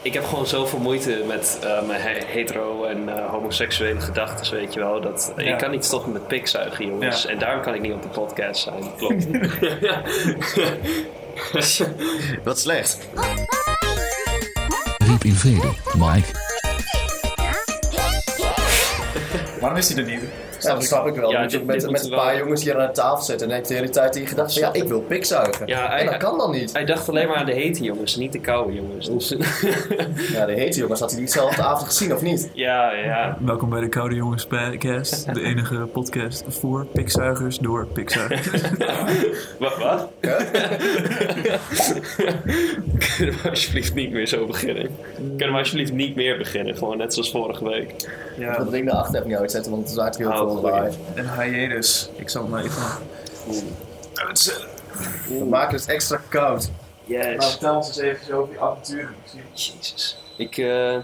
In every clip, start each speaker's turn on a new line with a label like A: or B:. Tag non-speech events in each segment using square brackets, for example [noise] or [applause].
A: ik heb gewoon zoveel moeite met eh, mijn he- hetero- en eh, homoseksuele gedachten, weet je wel. Dat,
B: Ja.
A: Ik kan niet stoppen met pikzuigen, jongens.
B: Ja.
A: En daarom kan ik niet op de podcast
B: [laughs]
A: zijn. Klopt.
C: Wat slecht.
D: Riep in vrede, Mike.
B: Waarom is hij er niet?
C: Ja, dat snap ik wel.
A: Ja,
C: Dan moet je
A: dit-
C: met,
A: dit
C: met
A: moet
C: een
A: wel-
C: paar jongens hier aan de tafel zitten. En dan heb je de hele tijd in je gedachten van, ja, ik wil pikzuigen.
A: Ja,
C: en
A: hij-
C: dat kan dan niet.
A: Hij dacht alleen maar aan de hete jongens, niet de koude jongens. Dus,
C: Ja, de hete jongens had hij diezelfde avond gezien of niet?
A: [laughs] ja, ja.
B: Welkom bij de Koude Jongens Podcast. De enige podcast voor pikzuigers door pikzuigers.
A: Wat? wat? [laughs] Kunnen we alsjeblieft niet meer zo beginnen? Kunnen we alsjeblieft niet meer beginnen? Gewoon net zoals vorige week.
B: ja,
C: Dat ding daarachter heb ik niet uitzetten, want het is eigenlijk heel
A: Oh,
C: veel
A: goeie.
C: lawaai.
B: [laughs] en hiatus. Ik zal hem even...
C: We maken het extra koud.
A: Yes.
B: Nou, vertel ons eens even over je avonturen.
A: Jezus. Ik eh,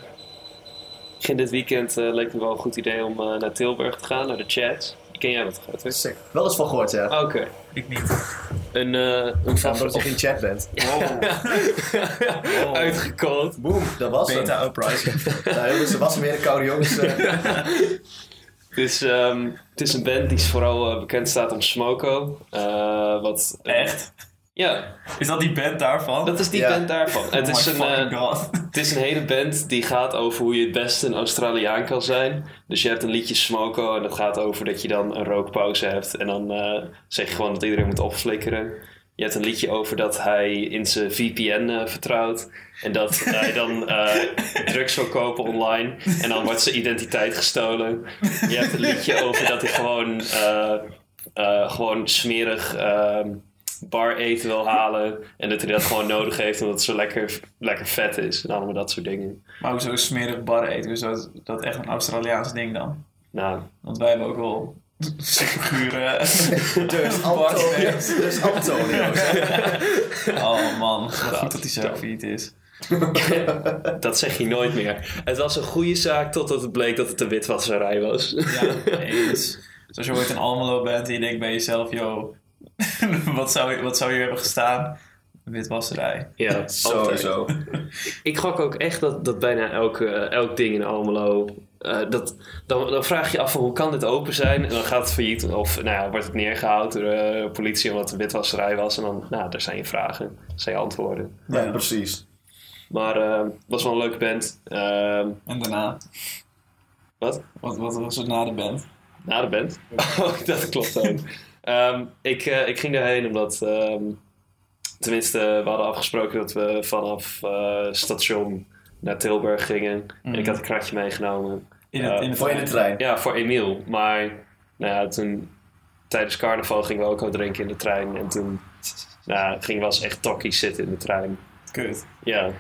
A: ging dit weekend, eh, leek me wel een goed idee om eh, naar Tilburg te gaan, naar de chat. Ken jij wat gaat? hè?
C: Sick. Wel eens van gehoord, ja.
A: Oké.
B: Ik niet.
A: Een, eh een
C: Ja,
A: vast-
C: Omdat je geen chat bent.
A: [laughs] uitgekoold.
C: Boom, dat was hem.
B: Beta Uprising.
C: [laughs] Nou, jongens, er was hem weer een koude
A: [laughs]
C: jongens. eh.
A: Dus ehm, het is een band die vooral eh, bekend staat om Smoko. Eh, wat, eh,
B: Echt?
A: Ja,
B: Is dat die band daarvan?
A: dat is die
C: Ja.
A: band daarvan. het,
B: Oh
A: is
B: my
A: een,
B: fucking
A: eh,
B: god.
A: het is een hele band die gaat over hoe je het beste een Australiaan kan zijn. Dus je hebt een liedje Smoko en dat gaat over dat je dan een rookpauze hebt. En dan eh, zeg je gewoon dat iedereen moet opflikkeren. Je hebt een liedje over dat hij in zijn VPN eh, vertrouwt. En dat hij dan eh, drugs wil kopen online. En dan wordt zijn identiteit gestolen. Je hebt een liedje over dat hij gewoon, eh, eh, gewoon smerig ehm, bar eten wil halen. En dat hij dat gewoon nodig heeft omdat het zo lekker, lekker vet is. En allemaal dat soort dingen.
B: Maar ook zo smerig bar eten. Dus dat dat echt een Australiaans ding dan.
A: [laughs] Nou,
B: Want wij hebben ook wel [laughs]
A: [laughs]
B: figuren.
C: Dus Antonio. Dus Antonio.
B: oh man, wat goed dat hij zo failliet is.
A: dat zeg je nooit meer. Het was een goede zaak totdat het bleek dat het een witwasserij was.
B: Ja, eens. Dus als je ooit een Almelo bent en je denkt bij jezelf, yo, [laughs] wat zou, je- wat zou je hebben gestaan? Een Witwasserij.
A: ja, [laughs] altijd.
C: Sowieso.
A: Ik gok ook echt dat, dat bijna elk, eh, elk ding in Almelo. eh, dat, dan, dan vraag je je af van hoe kan dit open zijn? En dan gaat het failliet. Of nou ja, wordt het neergehaald door eh, de politie omdat het een witwasserij was. En dan, nou, daar zijn je vragen. Dat zijn je antwoorden.
C: Ja, precies.
A: Maar eh, het was wel een leuke band. Ehm,
B: En daarna,
A: wat?
B: wat, wat was het na de band?
A: Na de band? [laughs] Oh, dat klopt ook. Ehm, ik, eh, ik ging daarheen omdat... ehm, tenminste, we hadden afgesproken dat we vanaf eh, station naar Tilburg gingen. En ik had een kratje meegenomen.
B: In, het, in, het,
C: Voor in de trein.
A: Ja, voor Emiel. Maar nou ja, toen tijdens carnaval gingen we ook al drinken in de trein. En toen nou, gingen we als echt tokkies zitten in de trein.
B: Kut.
A: Ja.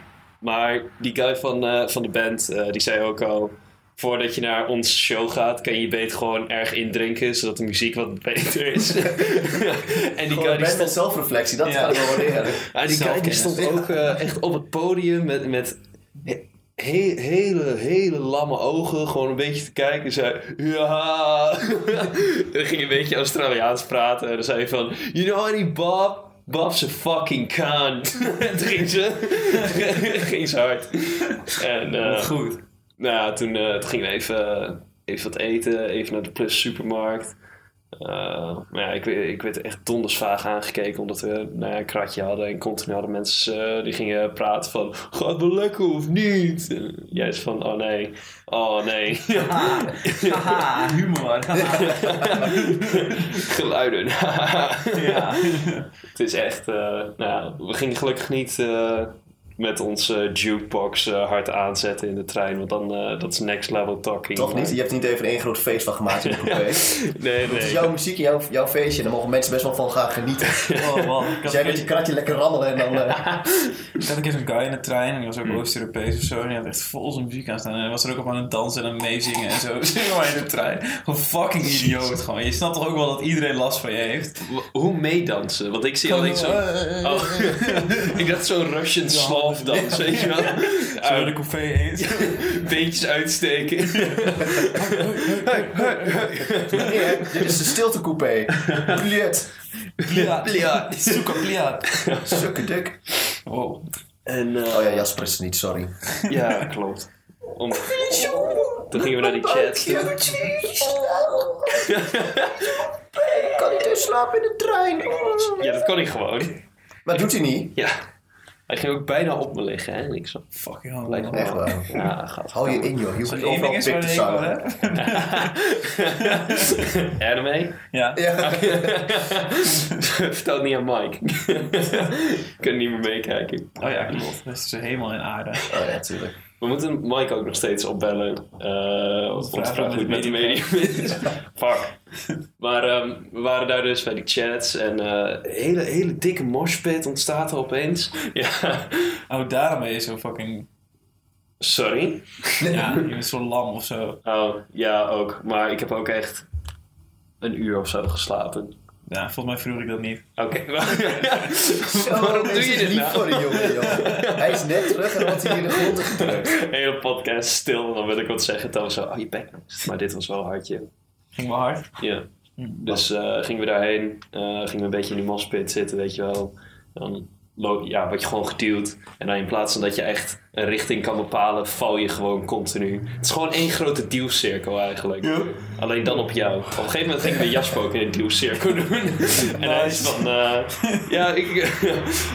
A: Maar die guy van, eh, van de band, eh, die zei ook al... Voordat je naar onze show gaat, kan je je beter gewoon erg indrinken... zodat de muziek wat beter is. [laughs] en die
C: Gewoon
A: guy die
C: best wel
A: stond,
C: zelfreflectie,
B: Ja.
C: dat ga
A: [laughs]
C: ik wel waarderen.
A: ah, die guy die
B: zelfkennis.
A: stond ook eh, echt op het podium met... met he- he- hele, hele lamme ogen, gewoon een beetje te kijken. En zei, ja. [laughs] En dan ging hij een beetje Australiaans praten. En dan zei hij van, you know honey, Bob? Bob's a fucking cunt. [laughs] en toen ging ze, ging ze [laughs] hard. En, eh,
B: Goed.
A: nou ja, toen, eh, toen gingen we even, eh, even wat eten, even naar de Plus supermarkt. Eh, maar ja, ik, werd- ik werd echt donders vaag aangekeken omdat we nou ja, een kratje hadden en continu hadden mensen eh, die gingen praten van gaat wel lekker of niet? En jij is van oh nee, oh
C: [laughs]
A: nee, [laughs]
B: Haha, humor.
A: geluiden. [laughs]
B: ja.
A: Het is echt, eh, nou ja, we gingen gelukkig niet eh, met onze jukebox eh, hard aanzetten in de trein, want dan eh, dat is next level talking.
C: Toch niet? Je hebt niet even één groot feest van gemaakt in de coupé.
A: Nee, nee.
C: Jouw muziek, jouw, jouw feestje, daar mogen mensen best wel van gaan genieten.
B: [laughs] Oh man, ik
C: Dus
B: had,
C: jij met je kratje lekker rammelen en dan... eh,
B: ik had een keer zo'n guy in de trein en die was ook Oost-Europees of zo. En die had echt vol zijn muziek aan staan. En hij was er ook op aan het dansen en aan het meezingen en zo. [laughs] Zingen maar in de trein. Gewoon fucking idioot gewoon. Je snapt toch ook wel dat iedereen last van je heeft? eh,
A: W- Hoe meedansen? Want ik zie alleen zo'n... [laughs] Oh, [laughs] ik dacht zo'n Russian slav dans, weet je
C: [laughs]
A: wel?
B: Zo de
A: Uit,
B: café heen.
A: beentjes uitsteken.
C: Nee, dit is de stiltecoupé. Bliet.
B: Pliat.
A: Pliat.
B: Zoek op pliat.
C: Sukkerduk.
B: Wow.
A: En eh,
C: Oh ja, Jasper is er niet, sorry.
A: ja, klopt. Om- Toen gingen we naar die
C: Oh,
A: chat. toe.
C: kan niet eens slapen in de trein.
A: Ja, dat kon hij gewoon.
C: Maar doet hij niet?
A: Ja. Hij ging ook bijna op me liggen, hè? En ik zo,
B: Fucking hell.
A: blijf
C: Echt waar.
A: Ja, gaat.
C: Hou je in, joh. Je hoeft
B: Als
C: niet
B: er één
C: overal
B: ding is
C: pik
B: waar
C: te
B: ik wel
C: zagen.
B: heb.
A: Anime?
B: Ja.
C: Ja.
A: [laughs] Vertel het niet aan Mike. [laughs] ik kan niet meer meekijken.
B: Oh ja, klopt. Dat is dus helemaal in aarde.
C: Oh ja, tuurlijk.
A: We moeten Mike ook nog steeds opbellen. eh om te vragen hoe het met die medium is. [laughs] Fuck. Maar ehm, we waren daar dus bij die chats. En eh, een hele, hele dikke moshpit ontstaat er [laughs] opeens. ja.
B: Oh, daarom ben je zo fucking...
A: Sorry.
B: Ja, je bent zo lam of zo.
A: Oh, ja, ook. Maar ik heb ook echt een uur of zo geslapen.
B: Ja, volgens mij vroeg ik dat niet.
A: Oké, [laughs] maar- waarom doe je dit
C: lief
A: nou?
C: voor die jongen, joh. Hij is net terug en wordt hier in de grond gedrukt.
A: Hele podcast stil, en dan wil ik wat zeggen. Dan zo, oh je bek. Maar dit was wel hard, joh.
B: Ging wel hard.
A: Ja. Dus eh, gingen we daarheen, eh, gingen we een beetje in die mospit zitten, weet je wel. Dan lo- ja, word je gewoon geduwd. En dan in plaats van dat je echt een richting kan bepalen, val je gewoon continu. Het is gewoon één grote duwcirkel eigenlijk. Alleen dan op jou. Op een gegeven moment ging ik bij Jasper ook in een duwcirkel doen. [laughs] En hij is van, eh, ja, ik, [laughs]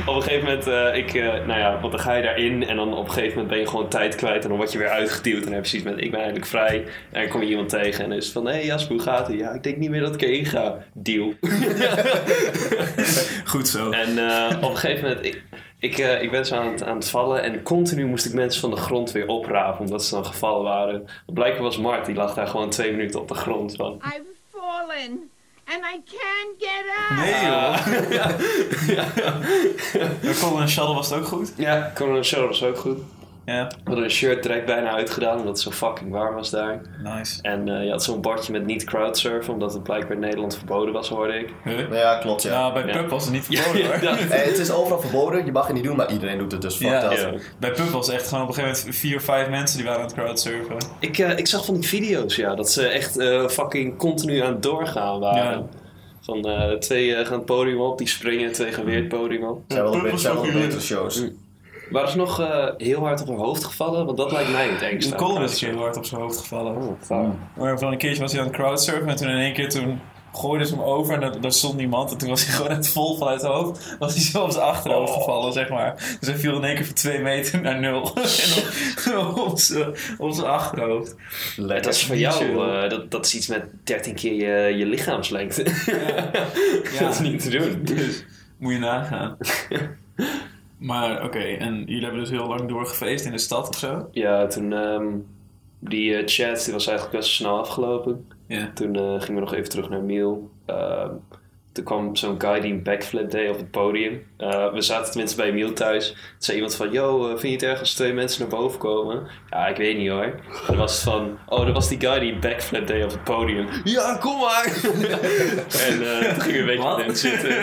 A: op een gegeven moment, eh, ik, eh, nou ja, want dan ga je daarin en dan op een gegeven moment ben je gewoon tijd kwijt en dan word je weer uitgeduwd. En dan heb je zoiets met, ik ben eigenlijk vrij. En dan kom je iemand tegen en dan is het van, hé hey Jasper, hoe gaat het? Ja, ik denk niet meer dat ik erin ga. Deal.
B: Goed zo.
A: En eh, op een gegeven moment, ik, ik, eh, ik ben zo aan het, aan het vallen en continu moest ik mensen van de grond weer oprapen omdat ze dan gevallen waren. Blijkbaar was Mart, die lag daar gewoon twee minuten op de grond van,
D: I've fallen and I can't get up.
B: Nee joh. Bij Colin Shadow was het ook goed.
A: Ja, Conan Shadow was ook goed.
B: Ja,
A: We hadden een shirt direct bijna uitgedaan, omdat het zo fucking warm was daar.
B: nice.
A: En eh, je had zo'n bordje met niet crowdsurfen, omdat het blijkbaar in Nederland verboden was, hoorde ik.
B: Huh?
C: Ja, klopt, ja.
B: Nou, bij
A: Ja.
B: Pub was het niet verboden hoor.
A: dat-
C: Eh, het is overal verboden, je mag het niet doen, maar iedereen doet het dus. Fuck
B: Ja.
C: dat.
A: Ja.
B: Bij Pub was echt gewoon op een gegeven moment vier of vijf mensen die waren aan het crowdsurfen.
A: ik, eh, ik zag van die video's, ja, dat ze echt eh, fucking continu aan het doorgaan waren.
B: Ja.
A: Van eh, twee eh, gaan het podium op, die springen, twee gaan weer het podium op.
C: Zijn wel,
B: Pub
C: be-
B: was
C: zijn
B: ook
C: wel
B: hier.
C: betere shows.
A: Waren ze nog eh, heel hard op hun hoofd gevallen? Want dat lijkt mij het engste.
B: De Colin is heel hard op zijn hoofd gevallen.
A: Oh, fuck.
B: Maar van een keertje was hij aan het crowdsurfen en toen in één keer toen gooiden ze hem over en daar- daar stond niemand. En toen was hij [laughs] gewoon het vol vanuit zijn hoofd. Was hij zo op zijn achterhoofd
A: Oh.
B: gevallen, zeg maar. Dus hij viel in één keer van twee meter naar nul. [laughs] en op- op zijn- op zijn achterhoofd.
C: Hm.
A: Dat is voor jou, eh, dat, dat is iets met 13 keer je, je lichaamslengte.
B: Ja.
A: dat is niet te doen. dus.
B: Moet je nagaan. [laughs] maar oké, en jullie hebben dus heel lang doorgefeest in de stad of zo?
A: Ja, toen ehm, die eh, chat die was eigenlijk best snel afgelopen.
B: Ja.
A: Toen eh, gingen we nog even terug naar Miel. Ehm, toen kwam zo'n guy die een backflip deed op het podium. Eh, we zaten tenminste bij Miel thuis. Toen zei iemand van, yo, eh, vind je het erg als twee mensen naar boven komen? Ja, ik weet niet hoor. En dan was het van, oh, dat was die guy die een backflip deed op het podium. Ja, kom maar! en eh, toen gingen we een beetje
B: Wat?
A: met hen zitten.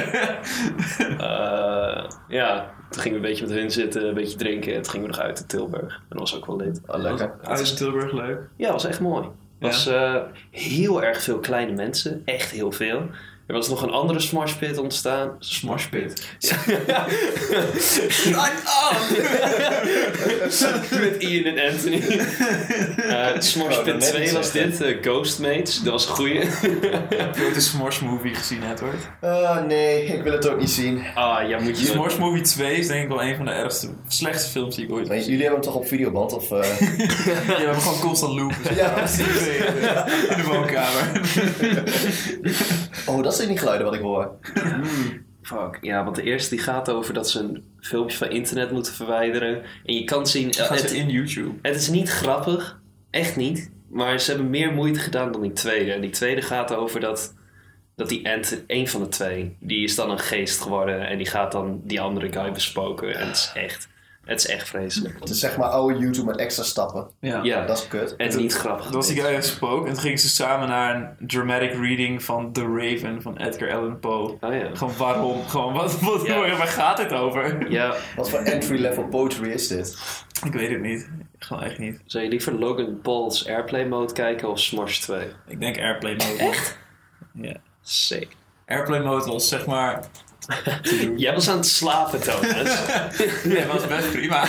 A: Eh, ja, toen gingen we een beetje met hun zitten, een beetje drinken. En toen gingen we nog uit naar Tilburg. En dat was ook wel lid.
C: Oh, lekker.
B: Uit Tilburg, leuk.
A: Ja, was echt mooi. Er was eh, heel erg veel kleine mensen. Echt heel veel. Er was nog een andere smash pit ontstaan. Smash pit? [laughs] Met Ian en Anthony. Eh smash
C: wou
A: pit
C: dat net
A: 2 was dit.
C: zeggen.
A: eh, Ghostmates. Dat was een goeie.
B: Heb je ooit een Smorsh Movie gezien, Edward?
C: Ah, nee, ik wil het ook niet zien.
A: [laughs] ah, ja, moet je...
B: Smorsh Movie 2 is denk ik wel een van de ergste, slechtste films die ik ooit
C: Maar
B: heb gezien.
C: jullie hebben hem toch op videoband? Of, eh?
B: Ja, we hebben gewoon constant
A: [laughs]
B: loopen
C: [laughs] ja, precies.
B: in de woonkamer.
C: Oh, dat zijn die geluiden wat ik hoor.
A: Fuck. Ja, want de eerste die gaat over dat ze een filmpje van internet moeten verwijderen. En je kan zien... eh,
B: Gaat
A: het,
B: zitten in YouTube.
A: het is niet grappig. Echt niet. Maar ze hebben meer moeite gedaan dan die tweede. En die tweede gaat over dat... Dat die Ant, een van de twee, die is dan een geest geworden. En die gaat dan die andere guy bespoken. En het is echt... Het is echt vreselijk.
C: Het is zeg maar oude YouTube met extra stappen.
B: Ja.
A: Ja,
C: Dat is kut.
A: en niet grappig.
B: Dat was die guy gesproken en toen gingen ze samen naar een dramatic reading van The Raven van Edgar Allan Poe.
A: Oh ja.
B: Gewoon waarom? Gewoon wat, wat
A: Ja.
B: waar gaat dit over?
A: Ja,
C: Wat voor entry-level poetry is dit?
B: Ik weet het niet. Gewoon echt niet.
A: zou je liever Logan Paul's Airplay Mode kijken of Smash 2?
B: Ik denk Airplane Mode. Echt? Ja.
A: Sick.
B: airplane mode was, zeg maar.
A: Jij was aan het slapen, Thomas.
B: [laughs] Nee, was best prima.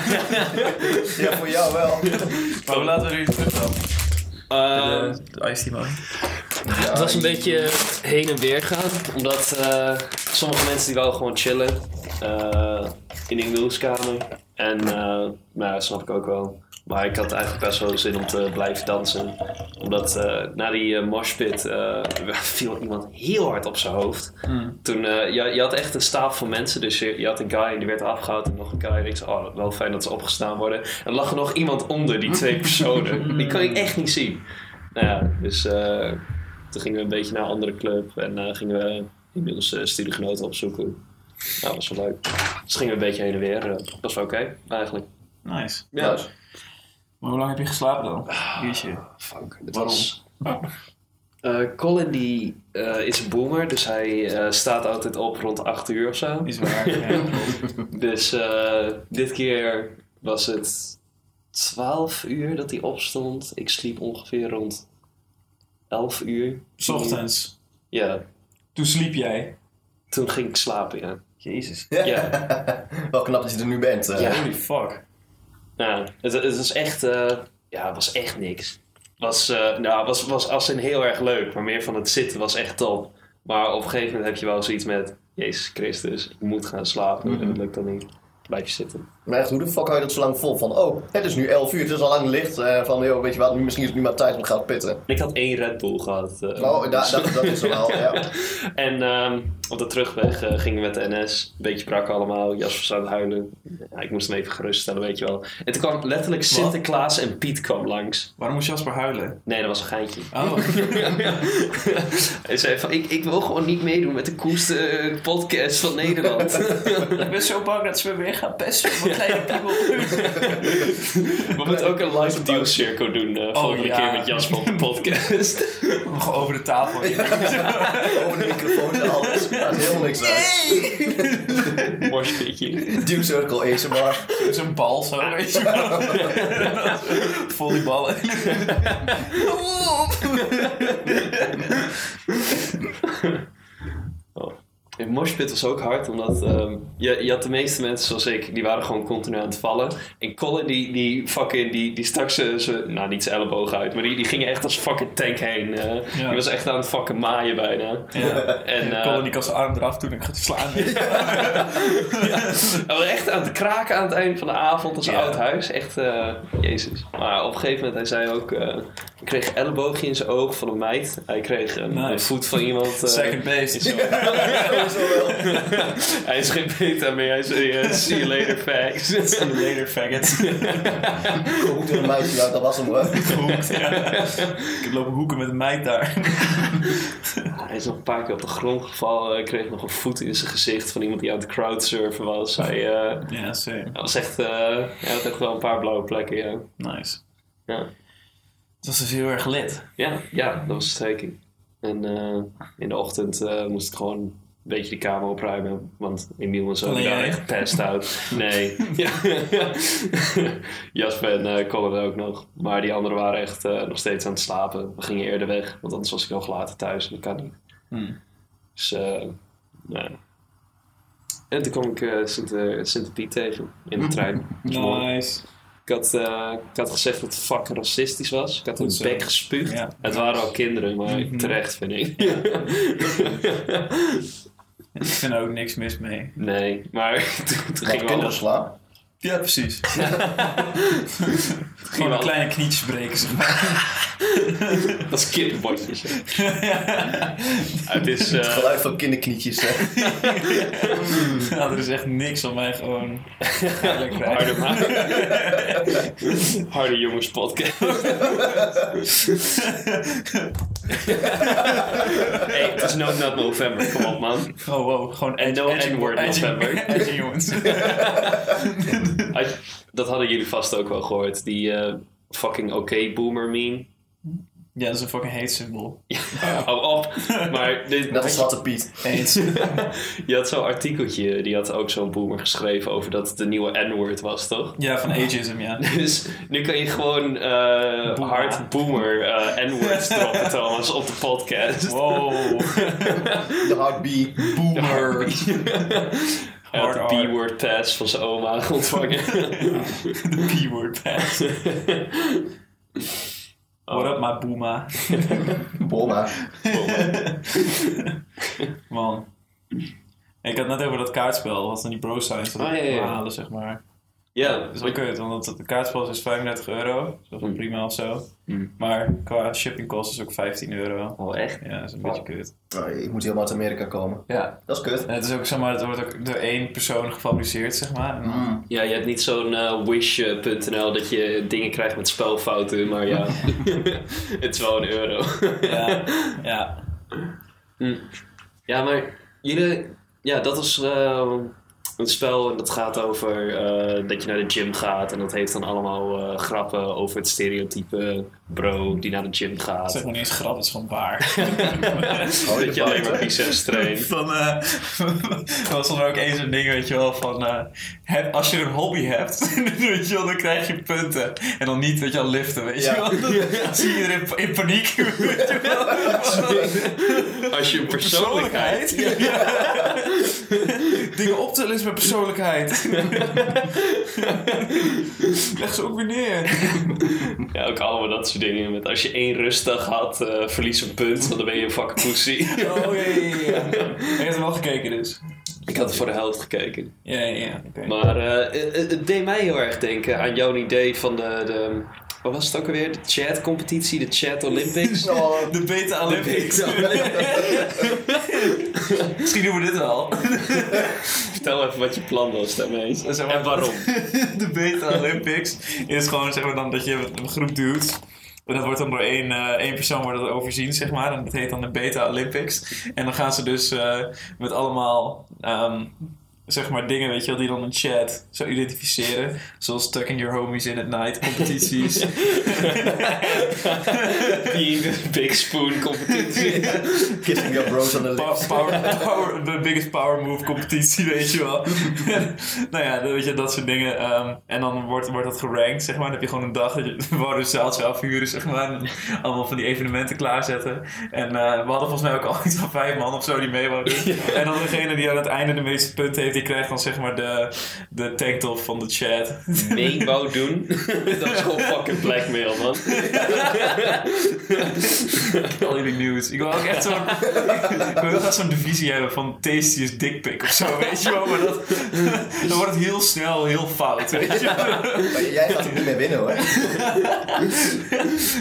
C: Ja, voor jou wel. [laughs]
B: maar we laten we nu terug dan.
A: Ehm,
B: de ice team
A: het was een beetje eh, heen en weer gaan. Omdat eh, sommige mensen die wouden gewoon chillen eh, in de Engelskamer. En eh, maar dat snap ik ook wel. Maar ik had eigenlijk best wel zin om te blijven dansen. Omdat eh, na die eh, moshpit eh, [laughs] viel iemand heel hard op zijn hoofd. Toen, eh, je, je had echt een stapel van mensen. Dus je, je had een guy en die werd afgehaald. En nog een guy. En ik zei, oh, wel fijn dat ze opgestaan worden. En er lag er nog iemand onder, die twee personen. Die kon ik echt niet zien. Nou ja, dus eh, toen gingen we een beetje naar een andere club. En eh, gingen we inmiddels eh, studiegenoten opzoeken. Nou, dat was wel leuk. Dus gingen we een beetje heen en weer. eh, dat was wel oké, eigenlijk.
B: Nice.
A: Ja. Ah.
B: Maar hoe lang heb je geslapen dan? Uurtje.
A: [laughs] Fuck, het
B: Waarom?
A: was- Eh, Colin die, eh, is een boomer, dus hij eh, staat altijd op rond 8 uur of zo.
B: Is waar. ja.
A: Dus eh, dit keer was het 12 uur dat hij opstond. Ik sliep ongeveer rond 11 uur.
B: [laughs] 's Ochtends.
A: Ja,
B: Toen sliep jij.
A: toen ging ik slapen, ja.
B: Jezus.
A: Ja.
C: Wel knap dat je er nu bent. eh.
A: Ja.
B: Holy fuck.
A: Nou, het, het was echt, eh, ja, het was echt niks. Was, eh, nou, was, was als in heel erg leuk, maar meer van het zitten was echt top. Maar op een gegeven moment heb je wel zoiets met, Jezus Christus, ik moet gaan slapen en dat lukt dan niet. Blijf je zitten.
C: Maar echt, hoe de fuck hou je dat zo lang vol? Van, oh, het is nu 11 uur, het is al lang licht. Eh, van, joh, weet je wat, nu, misschien is het nu maar tijd om te gaan pitten.
A: Ik had één Red Bull gehad. eh,
C: Oh, da, da, dat is wel, [laughs] ja.
A: En ehm, op de terugweg eh, gingen we met de NS. Een beetje brak allemaal. Jasper zou huilen. Ja, ik moest hem even geruststellen, weet je wel. En toen kwam letterlijk Sinterklaas en Piet kwam langs.
B: Waarom moest Jasper huilen?
A: Nee, dat was een geintje.
B: Oh. [laughs]
A: Hij zei van, ik, ik wil gewoon niet meedoen met de koeste eh, podcast van Nederland.
B: ik ben zo bang dat ze me weer gaan pesten. Wat kleine piemel.
A: we moeten ook een live deal circo doen eh volgende
B: ja.
A: keer met Jasper [laughs] op de podcast.
B: Nog over de tafel.
C: Over de microfoon en alles. Daar is helemaal niks aan.
A: Morspitje.
C: Duw Circle ASMR.
B: Zo'n bal zo, weet je wel. [laughs] Volleyballen.
A: En Moshpit was ook hard, omdat ehm, je, je had de meeste mensen zoals ik, die waren gewoon continu aan het vallen. En Colin, die, die fucking, die, die stak ze, ze- nou niet zijn elleboog uit, maar die, die ging echt als fucking tank heen. eh.
B: Ja.
A: Die was echt aan het fucking maaien bijna.
B: Ja.
A: En eh,
B: Colin die kan zijn arm eraf toen ik ga slaan. [laughs]
A: hij was echt aan het kraken aan het eind van de avond als
B: Ja.
A: oud huis. Echt, eh, jezus. Maar op een gegeven moment, hij zei ook, eh, hij kreeg een elleboogje in zijn oog van een meid. Hij kreeg een,
B: Nice.
A: een voet van
B: [laughs]
A: iemand. eh,
B: Second base.
A: zo. [laughs] hij is geen beta meer, hij zei, eh, see you later, facts.
B: En later faggot.
C: Hoe een meisje, nou, dat was hem hoor.
B: Gehoekt, ja. Ik heb lopen hoeken met een meid daar.
A: [laughs] Hij is nog een paar keer op de grond gevallen. Hij kreeg nog een voet in zijn gezicht van iemand die aan het crowdsurfen was. Hij, eh,
B: Ja, same.
A: hij was echt, eh, hij had echt wel een paar blauwe plekken, ja.
B: Nice.
A: Ja,
B: Het was dus heel erg lit.
A: ja, ja dat was de trekking. En eh, in de ochtend eh, moest ik gewoon een beetje de kamer opruimen. Want Emiel en zo
B: Alleen
A: die waren
B: jij?
A: echt pest out.
B: [laughs]
A: Nee. Ja. [laughs] Jasper en eh Colin ook nog. Maar die anderen waren echt eh, nog steeds aan het slapen. We gingen eerder weg, want anders was ik nog later thuis. En dat kan niet.
B: Hmm.
A: Dus, eh, nou ja. En toen kwam ik eh Sint, eh, Sint Piet tegen in de trein. Dat is mooi.
B: Nice.
A: Ik, had, eh, ik had gezegd dat het fucking racistisch was. Ik had een
B: Goed zo.
A: bek gespuugd.
B: Ja. Mhm.
A: Het waren al kinderen, maar terecht vind ik.
B: Ik vind er ook niks mis mee.
A: [laughs] nee, maar [laughs] toen, toen
C: Wat
A: gingen we
C: kinderen
A: alles.
C: slaan.
B: Ja, precies. [laughs] Gewoon
A: wel.
B: een kleine knietjes breken, zeg [laughs] maar.
A: Dat is kinderbotjes. Het
B: [laughs]
A: is. eh,
C: Geluid van kinderknietjes. hè.
B: Nou, er is echt niks om mij gewoon... Lekker
A: Harde,
B: [laughs]
A: ma- harde jongens
B: [laughs]
A: podcast. hey, het is no nut November, kom op man.
B: Oh, wow. Gewoon
A: En no
B: edgy-
A: N-word
B: edgy- [laughs]
A: November.
B: edgy jongens.
A: Had- Dat hadden jullie vast ook wel gehoord, die eh, fucking oké boomer meme. [laughs]
B: Ja, dat is een fucking hate symbool.
A: Hou op. Maar dit,
C: Net als Zwarte Piet.
B: Hate.
A: [laughs] je had zo'n artikeltje, die had ook zo'n boomer geschreven over dat het de nieuwe N-word was, toch?
B: ja, van ageism, ja.
A: Dus nu kan je gewoon eh
B: Boomer.
A: hard boomer eh
B: [laughs]
A: N-words droppen, Thomas, op de podcast.
B: Wow.
C: De hardbee.
B: Boomer. [laughs]
A: Hij had
B: Hard
A: de
B: R.
A: B-word pass van zijn oma
B: [laughs]
A: ontvangen. [laughs]
B: De B-word pass.
A: Oh.
B: What up, my
A: [laughs]
B: booma.
C: Boma.
B: Man. Ik had net over dat kaartspel, wat dan die bro signs dat
A: Ah, ja, ja, ja.
B: halen, zeg maar.
A: ja, dus
B: Dat is wel kut, want het kaartspel is 35 euro. Dus Dat is wel
A: Mm.
B: prima of zo.
A: Mm.
B: Maar qua shipping cost is ook 15 euro.
A: wel Oh, echt.
B: Ja, dat is een beetje kut.
C: Oh, ik moet helemaal uit Amerika komen.
B: Ja.
C: Dat is kut.
B: En het is ook, zeg maar, het wordt ook door één persoon gefabriceerd, zeg maar. En dan-
A: Ja, je hebt niet zo'n eh, wish.nl dat je dingen krijgt met spelfouten, maar
B: [laughs]
A: ja, [laughs] het is wel een euro.
B: Ja, ja.
A: Ja, maar jullie, ja, dat is eh, een spel en dat gaat over eh, dat je naar de gym gaat en dat heeft dan allemaal eh, grappen over het stereotype bro die naar de gym
B: Het is
A: gaat.
B: ook nog niet eens grap, het is gewoon waar.
A: Oh, dat je alleen maar biceps traint.
B: [laughs] Van, eh, [laughs] er was dan ook eens een ding, weet je wel, van eh, heb, als je een hobby hebt, [laughs] weet je wel, dan krijg je punten. En dan niet, weet je wel, liften, weet
C: Ja.
B: je [laughs] wel. Dan zie je er in, in paniek, [laughs] weet je wel.
A: [laughs] Als je een persoonlijkheid...
B: Persoonlijkheid. [laughs] Dingen optellen is mijn persoonlijkheid. [laughs] Leg ze ook weer neer.
A: Ja, ook allemaal dat soort dingen. Met als je één rustdag had, eh, verlies een punt, want dan ben je een fucking pussy. [laughs]
B: Oh, ja, ja, ja. ja. Je hebt hem wel gekeken dus.
A: Ik had voor de helft gekeken.
B: Ja, ja, ja. oké.
A: Maar eh, het- het deed mij heel erg denken aan jouw idee van de... de wat was het ook alweer? De chat-competitie, de chat-Olympics?
C: Oh,
B: De Beta Olympics. [laughs] Misschien doen we dit wel.
A: Vertel even wat je plan was daarmee.
B: Zeg maar-
A: En waarom?
B: [laughs] de Beta Olympics is gewoon zeg maar dan dat je een groep duwt. En dat wordt dan door één, eh, één persoon wordt dat overzien, zeg maar. En dat heet dan de Beta Olympics. En dan gaan ze dus eh, met allemaal, ehm, zeg maar, dingen, weet je wel, die dan een chat zo identificeren. Zoals tucking your homies in at night competities.
A: Die de Big Spoon-competitie.
C: kissing your bros on the
B: Pa-
C: lips.
B: power, [laughs] power- de biggest power move competitie, weet je wel. [laughs] nou ja, dan weet je, dat soort dingen. ehm, en dan wordt, wordt dat gerankt, zeg maar. Dan heb je gewoon een dag dat je [laughs] gewoon een zaaltje afhuren, zeg maar. En allemaal van die evenementen klaarzetten. En eh, we hadden volgens mij ook al iets van vijf man of zo die mee waren. [laughs] En dan degene die aan het einde de meeste punten heeft, die krijgt dan zeg maar de, de tanktop van de chat.
A: mee wou doen. Dat is gewoon fucking blackmail, man.
B: Al jullie nieuws. Ik wil ook echt [laughs] zo'n... ik wil heel graag zo'n divisie hebben van tasty is dick pic of zo, weet je wel. Maar [laughs] dat, dan wordt het heel snel heel fout, weet je wel.
C: Maar jij gaat er niet meer winnen hoor.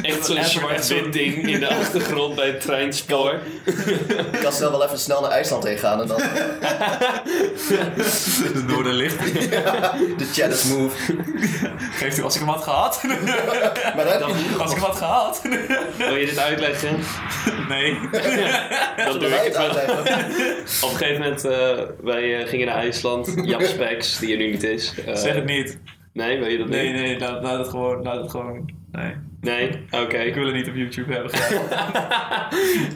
A: Echt zo'n zwart-wit ding in de achtergrond bij het treinspoor.
C: Ik kan snel wel even snel naar IJsland heen gaan en dan
B: De noorderlicht.
C: de chat is move.
B: Geeft u, als ik hem had [laughs] gehad.
C: Maar dan heb je niet
B: Als ik hem had gehad. [laughs]
A: Wil je dit uitleggen?
B: Nee.
A: Dat doe
C: Wij
A: ik het
C: het
A: wel.
C: uitleggen.
A: Op een gegeven moment, eh, wij eh, gingen naar IJsland. Jap Spex, die er nu niet is. Eh,
B: Zeg het niet.
A: Nee, wil je dat
B: Nee,
A: niet?
B: nee, laat, laat het gewoon. Laat het gewoon. Nee.
A: Nee? Oké.
B: Ik wil het niet op YouTube hebben [laughs] gedaan.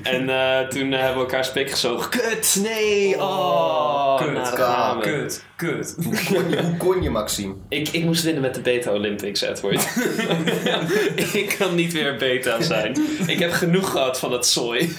A: En eh, toen eh, hebben we elkaar spek gezogen. Kut, nee, oh.
B: kut,
A: nou, daar
C: kut,
A: gaan we.
B: Kut. Kut. [laughs]
C: Hoe kon je Maxime?
A: Ik, ik moest winnen met de Beta Olympics, [laughs] Edward. ik kan niet weer Beta zijn. Ik heb genoeg gehad van dat zooi.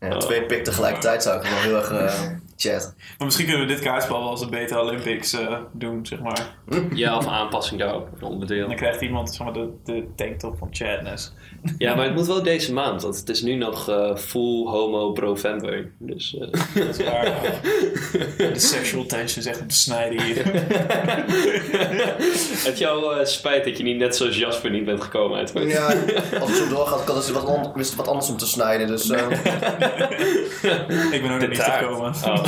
C: Ja, twee pik tegelijkertijd zou ik wel heel erg eh, chat.
B: Maar misschien kunnen we dit kaartspel wel als een Beta Olympics eh, doen, zeg maar.
A: Ja, of aanpassing daarop, een onderdeel.
B: En dan krijgt iemand zeg maar, de, de tanktop van Chadness.
A: Ja, maar het moet wel deze maand, want het is nu nog eh, full homo Brovember. Dus eh, [laughs]
B: Dat is waar. ja. [laughs] De sexual tension is echt op de snijden hier.
A: het jou eh, spijt dat je niet net zoals Jasper niet bent gekomen, Edward.
C: Ja, als het zo doorgaat, kan het wat, on- is het wat anders om te snijden. Dus eh,
B: Ik ben ook nog niet
A: taart.
B: gekomen.
A: Oh,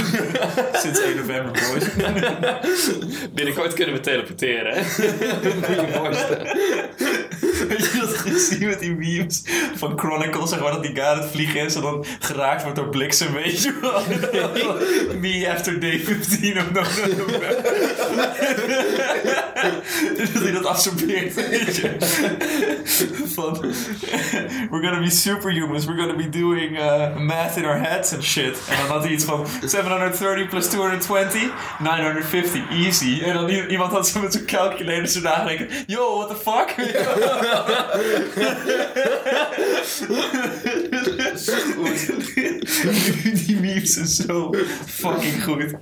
B: Sinds 1 november, boys. [laughs]
A: binnenkort kunnen we teleporteren, [laughs] hè?
B: [laughs] Weet je dat gezien met die memes van Chronicle, zeg maar, dat die guy aan het vliegen is en dan geraakt wordt door bliksem, weet je wel. Me after day 15 of no, no, no. Dus [laughs] dat hij dat absorbeert. weet je. Van, we're gonna be superhumans, we're gonna be doing uh, math in our heads and shit. En dan had hij iets van 730 plus 220, 950, easy. En dan i- iemand had zo met zo'n calculator zo nagedacht, yo, what the fuck? [laughs] Die memes zijn zo fucking goed.
A: Dat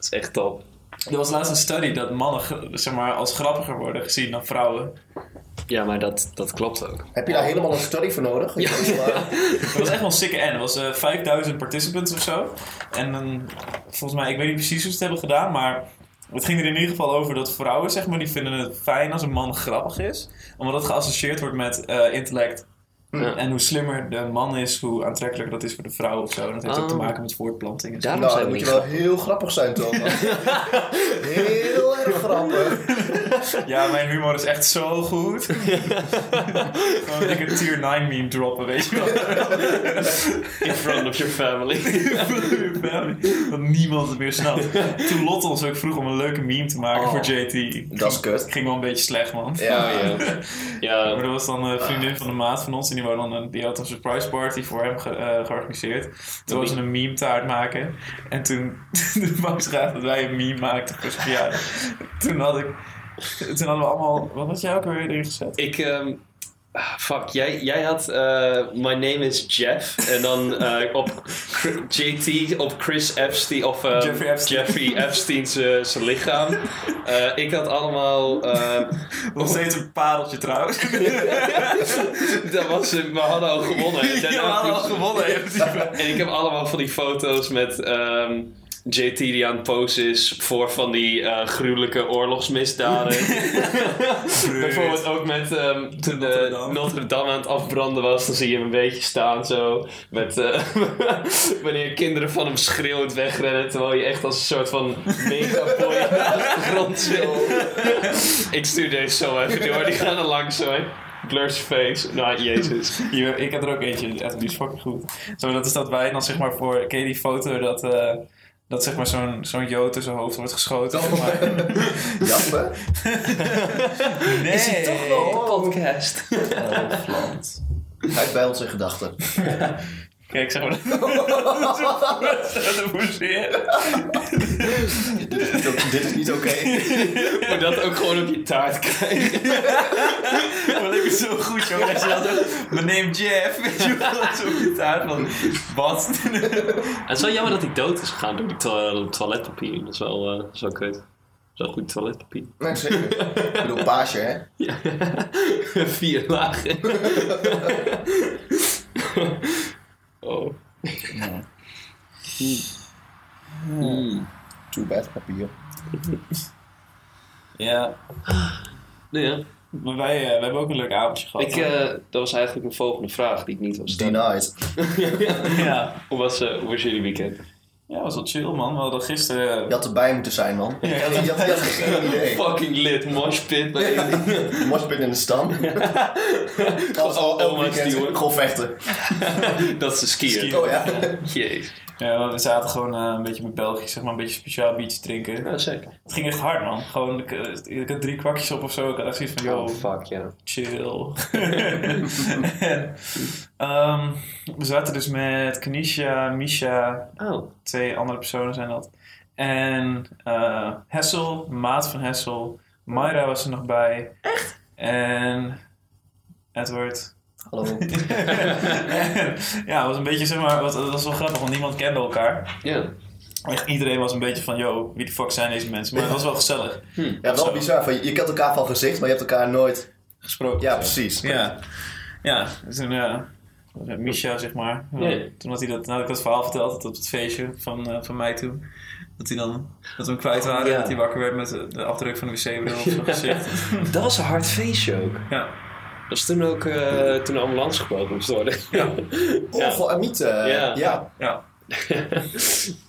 A: is echt top.
B: Er was laatst een study dat mannen ge- zeg maar, als grappiger worden gezien dan vrouwen.
A: Ja, maar dat, dat klopt ook.
C: Heb je daar helemaal een study voor nodig? eh, Ja. nou,
B: Het was echt wel een sikke N. Er was eh, 5000 participants of zo. En dan, volgens mij, ik weet niet precies hoe ze het hebben gedaan, maar het ging er in ieder geval over dat vrouwen, zeg maar, die vinden het fijn als een man grappig is. Omdat het geassocieerd wordt met eh, intellect.
A: Ja.
B: En hoe slimmer de man is, hoe aantrekkelijker dat is voor de vrouw of zo. En dat heeft ook
A: Oh.
B: te maken met voortplanting. en zo.
A: Daarom
C: Nou,
A: zijn
C: dan
A: we
C: moet je
A: niet
C: wel
A: grappig.
C: heel grappig zijn, [laughs] toch? heel erg grappig.
B: Ja, mijn humor is echt zo [laughs] goed. Gewoon ik een tier 9 meme droppen, weet je wel. [laughs]
A: In front of your family.
B: Dat niemand het meer snapt. Toen Lotte ons ook vroeg om een leuke meme te maken
A: Oh.
B: voor JT.
C: Dat is kut.
B: Ging wel een beetje slecht, man.
C: Ja,
A: ja. [laughs]
B: Maar
A: Ja,
B: er was dan een vriendin van de maat van ons en die, wou dan een, die had een surprise party voor hem ge- eh, georganiseerd. Toen was ze een meme taart maken en toen [laughs] de Max graag dat wij een meme maakten voor zijn verjaardag. Toen had ik, toen hadden we allemaal, wat had jij ook weer erin gezet?
A: ik... ehm, ah, Fuck, jij, jij had eh, My Name is Jeff en dan
B: [laughs]
A: eh, op Cr- JT, op Chris Epstein, of ehm,
B: Jeffrey Epstein.
A: Jeffrey Epstein zijn zijn lichaam. Eh, ik had allemaal ehm, [laughs]
B: Nog steeds een pareltje trouwens.
A: Dat was, we hadden al gewonnen. En daarna-
B: [laughs] Ja, we hadden al gewonnen. in
A: [laughs]
B: principe.
A: En ik heb allemaal van die foto's met ehm, JT die aan het posen is voor van die eh, gruwelijke oorlogsmisdaden.
B: [laughs]
A: Bijvoorbeeld ook met ehm, toen de Notre
B: Rotterdam.
A: Dame. aan het afbranden was, dan zie je hem een beetje staan zo. Met, eh, [laughs] wanneer kinderen van hem schreeuwend wegrennen, terwijl je echt als een soort van [laughs] megaboy naast de grond
B: [laughs]
A: zit. Ik stuur deze zo even door, die gaan er langs zo. hè. Blur's face. Nou,
B: [laughs]
A: jezus.
B: Hier, ik heb er ook eentje, echt, die is fucking goed. Zo, dat is dat wij dan zeg maar voor, ken je die foto dat, eh, dat zeg maar zo'n zo'n jood tussen zijn hoofd wordt geschoten?
C: Oh.
B: zeg maar.
C: Jasper?
B: Nee.
A: Is hij toch
B: Oh.
A: wel op de podcast?
C: Hij bijlt zijn gedachten.
B: Kijk, zeg maar. [laughs] Dat moest weer.
C: [laughs] dit, is niet o- dit is niet oké.
A: Moet dat ook gewoon op je taart
B: [laughs]
A: krijgen.
B: Dat leek me zo goed, jongen. Dat je dan zo, mijn name Jeff. [laughs] Weet je wel, zo goed uit. Van, wat?
A: Het is wel jammer dat hij dood is gegaan door die to- toiletpapier. Dat is wel, eh, dat is wel kut. Dat is wel goed toiletpapier.
C: Nee, zeker. Ik bedoel, paasje, hè?
A: Ja. [laughs] Vier lagen. [laughs] oh.
C: Too bad, papier.
B: Ja,
A: Nou ja,
B: maar wij, eh, wij hebben ook een leuk avondje gehad.
A: ik, eh, dat was eigenlijk mijn volgende vraag die ik niet was stellen.
C: Denied.
B: [laughs] ja.
A: Hoe was, eh, hoe was jullie [laughs] weekend?
B: ja, was wel chill, man. We hadden gisteren...
C: Je had erbij moeten zijn, man. Je had, je had- je had geen idee.
A: Fucking lit, moshpit.
C: Moshpit in de stam. [laughs] Als al elk
A: Oma's
C: weekend
A: die hoor.
C: gewoon vechten.
A: [laughs] dat is een skier.
B: Skiën.
C: Oh ja.
A: Jeez.
B: Ja, we zaten gewoon eh, een beetje met België, zeg maar, een beetje speciaal biertje drinken.
A: Nou, zeker.
B: Het ging echt hard, man. Gewoon, ik, eh, ik had drie kwakjes op of zo. Ik had echt zoiets van, yo,
A: Oh, fuck, ja.
B: chill. En, ehm, we zaten dus met Kanisha, Misha,
A: Oh,
B: twee andere personen zijn dat. En eh, Hessel, maat van Hessel. Mayra was er nog bij. Echt? En Edward. [laughs]
C: Hallo.
B: ja, het was een beetje, zeg maar, wat- dat was wel grappig, want niemand kende elkaar.
A: ja.
B: Echt iedereen was een beetje van, yo, wie de fuck zijn deze mensen? Maar het was wel gezellig
C: Ja, wel bizar. Van, je kent elkaar van gezicht, maar je hebt elkaar nooit...
B: gesproken.
C: Ja, precies.
B: Ja, ja. Dus toen, ja, Misha, zeg maar.
A: Ja.
B: Toen had hij dat, nadat ik dat verhaal verteld had op het feestje van, eh, van mij toen. Dat, hij dan, dat we hem kwijt waren.
A: ja.
B: Dat hij wakker werd met de, de afdruk van de wc-bril op
A: [laughs]
B: zijn gezicht.
A: Dat was een hard feestje ook.
B: Ja.
A: Dat was toen ook eh, toen de ambulance gebeld moest worden. [laughs] Ja.
C: Oh, voor Amit. eh,
A: Ja.
C: ja.
B: ja.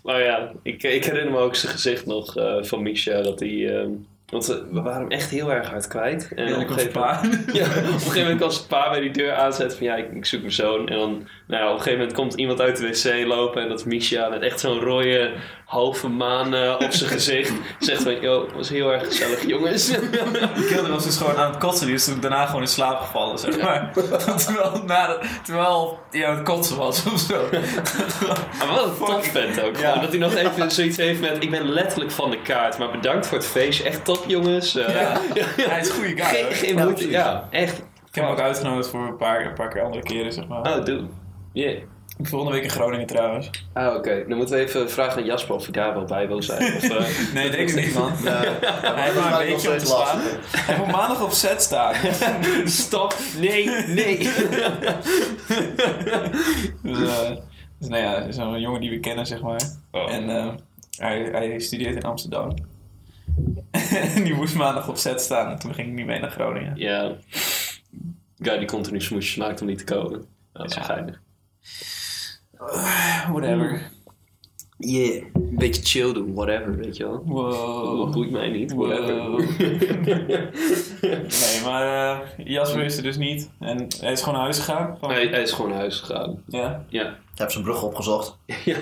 A: Maar Nou ja, ik, ik herinner me ook zijn gezicht nog eh, van Misha. Dat hij, ehm, want we we waren hem echt heel erg hard kwijt. En
B: En
A: op,
B: ik
A: een
B: was
A: gegeven moment,
B: pa.
A: [laughs]
B: [laughs]
A: ja, op een gegeven moment als het pa bij die deur aanzet van ja, ik, ik zoek mijn zoon. En dan, nou ja, op een gegeven moment komt iemand uit de wc lopen en dat is Misha. En echt zo'n rode, halve maan eh, op zijn
B: [laughs]
A: gezicht. Zegt van, yo, was heel erg gezellig jongens.
B: Kilder was dus gewoon aan het kotsen. Die is toen daarna gewoon in slaap gevallen, zeg maar. [laughs] terwijl na de- terwijl hij aan het kotsen was of zo.
A: Maar wat een top vent ook.
B: Ja.
A: Gewoon Dat hij nog even zoiets heeft met, ik ben letterlijk van de kaart. Maar bedankt voor het feestje. Echt top jongens. Eh,
B: ja. Hij is een goede guy.
A: Geen,
B: hoor.
A: geen
C: Ja,
A: moeite.
C: precies.
A: Ja, echt.
B: Ik heb hem ook uitgenodigd voor een paar, een paar keer andere keren, zeg maar.
A: Oh, doe. Yeah.
B: Volgende week in Groningen trouwens.
A: Ah, oké. Dan moeten we even vragen aan Jasper of hij daar wel bij wil
B: [laughs]
A: zijn. Of, eh,
B: Nee, denk ik niet, man.
A: [laughs]
B: Hij heeft
C: dat
B: maar
C: maakt
B: een beetje
C: nog
B: op te
C: steeds
B: slaan. Hij moet maandag op
A: [laughs]
B: set staan.
A: Stop. Nee,
B: [laughs]
A: nee.
B: Dus, eh, dus nou ja, zo'n jongen die we kennen, zeg maar.
A: Oh.
B: En eh, hij, hij studeert in Amsterdam. [laughs] en die moest maandag op set staan. En toen ging ik niet mee naar Groningen.
A: ja. Guy die continu smoesjes maakt om niet te komen. Dat is
B: Ja.
A: wel geinig.
B: Whatever.
A: Yeah. Een beetje chill doen, whatever, weet je wel.
B: Wow.
A: Dat boeit mij niet,
B: Wow.
A: whatever.
B: [laughs] Nee, maar eh, Jasper is er dus niet. En hij is gewoon naar huis gegaan. Van-
A: hij, hij is gewoon naar huis gegaan.
B: Ja.
A: Ja. [laughs]
C: Ik heb zijn brug opgezocht.
A: ja,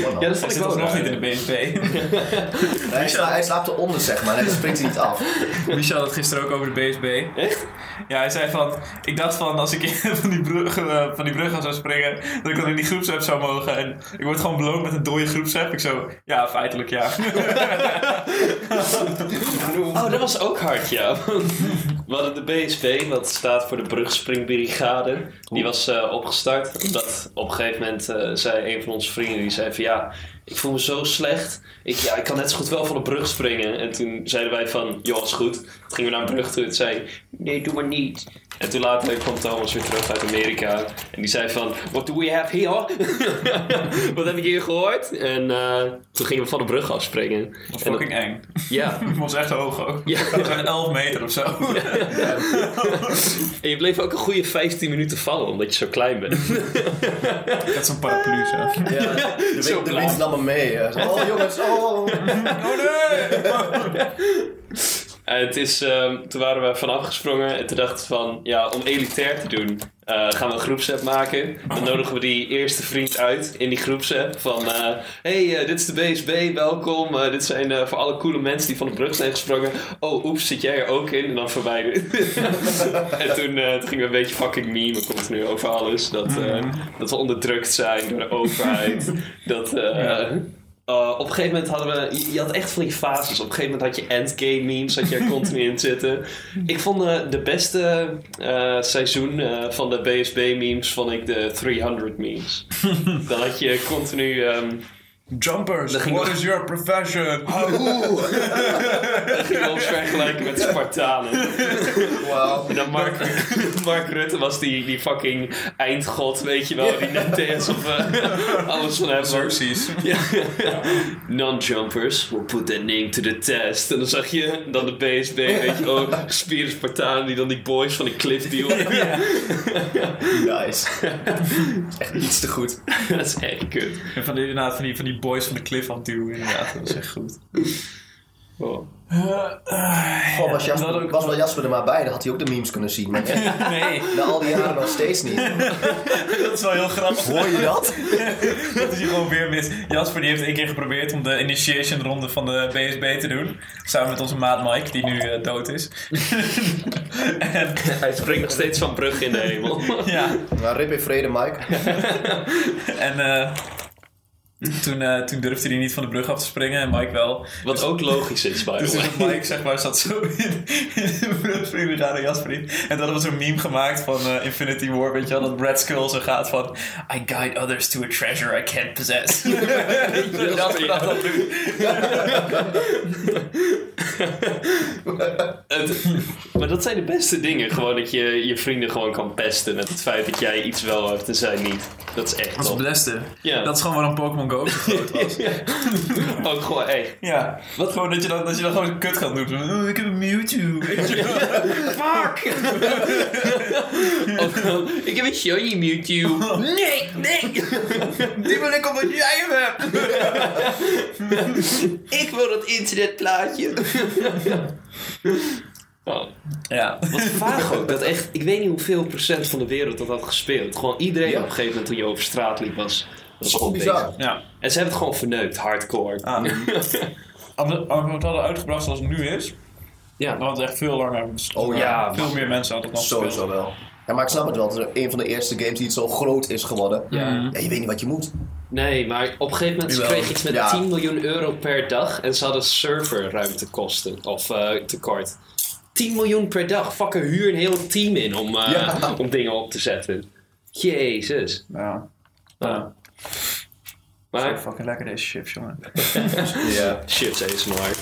A: dat
B: Oh, Hij
A: vond ik
B: zit
A: wel
B: nog
A: raar.
B: niet in de BNP.
C: Hij, sla, hij slaapt eronder, zeg maar. Hij springt hij niet
A: [laughs]
C: af.
B: [laughs] Michel had het gisteren ook over de BSB.
A: Echt?
B: Ja, hij zei van, ik dacht van als ik [laughs] van die brug, eh, van die brug af zou springen, dat ik dan in die groepsapp zou mogen. En ik word gewoon beloond met een dode groepsapp. Ik zo, ja, feitelijk ja.
A: [laughs] Oh, dat was ook hard, ja. [laughs] We hadden de BSB, wat staat voor de Brugspringbrigade. Die was eh, opgestart. Omdat op een gegeven moment eh, zei een van onze vrienden, die zei van ja, ik voel me zo slecht. Ik, ja, ik kan net zo goed wel van de brug springen. En toen zeiden wij van, joh, is goed. Toen gingen we naar een brug toe en zei, nee, doe maar niet. En toen later kwam Thomas weer terug uit Amerika. En die zei van, what do we have here? [laughs] wat heb ik hier gehoord? En eh, toen gingen we van de brug afspringen.
B: Dat was
A: En dat-
B: fucking eng. [laughs]
A: Ja.
B: Het was echt hoog ook.
A: Ja.
B: [laughs] Dat was echt 11 meter of zo.
A: En je bleef ook een goede 15 minuten vallen, omdat je zo klein bent.
B: [laughs] Ik had zo'n paraplu zo.
A: Oh,
C: Ja, de
A: Zo
C: wind, de
A: blauw.
C: wind nam hem mee. hè. Zo, Oh jongens, oh.
B: Oh nee!
A: en het is, ehm, toen waren we vanaf gesprongen en toen dachten we van, ja, om elitair te doen, eh, gaan we een groepsapp maken. Dan nodigen we die eerste vriend uit in die groepsapp van, eh, hey, eh, dit is de BSB, welkom. Eh, dit zijn eh, voor alle coole mensen die van de brug zijn gesprongen. Oh, oeps, zit jij er ook in? En dan verwijderen. [laughs] en toen, eh, toen gingen we een beetje fucking meme continu over alles. Dat, eh, dat we onderdrukt zijn door de overheid. dat... eh, Eh, op een gegeven moment hadden we... Je, je had echt van die fases. Op een gegeven moment had je endgame memes. Had je er continu in zitten. Ik vond eh, de beste eh, seizoen eh, van de BSB memes... vond ik de 300 memes. Dan had je continu... ehm,
B: Jumpers,
A: Dat ging
B: what
A: nog-
B: is your [laughs] profession?
A: dat ging ons vergelijken met Spartanen.
C: Wauw.
A: En dan Mark, [laughs] Mark Rutte was die, die fucking eindgod, weet je wel. Die net TS of eh, alles van hem. was.
B: Precies.
A: Non-jumpers will put their name to the test. En dan zag je dan de BSB, weet je ook, spieren Spartanen die dan die boys van de cliff deal.
C: Nice. Echt iets te goed.
A: [laughs] dat is echt kut.
B: En van die, inderdaad, van die, van die boys van de cliff aan het duwen, inderdaad. Dat was echt goed.
C: Goh, was,
B: dat
C: Jasper,
B: ook-
C: was wel Jasper er maar bij, dan had hij ook de memes kunnen zien. Maar echt,
B: Nee,
C: na al die jaren nog steeds niet.
B: [laughs] dat is wel heel grappig.
C: Hoor je dat?
B: Dat is hier gewoon weer mis. Jasper die heeft één keer geprobeerd om de initiation ronde van de BSB te doen. Samen met onze maat Mike, die nu eh, dood is. [laughs] en,
A: Hij springt nog steeds van brug in de hemel.
B: ja,
C: Nou, rip in vrede, Mike.
B: en eh, toen, eh, toen durfde hij niet van de brug af te springen en Mike wel.
A: Wat ook logisch is, by
B: Dus
A: the way.
B: toen Mike zeg maar, zat zo in, in de brugspringen gaan en Jasper niet. En dan hadden we zo'n meme gemaakt van eh, Infinity War, weet je wel, dat Brad Skull zo gaat van... I guide others to a treasure I can't possess. dat Jasper dat dan doet.
A: [laughs] Het- maar dat zijn de beste dingen. Gewoon dat je je vrienden gewoon kan pesten met het feit dat jij iets wel hebt en zij niet. Dat is echt
B: Dat is
A: top.
B: het beste.
A: Ja.
B: Dat is gewoon waarom Pokémon Go zo groot was.
A: Ook gewoon, echt.
B: Ja, wat gewoon dat je dan, dat je dan gewoon zo'n kut gaat doen. Zo, "Oh, ik heb een Mewtwo. weet je wel.
A: Fuck! [laughs] ik heb een shiny Mewtwo. [laughs] Nee, nee!
B: [laughs] Die wil ik omdat jij hem hebt.
A: [laughs] Ik wil dat internetplaatje. Oh,
B: Ja.
A: vaag ook. Dat echt, ik weet niet hoeveel procent van de wereld dat had gespeeld. Gewoon iedereen
C: Ja.
A: op een gegeven moment toen je over straat liep was.
C: Dat is gewoon bizar.
B: Ja.
A: En ze hebben het gewoon verneukt, hardcore.
B: Ah. Ander- Als we het hadden uitgebracht zoals het nu is,
A: Ja.
B: dan had het echt veel langer bestaan.
C: Oh
A: ja.
B: Veel meer mensen hadden het nog
C: Sowieso
B: gespeeld.
C: wel. Ja, maar ik snap het wel. Het is een van de eerste games die het zo groot is geworden.
A: Ja.
C: Ja, je weet niet wat je moet.
A: Nee, maar op een gegeven moment ze
C: Jawel.
A: kregen iets met
C: Ja.
A: 10 miljoen euro per dag en ze hadden serverruimtekosten of eh, tekort. 10 miljoen per dag. Fucking huur een heel team in om, eh,
C: Ja.
A: om dingen op te zetten. Jezus.
B: Ja. Ja. Zo
A: Maar
B: fucking lekker deze chips, jongen.
C: Ja.
A: chips ASMR.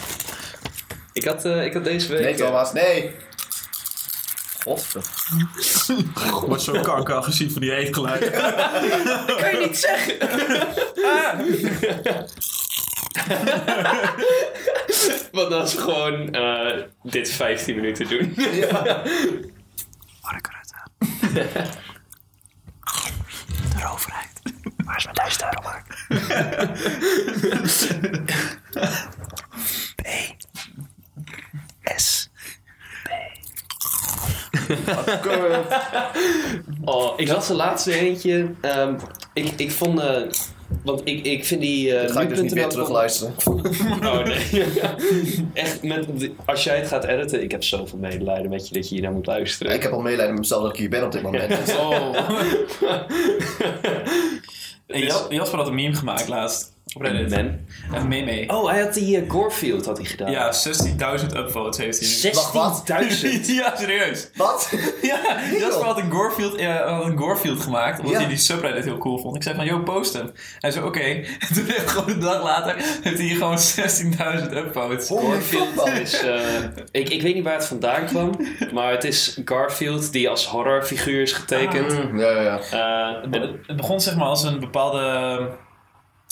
A: Ik had, eh, ik had deze week...
C: Nee,
A: eh,
C: Thomas, nee. Wat?
B: Ik word zo kanker agressief van die eetgeluid.
A: kan je niet zeggen. Want dat is gewoon eh, dit 15 minuten doen. [laughs]
C: Ja.
A: Oh, ik had de laatste eentje. Ehm, ik, ik vond... eh, want ik, ik vind die... eh
C: Dat ga ik dus niet
A: nu.nl
C: meer terugluisteren.
A: Oh nee. [laughs] Echt, met, de- als jij het gaat editen, ik heb zoveel medelijden met je dat je hier naar moet luisteren.
C: Ik heb al medelijden met mezelf dat ik hier ben op dit moment.
B: [laughs]
C: Dus-
B: Oh.
A: Dus-
B: Jasper had een meme gemaakt laatst. Op Reddit.
A: Men.
B: Een meme.
A: Oh, hij had die eh, Gorefield had hij gedaan.
B: Ja, 16.000 upvotes heeft hij. nu.
A: [laughs] 16.000.
B: [laughs] ja, serieus.
C: Wat?
B: Ja, Jasper had een Gorefield, eh, had een Gorefield gemaakt, omdat
C: Ja.
B: hij die subreddit heel cool vond. Ik zei van, yo, post hem. Hij zei, oké. [laughs] En toen heeft gewoon een dag later, heeft hij gewoon 16.000 upvotes.
C: Holy fuck, man.
A: Dus, eh, ik, ik weet niet waar het vandaan kwam, maar het is Garfield die als horrorfiguur is getekend.
C: Ja, ja, ja.
A: Eh, en-
B: Het het begon zeg maar als een bepaalde...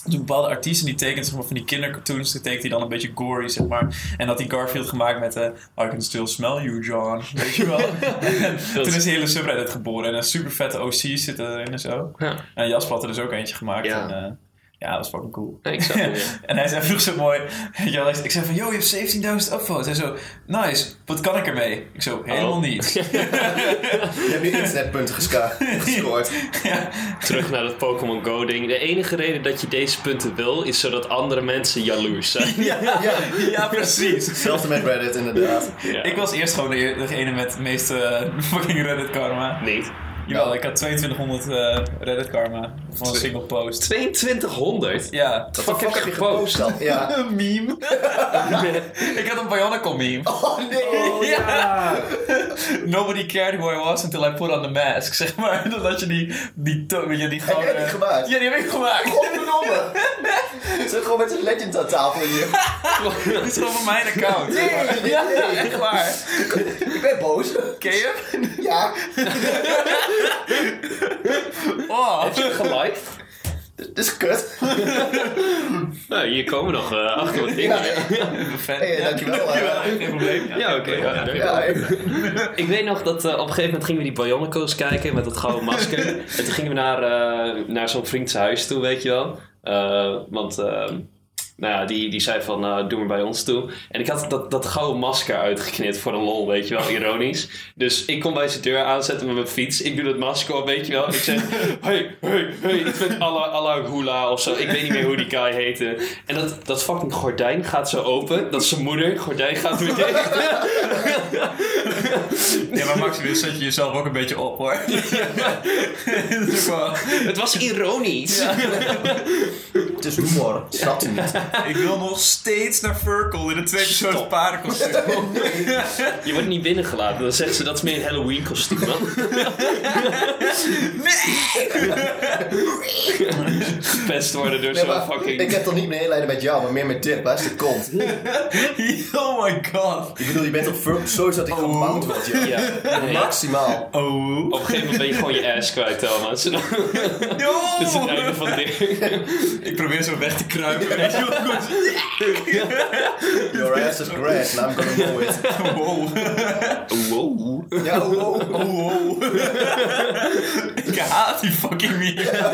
B: als Een bepaalde artiest en die tekent zeg maar, van die kindercartoons, die tekent hij dan een beetje gory, zeg maar. En dat die Garfield gemaakt met eh I can still smell you, John. Weet
A: [laughs]
B: je wel? En toen is die hele subreddit geboren en een super vette OC zit erin en zo.
A: ja,
B: En Jasper had er dus ook eentje gemaakt.
A: Ja.
B: En, eh, ja, dat was fucking cool.
A: Nee, ik zag het, ja.
B: [laughs] en hij zei, vroeg zo mooi. weet je wel, Ik zei van, yo, je hebt 17.000 upvotes. Hij zo, nice, wat kan ik ermee? Ik zo, helemaal
A: Oh. [laughs]
B: niets.
C: Je hebt nu internetpunten geska- gescoord.
B: ja.
A: [laughs] terug naar dat Pokémon Go ding. De enige reden dat je deze punten wil, is zodat andere mensen jaloers [laughs] zijn.
B: Ja,
C: Ja.
B: ja, precies.
C: Hetzelfde met Reddit, inderdaad.
A: Ja.
B: Ik was eerst gewoon de- degene met de meeste eh, [laughs] fucking Reddit karma.
A: Niet.
B: Jawel, ik had 2200 eh, Reddit karma van een single post.
A: 2200?
B: Ja.
A: Wat heb je gepost?
C: Dan, ja.
B: Een meme. [laughs] ik had een Bionicle meme.
C: Oh nee!
B: [laughs] ja. Nobody cared who I was until I put on the mask, [laughs] zeg maar. Dat had je die, die, to- weet je, die
C: jij
B: gouden-
C: die gemaakt? Oh.
B: Ja, die heb ik gemaakt.
C: Godverdomme! Ze gewoon met een legend aan tafel hier.
B: Dit is gewoon van mijn account.
C: Nee, nee, nee.
B: Ja, [laughs] echt waar.
C: Ik ben boos.
B: Ken je hem?
C: Ja.
B: Oh.
A: Heb je hem geliked?
C: Dit is kut.
A: Nou, hier komen nog eh, achter wat dingen. Ja,
C: Hey, dankjewel. eh.
B: Geen probleem.
A: oké. ja, ja.
C: Ja, ik-
A: Ik weet nog dat eh, op een gegeven moment gingen we die Bionicles kijken met dat gouden masker. en toen gingen we naar, eh, naar zo'n vriend's huis toe, weet je wel. Eh, want eh, nou ja, die, die zei van, eh, doe maar bij ons toe. En ik had dat, dat gouden masker uitgeknipt voor de lol, weet je wel, ironisch. Dus ik kom bij zijn deur aanzetten met mijn fiets. Ik doe dat masker op, weet je wel. Ik zeg, hey, hey, hey, iets met Allah, Allah Hula of zo. Ik weet niet meer hoe die guy heette. En dat, dat fucking gordijn gaat zo open. Dat is zijn moeder. Gordijn gaat weer dicht.
B: Ja, maar Max, nu zet je jezelf ook een beetje op, hoor. [laughs] Dat is ook wel-
A: Het was ironisch.
C: Het is humor. Snapt u niet?
B: Ik wil nog steeds naar Furkel in een twee persoons paardenkostuum. [laughs]
A: Je wordt niet binnengelaten. Dan zegt ze dat is meer een Halloween kostuum man. Gepest worden door
C: Nee,
A: zo'n
C: maar
A: fucking...
C: ik heb toch niet medelijden met jou, maar meer met Dirk. Waar is de kont?
B: oh my god.
C: Ik bedoel, je bent op Furp sowieso dat ik gebouwd word. joh.
A: Ja, nee.
C: Maximaal.
B: Oh.
A: Op een gegeven moment ben je gewoon je ass kwijt,
C: [laughs]
A: Thomas. Dat is het einde van dit.
B: Ik probeer zo weg te kruipen. Weet je wel, goed.
C: Your ass is grass, and I'm gonna know it.
B: Wow.
A: Wow.
C: Ja, oh, oh.
B: Wow. Ik haat die fucking meer.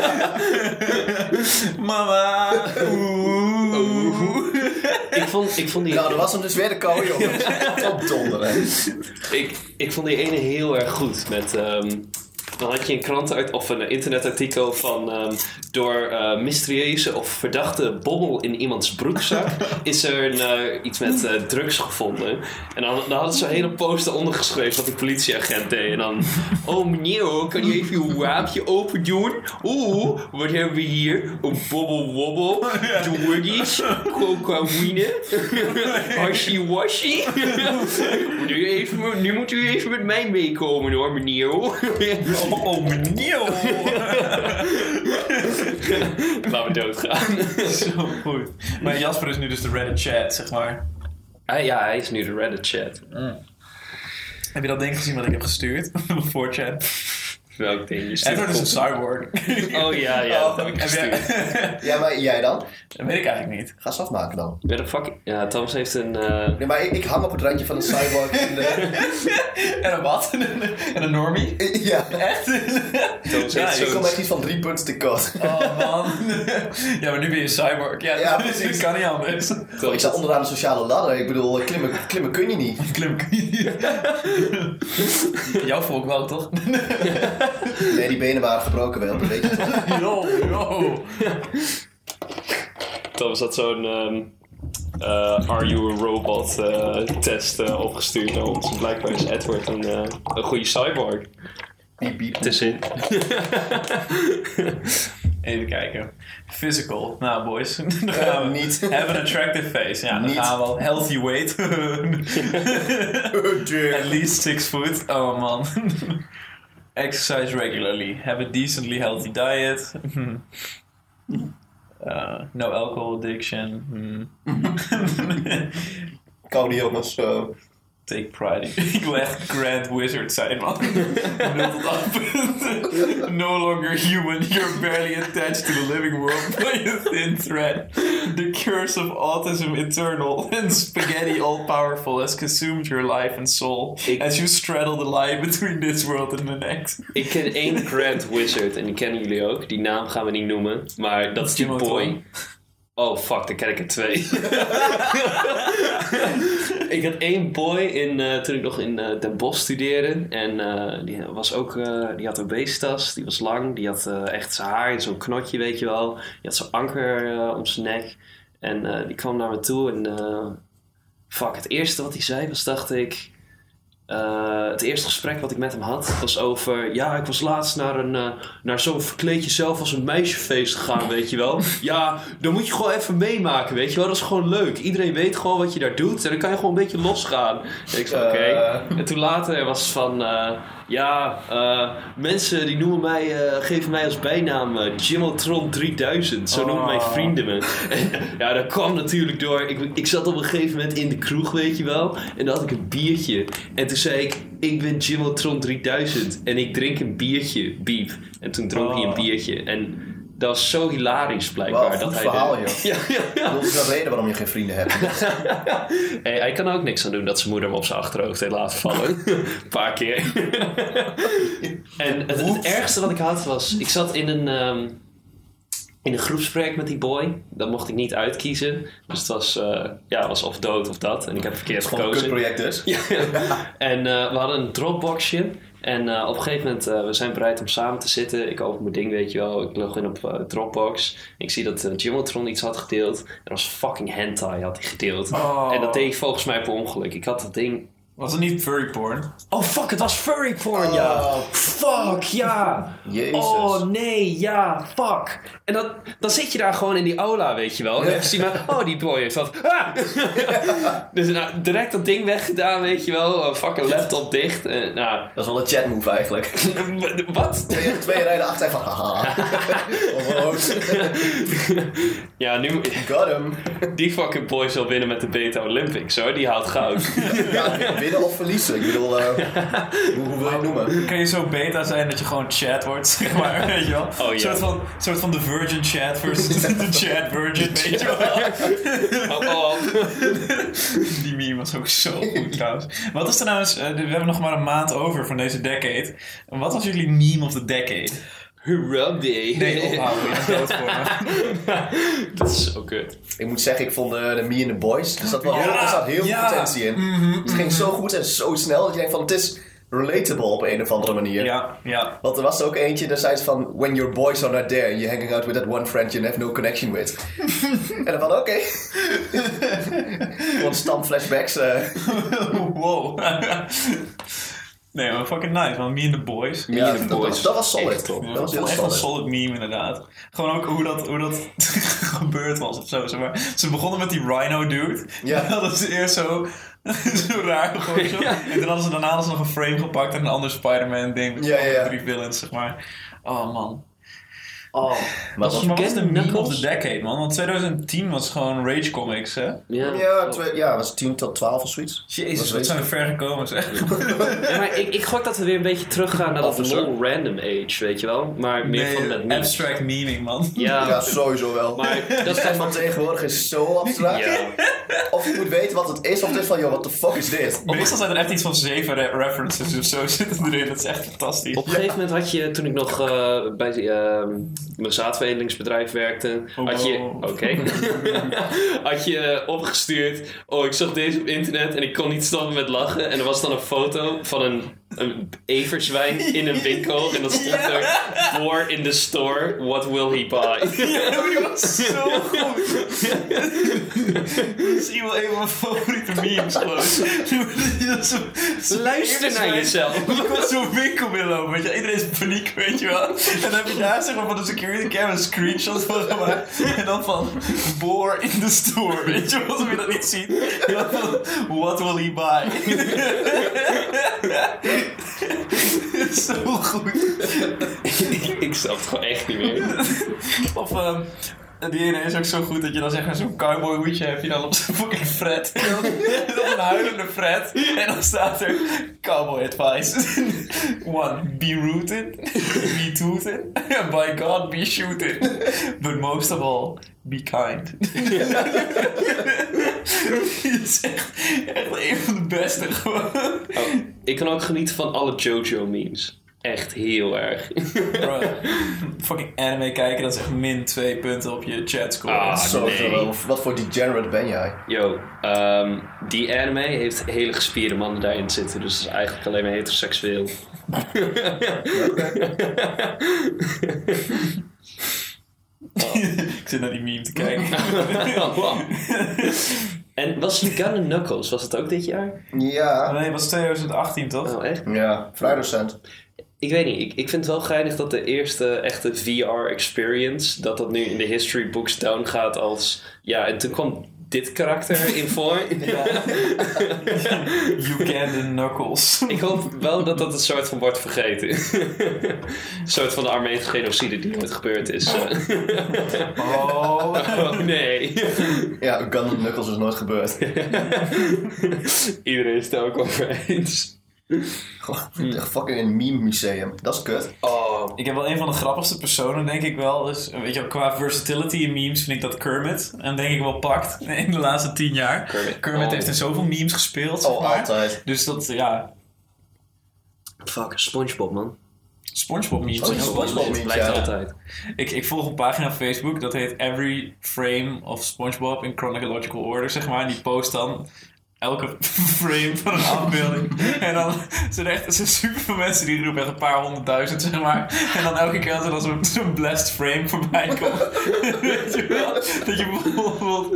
B: Mama. Oeh. Oh.
A: Ik vond, ik, vond die,
C: Nou, dat was hem dus weer de kou, jongens. Op donderen.
A: ik, ik vond die ene heel erg goed. Met ehm, Dan had je een krant uit, of een internetartikel van ehm, door eh, mysterieuze of verdachte bommel in iemands broekzak is er een, eh, iets met eh, drugs gevonden. En dan, dan hadden ze een hele poster ondergeschreven wat die politieagent deed. En dan, oh meneer, hoor, kan je even uw waapje open doen? Oeh, wat hebben we hier? Een bobbelwobbel,
B: [laughs]
A: doordies, cocaïne, washi [laughs] nu, even, nu moet u even met mij meekomen hoor, meneer.
B: Oh, oh meneer!
A: [laughs] Laten we doodgaan.
B: Zo goed. Maar Jasper is nu dus de Reddit chat, zeg maar.
A: Ah, ja, hij is nu de Reddit chat.
B: Heb je dat ding gezien wat ik heb gestuurd? [laughs] Voor chat.
A: Welk ding? Je stuurt
B: Edward is dus een cyborg.
A: Oh ja, ja, dat heb ik
B: Heb jij-
A: gestuurd.
C: Ja, maar jij dan?
B: [laughs] dat weet ik eigenlijk niet.
C: Ga ze afmaken dan.
A: Met een fucking... Ja, Thomas heeft een... eh,
C: Nee, maar ik, ik hang op het randje van een cyborg. in de- [laughs]
B: En een wat? [laughs] En een, en een normie?
C: ja.
B: Echt?
A: Thomas
B: Ja,
A: heeft
C: Ik kom
A: zo'n...
C: echt iets van drie punten te kort.
B: Oh man. [laughs] Ja, maar nu ben je een cyborg. Ja, [laughs]
C: Ja,
B: dus
C: precies.
B: ik kan niet anders.
A: Thomas-
C: Ik sta onderaan de sociale ladder. Ik bedoel, klimmen, klimmen kun je niet.
B: Klim. Jouw volk wel, toch? [laughs]
C: Nee, die benen waren gebroken wel. Dat weet je toch?
B: [laughs] Yo, yo.
A: Thomas had zo'n... ehm, eh, Are You a Robot eh, test eh, opgestuurd naar ons. Blijkbaar is Edward een, eh, een goede cyborg.
C: Piep, piep.
A: Tussenin.
B: [laughs] Even kijken. Physical. Nou, boys. [laughs] Dan gaan
C: Eh,
B: we.
C: niet.
B: Have an attractive face. Ja, dan
C: Niet.
B: gaan we al. Healthy
C: [laughs]
B: weight. At least six foot. Oh man. [laughs] Exercise regularly. Have a decently healthy diet. [laughs] Hmm. Uh, no alcohol addiction. Hmm.
C: Koude jongens. zo.
B: Take pride in. Ik [laughs] wil echt Grand Wizard zijn, man. 0 tot 8 punten. [laughs] No longer human, you're barely attached to the living world [laughs] by a thin thread. The curse of autism eternal [laughs] and spaghetti all powerful has consumed your life and soul
A: Ik-
B: as you straddle the line between this world and the next.
A: Ik ken één Grand Wizard en die kennen jullie ook. Die naam gaan we niet noemen, maar dat is die
B: Jimotron.
A: boy. Oh fuck, dan ken ik er twee. [laughs] ik had één boy in, eh, toen ik nog in eh, Den Bosch studeerde. En eh, die, was ook, eh, die had een beestas, die was lang. Die had eh, echt zijn haar in zo'n knotje, weet je wel. Die had zo'n anker eh, om zijn nek. En eh, die kwam naar me toe en... eh, fuck, het eerste wat hij zei was, dacht ik... Eh, het eerste gesprek wat ik met hem had was over... Ja, ik was laatst naar, een, eh, naar zo'n verkleed jezelf als een meisjefeest gegaan, weet je wel. Ja, dan moet je gewoon even meemaken, weet je wel. Dat is gewoon leuk. Iedereen weet gewoon wat je daar doet. En dan kan je gewoon een beetje losgaan. En ik zei, oké.
C: Eh.
A: En toen later was het van... eh, ja, eh, mensen die noemen mij, eh, geven mij als bijnaam eh, Jimotron 3000. Zo noemen mijn
B: Oh.
A: vrienden vrienden me. En, [laughs] ja, dat kwam natuurlijk door. Ik, ik zat op een gegeven moment in de kroeg, weet je wel. En dan had ik een biertje. En toen zei ik, ik ben Jimotron 3000. En ik drink een biertje, biep. En toen dronk hij een
B: Oh.
A: biertje. En dat was zo hilarisch blijkbaar.
C: Wel een
A: dat
C: goed
A: hij
C: verhaal,
A: de-
C: joh.
A: [laughs] Ja, ja, ja.
C: Dat is de reden waarom je geen vrienden
A: [laughs]
C: hebt.
A: Hey, hij kan er ook niks aan doen dat zijn moeder hem op zijn achterhoofd heeft laten vallen. Een paar keer. en het, het ergste wat ik had was... Ik zat in een, ehm, in een groepsproject met die boy. Dat mocht ik niet uitkiezen. Dus het was, eh, ja, het was of dood of dat. En ik heb verkeerd
C: Gewoon een
A: gekozen.
C: kutproject dus.
A: [laughs] Ja. en eh, we hadden een Dropboxje. En eh, op een gegeven moment, eh, we zijn bereid om samen te zitten. Ik open mijn ding, weet je wel. Ik log in op eh, Dropbox. Ik zie dat eh, Jimotron iets had gedeeld. En dat was fucking hentai had hij gedeeld.
B: Oh.
A: En dat deed ik volgens mij per ongeluk. Ik had dat ding...
B: Was het niet furry porn?
A: Oh fuck, het was furry porn, ja.
C: Oh.
A: Fuck, ja.
C: Jezus.
A: Oh nee, ja, fuck. En dat, dan zit je daar gewoon in die aula, weet je wel. En dan zie je maar, oh die boy heeft dat.
C: [laughs]
A: Ah! dus nou, direct dat ding weggedaan, weet je wel. Eh, fucking laptop dicht. Eh, nou, [laughs]
C: Dat is wel een chatmove eigenlijk.
A: wat?
C: Twee, twee rijden achter van
A: [laughs]
C: haha. Onverhoogd.
A: Ja, nu,
C: Got him.
A: die fucking boy zal winnen met de Beta Olympics hoor. Die haalt
C: [laughs]
A: goud.
C: Ja, winnen of verliezen. Ik
A: [laughs]
C: bedoel, eh, hoe, hoe wil je het noemen?
B: Kun je zo beta zijn dat je gewoon chat wordt, zeg maar, [laughs] weet je wel?
A: ja.
B: Een soort van, soort van de virgin chat versus de chat virgin, weet je wel?
A: Oh, oh.
B: [laughs] Die meme was ook zo goed trouwens. Wat is er nou eens, eh, we hebben nog maar een maand over van deze decade. Wat was jullie meme of the decade?
A: Rugby.
B: Nee, ophouden, je bent dood voor
C: [laughs]
B: me.
A: oh, Dat is zo kut.
C: Ik moet zeggen, ik vond eh, de Me and the Boys. Er zat wel heel,
B: Ja,
C: er zat heel
B: ja.
A: Mhm,
C: veel potentie in. het ging zo goed en zo snel dat je denkt van, het is relatable op een of andere manier.
B: Ja, ja. [laughs]
C: Want er was ook eentje, daar zei ze van... When your boys are not there, you're hanging out with that one friend you have no connection with. en dan van, oké. Gewoon stamflashbacks. eh
B: wow. [laughs] nee, maar fucking nice, man. Me and the boys.
C: ja,
A: and the
C: dat,
A: boys.
C: was, dat was solid.
A: Echt.
C: toch?
B: Ja,
C: dat was heel
B: echt een
C: solid.
B: solid meme inderdaad. Gewoon ook hoe dat, hoe dat [laughs] gebeurd was of zo. Zeg maar. Ze begonnen met die Rhino dude.
C: Ja.
B: En [laughs] Dat is eerst zo, zo raar gewoon zo.
A: Ja.
B: En toen hadden ze daarna hadden ze nog een frame gepakt en een ander Spider-Man ding. Met
C: Ja,
B: alle
C: ja.
B: drie villains, zeg maar. Oh man.
A: Oh.
C: Maar
B: Dat
C: dat-
B: was maar
A: Ken
B: was de meme
A: Knuckles?
B: of the decade man. Want 2010 was gewoon Rage Comics hè.
A: Ja.
C: ja, twee, ja, was 10 tot 12 of zoiets.
B: Jezus,
C: weet
B: wat
C: ik.
B: zijn we ver gekomen zeg.
A: Ja, maar ik, ik gok dat we weer een beetje teruggaan naar dat
C: Of zo.
A: lol random age, weet je wel. Maar meer van met
B: Nee, eh,
A: memes.
B: abstract memeing man.
A: Ja,
C: Ja, sowieso wel.
A: maar
C: dat [laughs]
A: dat zijn...
C: van tegenwoordig is zo abstract.
A: Ja.
C: Of je moet weten wat het is, of het is van, joh, what the fuck is
A: Ah,
C: dit?
B: Meestal zijn er echt iets van zeven re- references of zo [laughs] zitten erin. Dat is echt fantastisch.
A: Op een gegeven moment had je, toen ik nog eh, bij die, ehm, mijn zaadveredelingsbedrijf werkte,
B: Oh,
A: had je,
B: wow.
A: oké, [laughs] had je eh, opgestuurd, oh ik zag deze op internet en ik kon niet stoppen met lachen. En er was dan een foto van een, een everzwijn in een winkel en dan stond er, for in the store, what will he buy?
B: [laughs] Ja, die was zo goed. Dat is iemand een van mijn favoriete memes gewoon.
A: [laughs]
B: [laughs] Dat is zo- zo-
A: Luister naar jezelf.
B: Ik was zo'n winkel binnen lopen, weet je. Iedereen is in paniek, weet je wel. En dan heb je daar zeg maar van de security camera een screenshot van gemaakt. En dan van, boor in the store, weet je wel. Als je dat niet ziet. En dan van, what will he buy? [laughs] zo goed.
A: [laughs] ik snap het gewoon echt niet meer.
B: Of ehm, die ene is ook zo goed dat je dan zeg maar zo'n cowboy hoedje heb je dan op zijn fucking fret. En [laughs] dan en dan een huilende fret. En dan staat er cowboy advice. [laughs] One, be rooted. Be tooted. [laughs] And by God, be shooted. But most of all, be kind. [laughs] Dit is echt, echt een van de beste gewoon.
A: Oh, ik kan ook genieten van alle JoJo memes. Echt heel erg. [laughs]
B: Bro, fucking anime kijken, dat is echt min 2 punten op je chat score.
A: Ah,
C: Sowieso
A: nee.
C: wel. Wat voor degenerate ben jij?
A: Yo, ehm, die anime heeft hele gespierde mannen daarin zitten, dus dat is eigenlijk alleen maar heteroseksueel. [laughs]
B: [laughs] Ik zit naar die meme te kijken.
C: [laughs]
A: en was Gun and Knuckles, was dat ook dit jaar?
C: Ja.
B: Nee, het was 2018 toch?
A: Oh, echt?
C: Ja, vrij recent.
A: Ik weet niet, ik, ik vind het wel geinig dat de eerste echte VR-experience, dat dat nu in de history books down gaat als... Ja, en toen kwam dit karakter in voor.
B: You can the [laughs] knuckles.
A: Ik hoop wel dat dat een soort van wordt vergeten. [laughs] een soort van de Armeense genocide die ooit gebeurd is. [laughs]
B: Oh.
A: oh nee. [laughs]
C: Ja, Gun Knuckles is nooit gebeurd.
A: Iedereen is het er ook over eens.
C: Gewoon echt fucking een meme museum. Dat is kut. [laughs]
A: Oh.
B: Ik heb wel een van de grappigste personen, denk ik wel. Dus, weet je, wel, qua versatility in memes vind ik dat Kermit hem denk ik wel pakt [laughs] in de laatste tien jaar.
A: Kermit. Oh.
B: heeft in zoveel memes gespeeld. zeg
C: Oh,
B: maar.
C: altijd.
B: Dus dat, ja,
A: Fuck, Spongebob man.
B: Spongebob memes.
C: Oh,
B: zijn ook wel
C: SpongeBob
B: leuk.
C: memes,
A: Blijft
C: ja.
A: altijd.
B: Ik, ik volg een pagina op Facebook dat heet Every Frame of SpongeBob in Chronological Order, zeg maar. En die post dan elke [laughs] frame van een afbeelding. En dan zijn er echt zijn super veel mensen die roepen, echt een paar honderdduizend, zeg maar. En dan elke keer als er dan zo'n zo'n blessed frame voorbij [laughs] komt. Weet je wel? Dat je bijvoorbeeld...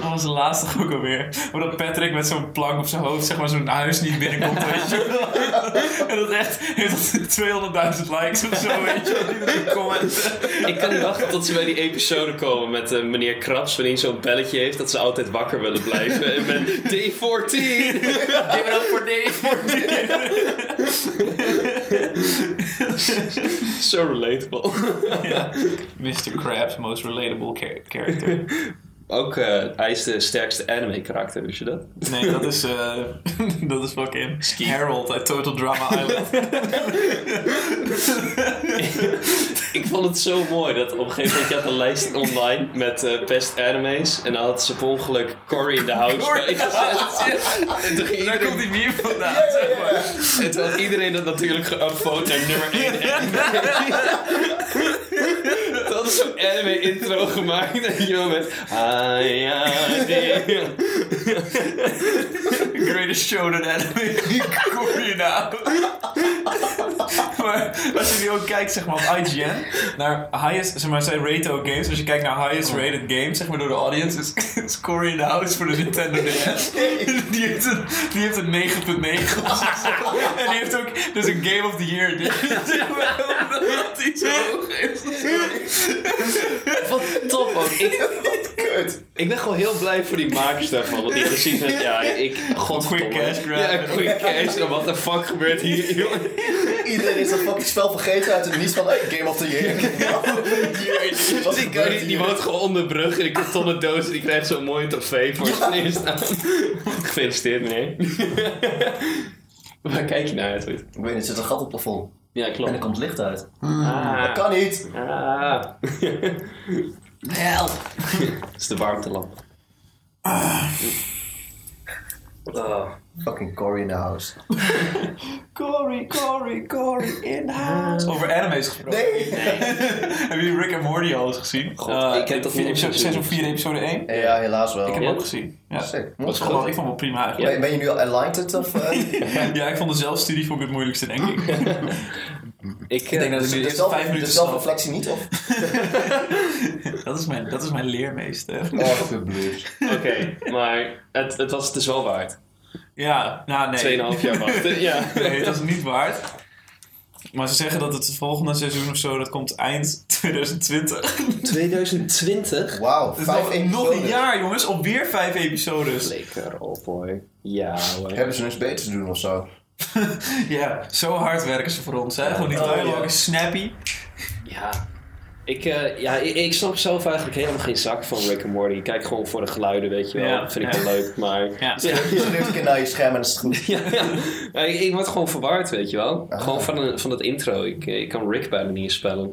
B: Wat was de laatste toch ook alweer? Hoe dat Patrick met zo'n plank op zijn hoofd, zeg maar, zo'n huis niet binnenkomt, weet je wel? En dat echt heeft dat 200.000 likes of zo, weet je wel? Die dat commenten.
A: Ik kan niet wachten tot ze bij die episode komen met eh, meneer Krabs, wanneer hij zo'n belletje heeft dat ze altijd wakker willen blijven. En met day 14! [laughs] Give it up for day [laughs] 14! Zo relatable.
B: Ja. Mr. Krabs, most relatable char-
A: [laughs]
B: character.
A: Ook, eh, hij is de sterkste anime karakter, wist je dat? [laughs]
B: Nee, dat is, eh, [laughs] dat is fucking Harold uit Total Drama Island.
A: Ik vond het zo mooi dat op een gegeven moment je had een lijst online met eh, best anime's. En dan had ze per ongeluk Cory in the House
B: Cory in the
A: bijgezet. [laughs] En toen ging
B: Daar komt
A: iedereen,
B: die meme vandaan, zeg maar.
A: en toen had iedereen dat natuurlijk geüpvote naar nummer 1 [laughs] Toen hadden ze zo'n anime intro gemaakt. [laughs] En je wel met... Ah ja, die-
B: de shonen anime [laughs] coördinaat. maar als je nu ook kijkt zeg maar, op IGN naar highest, zeg maar, zij raten ook games. Als je kijkt naar highest rated games zeg maar, door de audience, is, is Corey in the House voor de Nintendo DS. die heeft een, die heeft een 9.9 of zo. En die heeft ook dus een Game of the Year. Omdat die zo hoog is.
A: Wat top, man. Ik,
C: Kut.
A: ik ben gewoon heel blij voor die makers daarvan. Want die hadden zoiets met, ja, ik... Godverdomme.
B: Quick cash grab.
A: Ja, quick cash. En wat de fuck gebeurt hier, jongen?
C: Iedereen is dat fucking spel vergeten uit het niets van hey, Game of the
B: [laughs]
C: Year. Game of the Year. Wat
A: Dus ik,
C: gebeurt
A: die, die
C: hier?
A: woont gewoon onder de brug en ik tot een doos en die krijgt zo'n mooie trofee voor zijn eerste. Gefeliciteerd, meneer. Waar kijk je naar uit? Ruud?
C: Ik weet niet, er zit een gat op het plafond.
A: Ja,
C: En
A: klopt.
C: er komt licht uit.
A: Ah,
C: Kan niet.
A: ah.
C: Help.
A: [laughs] Dat is de warmtelamp. Oh.
C: Fucking Cory in the house.
B: Cory, Cory, Cory in house. Over anime's gesproken.
C: Nee.
B: Hebben jullie Rick en Morty al eens gezien?
A: God,
B: Eh,
A: ik heb dat
B: vier
A: nog niet
B: episode
A: gezien.
B: 6 of 4 episode 1. Ik
C: Ja, helaas wel.
B: heb hem
A: Ja?
B: ook gezien. Ja.
C: Sick.
B: Dat
C: Was
B: was
C: goed.
B: gewoon, ik vond het wel prima eigenlijk.
C: Ben, ben je nu al enlightened
B: [laughs]
C: of... eh?
B: Ja, ik vond de zelfstudie vond ik het moeilijkste, denk ik.
A: [laughs] Ik, eh,
B: dat ik
C: de,
B: nu eerst
C: zelf-
B: vijf minuten
C: de
B: snap.
C: zelfreflectie
B: [laughs]
C: niet? Of?
B: Dat is mijn, dat is mijn leermeester.
C: Oh, Alsjeblieft.
A: [laughs] Oké, maar het, het was het dus wel waard.
B: Ja, nou nee.
A: Tweeënhalf jaar [laughs] wachten, ja.
B: [laughs] Nee, dat is niet waard. Maar ze zeggen dat het volgende seizoen of zo, dat komt eind [laughs] 2020.
A: 2020?
C: Wauw,
B: Dus
C: vijf
B: nog, nog een
C: episodes.
B: jaar, jongens. Op weer vijf episodes.
A: Lekker op hoor. Ja hoor.
C: Hebben ze niks beter te doen of zo?
B: Ja, zo hard werken ze voor ons. Hè? Gewoon die
C: Oh,
B: dialogue
C: ja.
B: is snappy.
A: Ja. Ik, eh, ja, ik, ik snap zelf eigenlijk helemaal geen zak van Rick and Morty. Ik kijk gewoon voor de geluiden, weet je wel.
B: Ja.
A: Dat vind ik
B: Ja.
A: wel leuk, maar... [laughs]
B: Ja.
C: Je neemt een keer naar je scherm en is het goed.
A: Ja, ja. Ik, ik word gewoon verward, weet je wel. Gewoon van, een- van dat intro. Ik, ik kan Rick bijna niet eens spellen.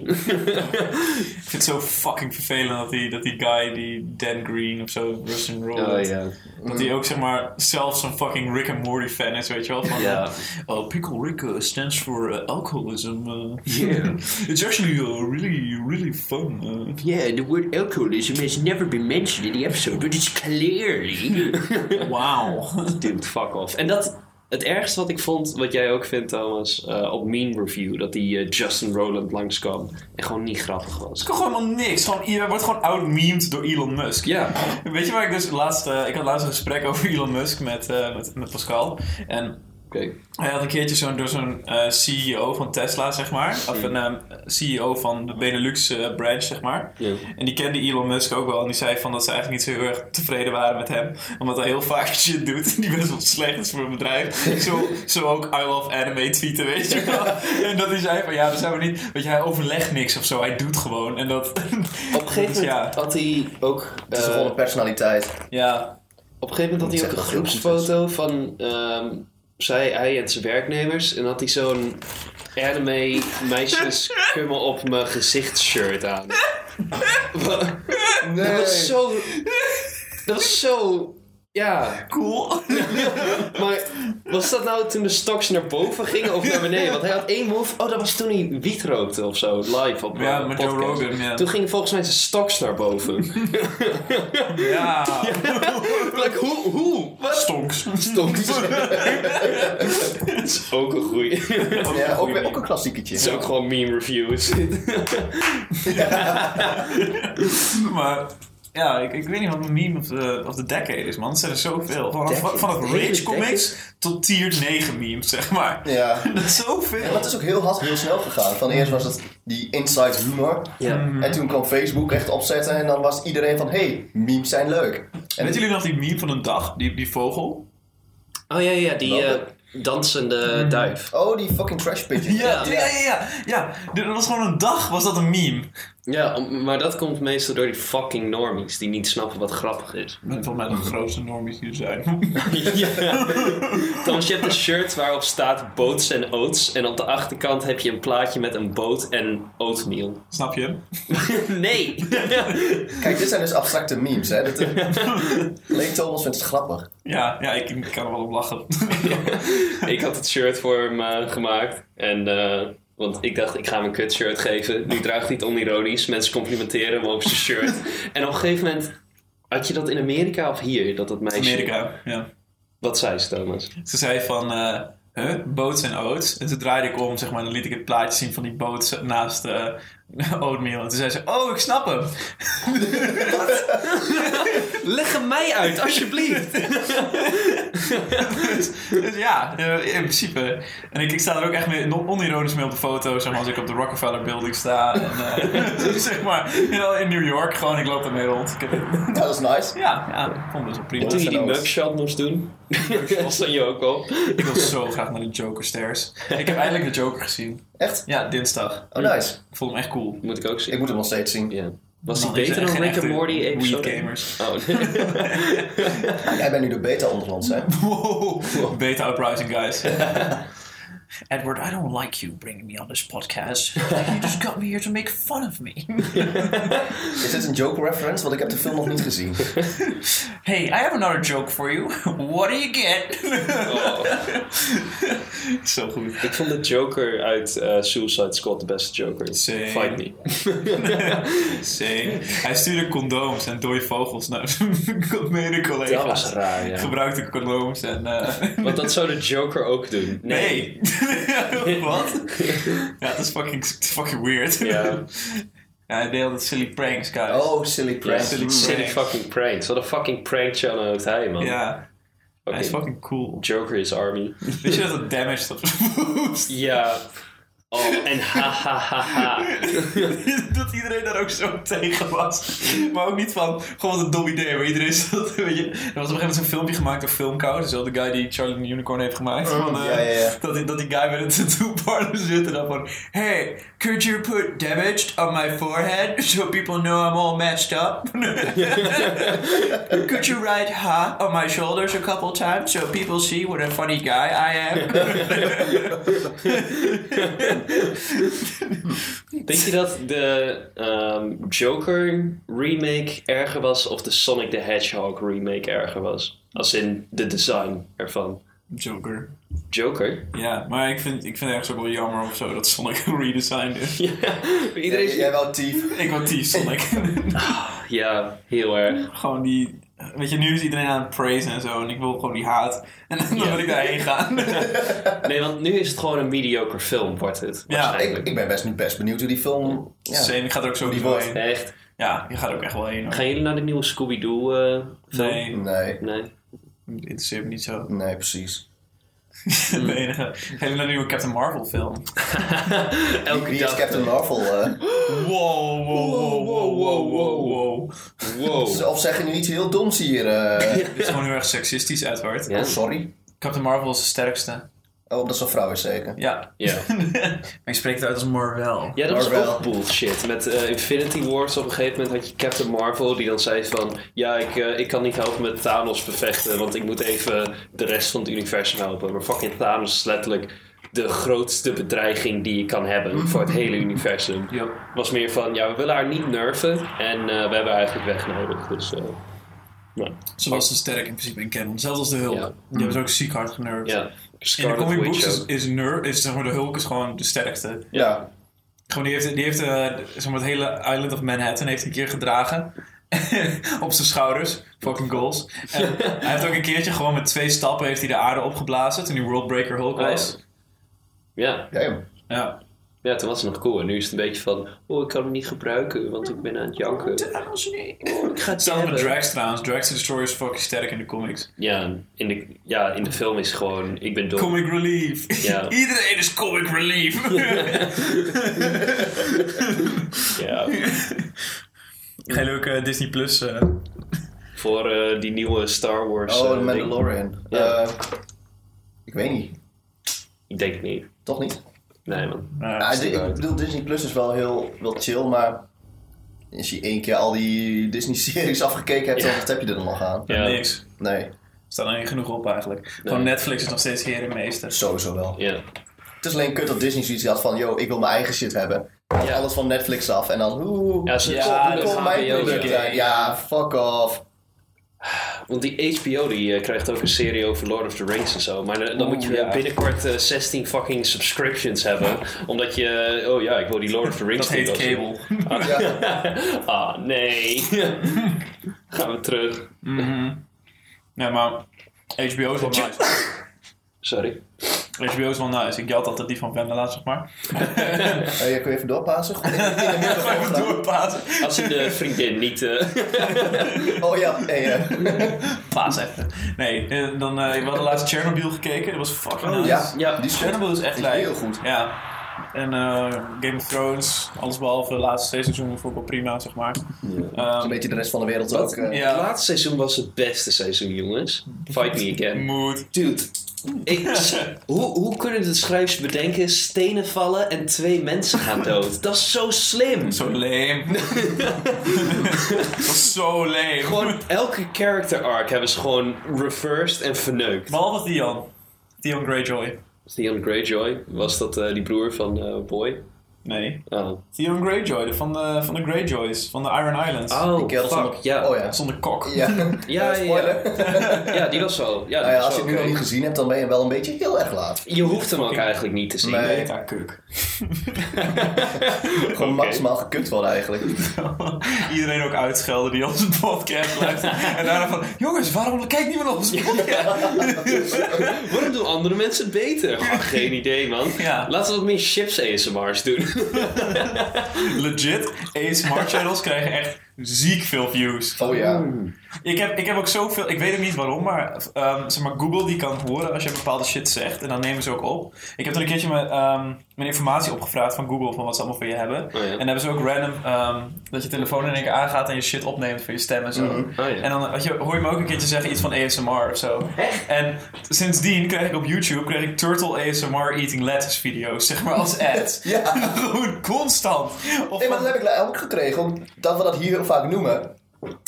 B: Ik vind het zo fucking vervelend dat die, dat die guy, die Dan Green of zo, Russian Roll,
A: Oh [laughs] ja.
B: dat die ook zeg maar zelf zo'n fucking Rick and Morty fan is, weet je wel? Van,
A: Ja.
B: Oh, Pickle Rick uh, stands for uh, alcoholism. Uh, [laughs] It's actually uh, really, really fun. Uh,
A: Yeah, the word alcoholism has never been mentioned in the episode, but it's clearly... [laughs]
B: Wauw.
A: Dude, fuck off. En dat... Het ergste wat ik vond, wat jij ook vindt Thomas, eh, op Mean Review, dat die eh, Justin Roland langskwam en gewoon niet grappig was.
B: Ik kan gewoon helemaal niks. Gewoon, je wordt gewoon out-memed door Elon Musk.
A: Ja.
B: Weet je waar ik dus laatst... eh, ik had laatst een gesprek over Elon Musk met, eh, met, met Pascal. En
A: Oké.
B: hij had een keertje zo'n, door zo'n eh, CEO van Tesla, zeg maar. Of een eh, CEO van de Benelux eh, branch, zeg maar.
A: Ja.
B: En die kende Elon Musk ook wel. En die zei van dat ze eigenlijk niet zo heel erg tevreden waren met hem. Omdat hij heel vaak [laughs] shit doet die best wel slecht is voor een bedrijf. zo, zo ook I love anime tweeten, weet je
A: [laughs]
B: wel. En dat hij zei van ja, dat zijn we niet... Weet je, hij overlegt niks of zo. Hij doet gewoon. En [laughs] dat...
A: Op een gegeven moment
B: Ja.
A: had hij ook.
C: Het is
A: eh,
C: gewoon een personaliteit.
B: Ja.
A: op een gegeven moment had hij ook een
C: Dat zegt wel
A: groepsfoto van ehm, zij, hij en zijn werknemers. En had hij zo'n anime
C: [laughs]
A: meisjes kummel op mijn gezicht shirt aan. Wa- Dat was zo. Dat was zo. Ja,
B: Cool.
A: [laughs] maar was dat nou toen de stocks naar boven gingen of naar beneden? Want hij had één move. Oh, dat was toen hij wiet rookte of zo, live op
B: Ja,
A: eh,
B: met
A: podcast.
B: Joe Rogan, ja.
A: Toen gingen volgens mij zijn stocks naar
B: [laughs]
A: boven.
B: Ja.
A: like, hoe? Hoe? Wat?
B: [laughs] Stonks.
A: is ook een goeie.
B: [laughs]
A: Het
C: Ja, ook, weer- ook een klassieketje.
A: is ook gewoon meme
B: [laughs]
A: reviews.
B: [laughs] Maar ja, ik, ik weet niet wat mijn meme of de, of de decade is, man. Er zijn er zoveel. Van,
C: Decade.
B: van, van het
A: Hele
B: Rage Comics tot tier 9 memes, zeg maar.
C: Ja.
B: [laughs] Dat is
C: Ja,
B: zoveel.
C: maar het is ook heel hard, heel snel gegaan. Van eerst was het die inside humor.
A: Ja.
C: En toen kwam Facebook echt opzetten. En dan was iedereen van, hey, memes zijn leuk.
B: En weten jullie nog die meme van een dag? Die, die vogel?
A: Oh ja, ja, die
C: eh,
A: dansende
B: Mm.
A: duif.
C: Oh, die fucking trash pigeon.
B: Ja, ja, ja. ja, ja. Dat was gewoon een dag, was dat een meme.
A: Ja, om- maar dat komt meestal door die fucking normies die niet snappen wat grappig is.
B: Dat is volgens mij de grootste normies die er zijn. [laughs]
A: [laughs] ja. Thomas, je hebt een shirt waarop staat boots en oats. En op de achterkant heb je een plaatje met een boot en oatmeal.
B: Snap je?
A: Nee!
C: Kijk, dit zijn dus abstracte memes, hè. Dit, [laughs] Leen Thomas vindt het grappig.
B: Ja, ja ik, ik kan er wel op lachen.
A: [laughs]
B: [laughs]
A: Ik had het shirt voor hem eh, gemaakt. En, eh, want ik dacht, ik ga hem een kut shirt geven. Nu draagt hij het onironisch. Mensen complimenteren hem op zijn shirt. en op een gegeven moment... Had je dat in Amerika of hier? Dat dat meisje...
B: Amerika, ja.
A: Wat zei ze, Thomas?
B: Ze zei van, eh huh, boats en oats. En toen draaide ik om, zeg maar, en dan liet ik het plaatje zien van die boats naast eh [laughs] oatmeal. En toen zei ze, oh, ik snap hem. [laughs]
A: Leg hem mij uit, [laughs] alsjeblieft.
B: dus, dus ja, eh, in principe. En ik, ik sta er ook echt mee, non- onironisch mee op de foto, zeg maar, als ik op de Rockefeller Building sta. En, eh, [laughs] zeg maar, you know, in New York, gewoon, ik loop daarmee rond. Ik heb,
C: Ja, dat is nice.
B: ja, ja, ik vond het wel prima. Dus
A: Toen je
C: zijn
A: die
C: alles.
A: mugshot moest [laughs] doen, was dan je ook al.
B: Ik wil zo graag naar de Joker Stairs. Ik heb eindelijk de Joker gezien.
C: Echt?
B: Ja, dinsdag.
C: Oh, nice.
B: Ik vond hem echt cool.
A: Moet ik ook zien.
C: Ik moet hem nog steeds zien.
A: Ja. Was die
B: Man, die
A: beter
B: zijn
A: dan
B: geen
A: Rick and
B: echte
A: Morty
B: weed
A: episode?
B: gamers.
A: Oh, [laughs] nee.
C: Ah, Jij bent nu de beta onderlands, hè?
B: Wow. [laughs] Beta uprising, [laughs] guys. Edward, I don't like you bringing me on this podcast. You just got me here to make fun of me.
C: Is dit een joke reference? Want ik heb de film nog niet gezien.
B: Hey, I have another joke for you. [laughs] What do you get?
A: Oh.
B: [laughs] Zo goed.
A: Ik vond de Joker uit eh, Suicide Squad de beste Joker.
B: Same.
A: Fight me.
B: Same. Hij stuurde condooms en dode vogels naar [laughs] zijn mede-collega's.
A: Dat was raar, ja.
B: Gebruikte condooms en... eh,
A: Want
B: [laughs]
A: dat zou de Joker ook doen.
B: Nee. [laughs] Wat? ja, het is fucking, het is fucking weird.
A: Ja.
B: [laughs] ja, hij deelde silly pranks, guys.
C: Oh, silly Hmm. prank.
A: Silly, silly fucking pranks. Wat een fucking prank channel heeft hij, man.
B: Ja, hij
A: Fucking
B: is fucking cool.
A: Joker is
B: [laughs]
A: army.
B: Weet je dat het damage dat boost?
A: ja. Oh, en ha ha ha ha.
B: [laughs] dat iedereen daar ook zo tegen was. Maar ook niet van, gewoon wat een dom idee. Maar iedereen [laughs] zat, weet je. Er was op een gegeven moment zo'n filmpje gemaakt door Filmcout. Dus wel de guy die Charlie and the Unicorn heeft gemaakt. van, eh,
C: ja, ja, ja.
B: Dat, die, dat die guy met een tattoo parlor [laughs] zit en dan van... Hey, could you put damaged on my forehead? So people know I'm all matched up. could you write ha on my shoulders a couple times? So people see what a funny guy I am.
A: [laughs] Denk je dat de ehm, Joker remake erger was of de Sonic the Hedgehog remake erger was? Als in de design ervan.
B: Joker.
A: Joker? [laughs]
B: Ja, maar ik vind, ik vind het ergens ook wel jammer of zo dat Sonic [laughs] een redesign is.
A: Ja, iedereen
C: Jij,
A: is-
C: jij wou tief. [laughs]
B: Ik wou die Sonic.
A: ja, heel erg.
B: gewoon die... Weet je, nu is iedereen aan het praisen en zo en ik wil gewoon die haat. En dan wil ik daarheen gaan. [laughs]
A: Nee, want nu is het gewoon een mediocre film, wordt het.
B: Ja,
A: waarschijnlijk.
C: Ik, ik ben best, best benieuwd hoe die film... Ja.
B: Same, Dus ik ga er ook
C: Die
B: sowieso
C: wordt
B: heen.
A: Echt.
B: Ja, je gaat er ook echt wel heen. hoor.
A: Gaan jullie naar de nieuwe Scooby-Doo eh, film?
B: Nee,
C: Nee,
A: Nee.
B: interesseert me niet zo. [laughs]
C: nee, precies.
B: De enige. Ga je naar de nieuwe Captain Marvel film?
A: Elke
C: Wie is
A: dag.
C: Captain Marvel? eh?
B: Wow, wow, wow, wow, wow, wow, wow.
A: Wow.
C: Of zeg je nu iets heel doms hier?
A: [laughs]
C: eh?
B: Dit is gewoon heel erg seksistisch, Edward.
A: Ja.
C: Oh, sorry.
B: Captain Marvel is de sterkste.
C: Oh, dat is een vrouw is zeker.
B: Ja.
A: Ja.
B: [laughs] maar je spreekt het uit als Marvel.
A: Ja, dat was
C: Marvel.
A: ook bullshit. Met eh, Infinity Wars op een gegeven moment had je Captain Marvel die dan zei van... Ja, ik, eh, ik kan niet helpen met Thanos bevechten, want ik moet even de rest van het universum helpen. Maar fucking Thanos is letterlijk de grootste bedreiging die je kan hebben voor het hele universum.
B: Ja.
A: was meer van, ja, we willen haar niet nerven en eh, we hebben haar eigenlijk weg nodig. Dus, eh, nou,
B: Ze was te sterk in principe in canon. Zelfs als de Hulk.
A: Ja.
B: Die hebben ze ook ziek hard genervd.
A: ja.
B: In de
A: Mm. Scarlet
B: comic
A: Witch
B: books is,
A: ook.
B: is, ner- is zeg maar, de Hulk is gewoon de sterkste.
C: Ja.
B: Gewoon, die heeft, die heeft eh, zeg maar, het hele Island of Manhattan heeft een keer gedragen. [laughs] op zijn schouders. Fucking
A: [laughs]
B: goals. En hij heeft ook een keertje gewoon met twee stappen heeft hij de aarde opgeblazen. Toen hij Worldbreaker Hulk
A: Oh,
B: was.
A: Ja.
C: Ja, joh.
A: [laughs]
B: Ja.
A: ja, toen was het nog cool. En nu is het een beetje van, oh, ik kan hem niet gebruiken, want ik ben aan het janken. Oh, Ik ga het
B: Hetzelfde met
A: hebben.
B: Drax trouwens. Drax the Destroyer is fucking sterk in de comics.
A: Ja, in de, ja, in de film is gewoon, ik ben dom.
B: Comic relief.
A: Ja.
B: [laughs] Iedereen is comic relief.
A: [laughs] Ja,
B: [laughs] Geen leuke Disney Plus. eh.
A: voor eh, die nieuwe Star Wars.
C: Oh,
A: eh,
C: de Mandalorian.
A: Ja.
C: Eh, ik weet niet.
A: ding. Ik denk het niet.
C: Toch niet?
A: Nee, man.
B: Nou,
C: Ah, di- ik bedoel, Disney Plus is wel heel wel chill, maar als je één keer al die [laughs] Disney-series afgekeken hebt,
A: Ja.
C: dan wat heb je er dan nog aan?
A: Ja.
B: Niks.
C: Nee,
B: Staat er niet genoeg op eigenlijk. Gewoon
A: Nee.
B: Netflix is nog steeds heer en meester.
C: sowieso wel.
A: Ja.
C: Het is alleen kut dat Disney zoiets had van, yo, ik wil mijn eigen shit hebben.
A: Ja.
C: Alles van Netflix af en dan, oeh,
A: Ja, ze-
C: kom-
A: ja,
C: kom,
A: dat
C: mijn
A: HBO
C: product
A: game.
C: uit. Ja, fuck
A: [laughs]
C: off.
A: Want die HBO die eh, krijgt ook een serie over Lord of the Rings en zo. Maar eh, dan, dan moet je
B: Oeh, ja.
A: binnenkort eh, 16 fucking subscriptions hebben. Omdat je, eh, oh ja, ik wil die Lord of the Rings
B: Dat heet
A: dingen wel
B: cable.
C: Ja,
A: zien. [laughs] Ah, [laughs] nee. Gaan we terug.
B: Ja, maar HBO is wel nice.
A: Sorry.
B: HBO is wel nice. Ik had altijd die van Brenda laatst, zeg
C: [laughs]
B: maar.
C: Eh, ja, kun je even doorpassen? Goed, in de
A: [laughs]
C: microfoon
B: Even
C: gaan.
B: doorpazen.
A: Als je de vriendin niet...
C: [laughs]
A: eh,
C: Oh ja, hey, eh,
B: Paas even. Nee, eh, dan, eh we hadden laatst Chernobyl gekeken. Dat was fucking nice.
C: Oh, ja,
A: ja,
C: die is goed.
B: Chernobyl is echt
C: Die is
B: lijp.
C: heel goed.
B: Ja. En eh, Game of Thrones, alles behalve de laatste twee seizoenen vond ik wel prima, zeg maar. Ehm,
C: Zo'n beetje de rest van de wereld ook. eh.
B: ja.
A: Het laatste seizoen was het beste seizoen, jongens. Fight me again.
B: Mood.
A: Dude, ik, hoe, hoe kunnen de schrijvers bedenken stenen vallen en twee mensen gaan dood? Dat is zo slim.
B: Zo lame. Dat was zo lame.
A: Gewoon elke character arc hebben ze gewoon reversed en verneukt.
B: Behalve Theon. Theon Greyjoy.
A: Theon Greyjoy, was dat eh, die broer van eh, Boy?
B: Nee.
A: Oh,
B: Theon Greyjoy, de- van de, van de Greyjoys, van de Iron Islands.
A: oh
C: kerel
A: fuck,
C: zonder-
A: ja.
C: Oh ja.
B: Zonder kok.
A: [laughs] Ja,
C: Ja, Eh,
A: ja,
C: spoiler.
A: Ja, die was wel. Ja, die
C: Nou ja,
A: was
C: als je
A: wel
C: het nu nog
A: oké.
C: niet gezien hebt, dan ben je wel een beetje heel erg laat.
A: Je hoeft hem ook eigenlijk niet te zien.
C: Nee.
B: Beta kuk. [laughs]
C: Gewoon
A: Oké.
C: maximaal gekut worden eigenlijk.
B: Iedereen ook uitschelden die onze podcast luistert. en daarna van, jongens, waarom kijk niemand naar onze podcast?
A: [laughs] Waarom doen andere mensen het beter? Goh, geen idee, man.
B: Ja.
A: Laten we wat meer chips ASMR's doen.
B: Legit, ASMR channels krijgen echt ziek veel views.
C: Oh ja.
B: Ik heb, ik heb ook zoveel, ik weet ook niet waarom, maar, ehm, zeg maar Google die kan horen als je bepaalde shit zegt. En dan nemen ze ook op. Ik heb er een keertje mijn, ehm, mijn informatie opgevraagd van Google, van wat ze allemaal voor je hebben.
A: ja.
B: En dan hebben ze ook random, ehm, dat je telefoon in één keer aangaat en je shit opneemt van je stem en zo.
A: ja.
B: En dan had je, hoor je me ook een keertje zeggen iets van ASMR of zo. En sindsdien kreeg ik op YouTube kreeg ik Turtle ASMR Eating Lettuce video's, zeg maar, als ads.
C: Ja.
B: [laughs] Gewoon constant. Of
C: Nee, maar
B: van-
C: dat heb ik la- ook gekregen, omdat we dat hier heel vaak noemen.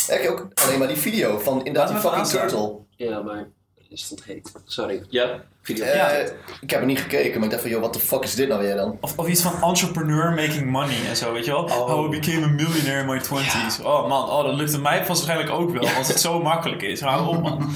C: Heb je ook alleen maar die video van inderdaad die
B: Laten we
C: fucking
B: even
C: turtle.
A: Ja, maar het stond heet. Sorry. Ja, video.
C: Eh, Ik heb er niet gekeken, maar ik dacht van, joh, wat de fuck is dit nou weer dan?
B: Of, of iets van entrepreneur making money en zo, weet je wel? How I became a millionaire in my 20s. Oh man, oh, dat lukte mij vast waarschijnlijk ook wel, als het zo makkelijk is. Hou op man.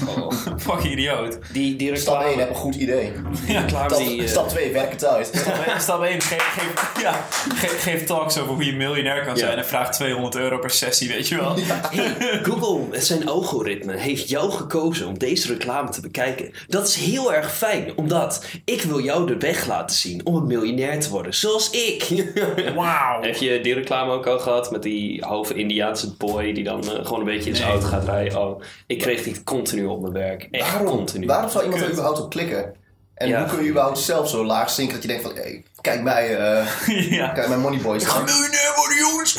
B: Fuck idioot.
A: Die, die
C: Stap 1,
A: reclame.
C: heb een goed idee.
B: Ja, klaar.
C: Stap-
A: Die, eh,
C: Stap 2, werk het
A: [laughs]
C: uit.
B: Stap 1, geef, geef, ja, geef, geef talks over hoe je miljonair kan zijn en vraag 200 euro per sessie, weet je wel?
A: Hey, Google met zijn algoritme heeft jou gekozen om deze reclame te bekijken. Dat is heel erg fijn, omdat ik wil jou de weg laten zien om een miljonair te worden, zoals ik. [laughs]
B: Wauw.
A: Heb je die reclame ook al gehad met die halve Indiaanse boy die dan eh, gewoon een beetje in zijn auto gaat rijden? Oh, ik kreeg die continu op mijn werk. Echt continu.
C: Waarom zou iemand er
B: Kut.
C: überhaupt op klikken? En
A: Ja.
C: hoe kun je überhaupt zelf zo laag zinken dat je denkt van, hey, kijk mij, eh
B: [laughs] [laughs] Ja.
C: kijk mijn moneyboys
B: Ik ga
C: aan.
B: miljonair worden, jongens!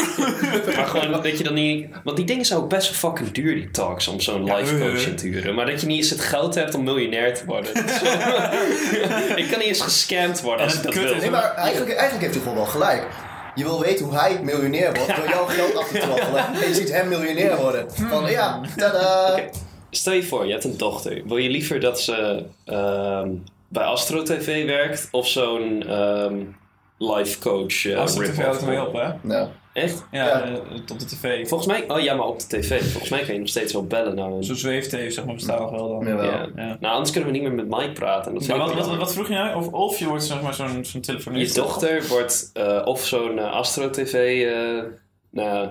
A: Maar gewoon dat je dan niet. Want die dingen zijn ook best wel fucking duur, die talks, om zo'n
B: eh,
A: life coach in te huren. Maar dat je niet eens het geld hebt om miljonair te
B: [laughs]
A: worden. Dat is [laughs] wel- ik kan niet eens gescamd worden als
B: En
A: ik
B: het
A: dat
B: kut
A: wil.
B: is-
C: Nee, maar eigenlijk, eigenlijk heeft hij gewoon wel gelijk. Je wil weten hoe hij miljonair wordt door jouw geld af te
B: [laughs]
C: troggelen. En je ziet hem miljonair worden.
B: Hmm.
C: Van ja, tada.
A: Stel je voor, je hebt een dochter. Wil je liever dat ze ehm, bij Astro TV werkt of zo'n ehm, life coach eh,
B: Als het te
A: rip-off?
B: Oh, veel mee op, hè?
C: Nou,
A: Echt?
B: Ja,
C: Ja.
B: eh, op de tv.
A: Volgens mij, oh ja, maar op de tv. Volgens mij kan je nog steeds wel bellen naar een.
B: Zo'n zweeftv, zeg maar, bestaan nog wel dan.
C: jawel.
A: Ja.
B: Ja.
A: Nou, anders kunnen we niet meer met Mike praten. Dat
B: Maar
A: vind ik
B: wat,
A: wel-
B: wat, wat vroeg je nou? Of, of je wordt zeg maar, zo'n zo'n telefonist.
A: Je dochter wordt eh, of zo'n eh, Astro TV eh nou,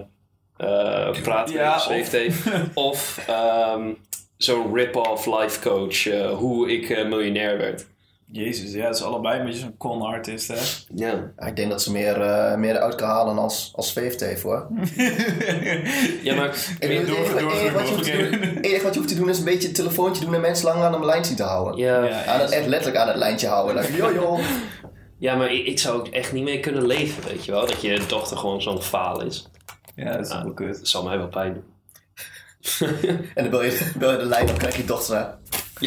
A: eh praat
B: Ja,
A: of,
B: of-
A: heeft,
B: [laughs]
A: of ehm, zo'n rip-off life coach, eh, hoe ik eh, miljonair werd.
B: Jezus, ja, het is allebei een beetje zo'n con-artist, hè?
A: Ja.
C: Ah, ik denk dat ze meer, eh, meer uit kan halen als, als VFT hoor.
A: ja, maar
B: [laughs]
C: Ik
B: Meer
C: bedoel,
B: door-
C: het
B: doorgroeien,
C: enige- enige wat je hoeft te
B: doorgroeien.
C: doen- het enige wat je hoeft te doen is een beetje een telefoontje doen en mensen langer aan een lijntje te houden.
A: ja,
B: Ja.
A: ja.
C: Aan het, echt letterlijk aan het lijntje houden. Like,
B: [laughs]
C: joh, joh.
A: maar ik, ik zou ook echt niet meer kunnen leven, weet je wel? Dat je dochter gewoon zo'n faal is.
B: Ja, dat is wel kut.
A: Dat zal mij wel pijn doen. [laughs]
C: En dan bel je, [laughs] bel je de lijn op, krijg je dochter aan. [laughs]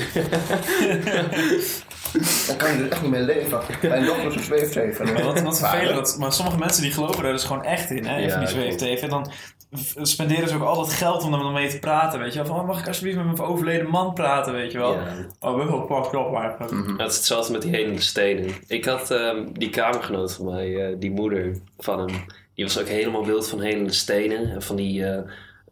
C: Dan kan je er echt niet mee leven. Mijn dochter is een zweefteven.
B: Maar wat, wat vervelend, dat, maar sommige mensen die geloven daar dus gewoon echt in, hè,
A: Ja,
B: van die
A: klopt.
B: zweeftv. En dan v- spenderen ze ook al dat geld om er dan mee te praten, weet je wel. Van, oh, mag ik alsjeblieft met mijn overleden man praten, weet je wel.
A: Ja.
B: Oh, we hebben wel op eigenlijk.
A: Dat is hetzelfde met die hele stenen. Ik had ehm, die kamergenoot van mij, eh, die moeder van hem. Die was ook helemaal wild van hele stenen. En van die eh,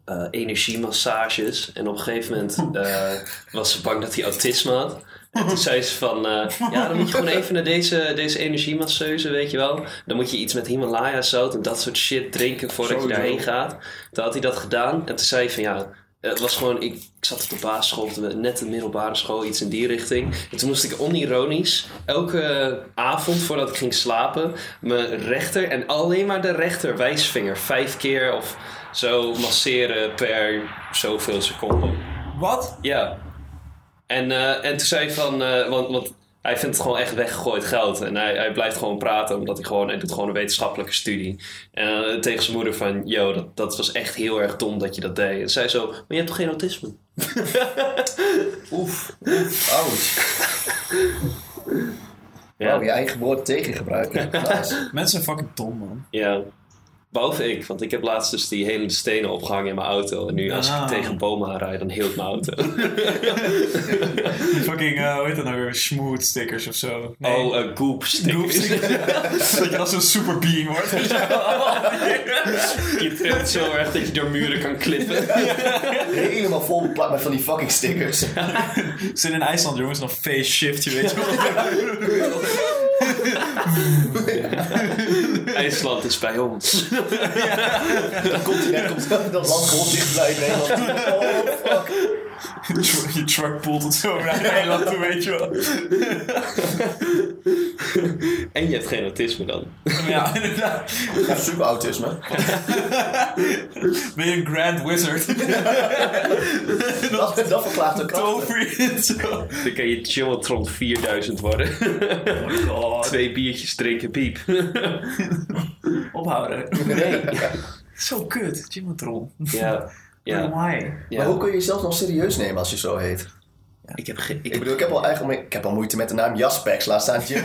A: eh, energiemassages. En op een gegeven moment eh, was ze bang dat hij autisme had. En [laughs] toen zei ze van, eh, ja dan moet je gewoon even naar deze, deze energiemasseuse, weet je wel. Dan moet je iets met Himalaya zout en dat soort shit drinken voordat je
C: Sowieso.
A: daarheen gaat. Toen had hij dat gedaan. En toen zei hij van, ja, Het was gewoon, ik, ik zat op de basisschool, of de- net de middelbare school, iets in die richting. En toen moest ik onironisch elke avond voordat ik ging slapen, mijn rechter en alleen maar de rechter wijsvinger vijf keer of zo masseren per zoveel seconden.
B: Wat?
A: Ja. En, eh, en toen zei hij van, eh, want, want hij vindt het gewoon echt weggegooid geld. En hij, hij blijft gewoon praten, omdat hij gewoon, hij doet gewoon een wetenschappelijke studie. En eh, tegen zijn moeder van, yo, dat, dat was echt heel erg dom dat je dat deed. En zij zo, maar je hebt toch geen autisme?
C: Oef. Oef. Ouch.
A: Ja.
C: Oh, je eigen woord tegen gebruiken. Nice.
B: Mensen zijn fucking dom, man.
A: Ja. Behalve ik, want ik heb laatst dus die hele stenen opgehangen in mijn auto. En nu als
B: Ah.
A: ik tegen bomen aan rijd, dan hield mijn auto. [laughs]
B: Fucking, eh hoe heet dat nou weer? Smooth stickers of zo.
A: Oh, eh goop
B: Doe-
A: stickers.
B: [laughs] dat je als een super being wordt.
A: [laughs] je trilt zo erg dat je door muren kan [laughs] klippen.
C: Helemaal vol beplakt met van die fucking stickers.
B: Ze zijn in IJsland, jongens, nog face shift, je weet wel. [laughs]
A: IJsland is bij ons.
C: Dan komt hij net, komt dat land gewoon dichterbij in Nederland.
A: [laughs]
C: Oh, fuck.
B: Tru- Je truck poelt het zo naar Nederland toe, weet je wel.
A: En je hebt geen autisme dan.
B: Ja, [laughs] inderdaad.
C: Ja, super
A: [laughs]
C: autisme.
B: Ben je een grand [laughs] wizard?
C: Dat, dat verklaart de kracht.
B: Tover en zo.
A: Dan kan je Chillotron 4000 worden. [laughs] Twee biertjes drinken, piep.
B: Ophouden.
A: Nee.
B: Zo kut, Jimotron.
A: Ja. Ja.
B: Why?
A: ja.
C: Maar hoe kun je jezelf nog serieus nemen als je zo heet?
A: Ik heb geen... Ik
C: Ik
A: heb...
C: bedoel, ik heb al, eigenlijk, ik heb al moeite met de naam Jaspex. Laat staan Jim.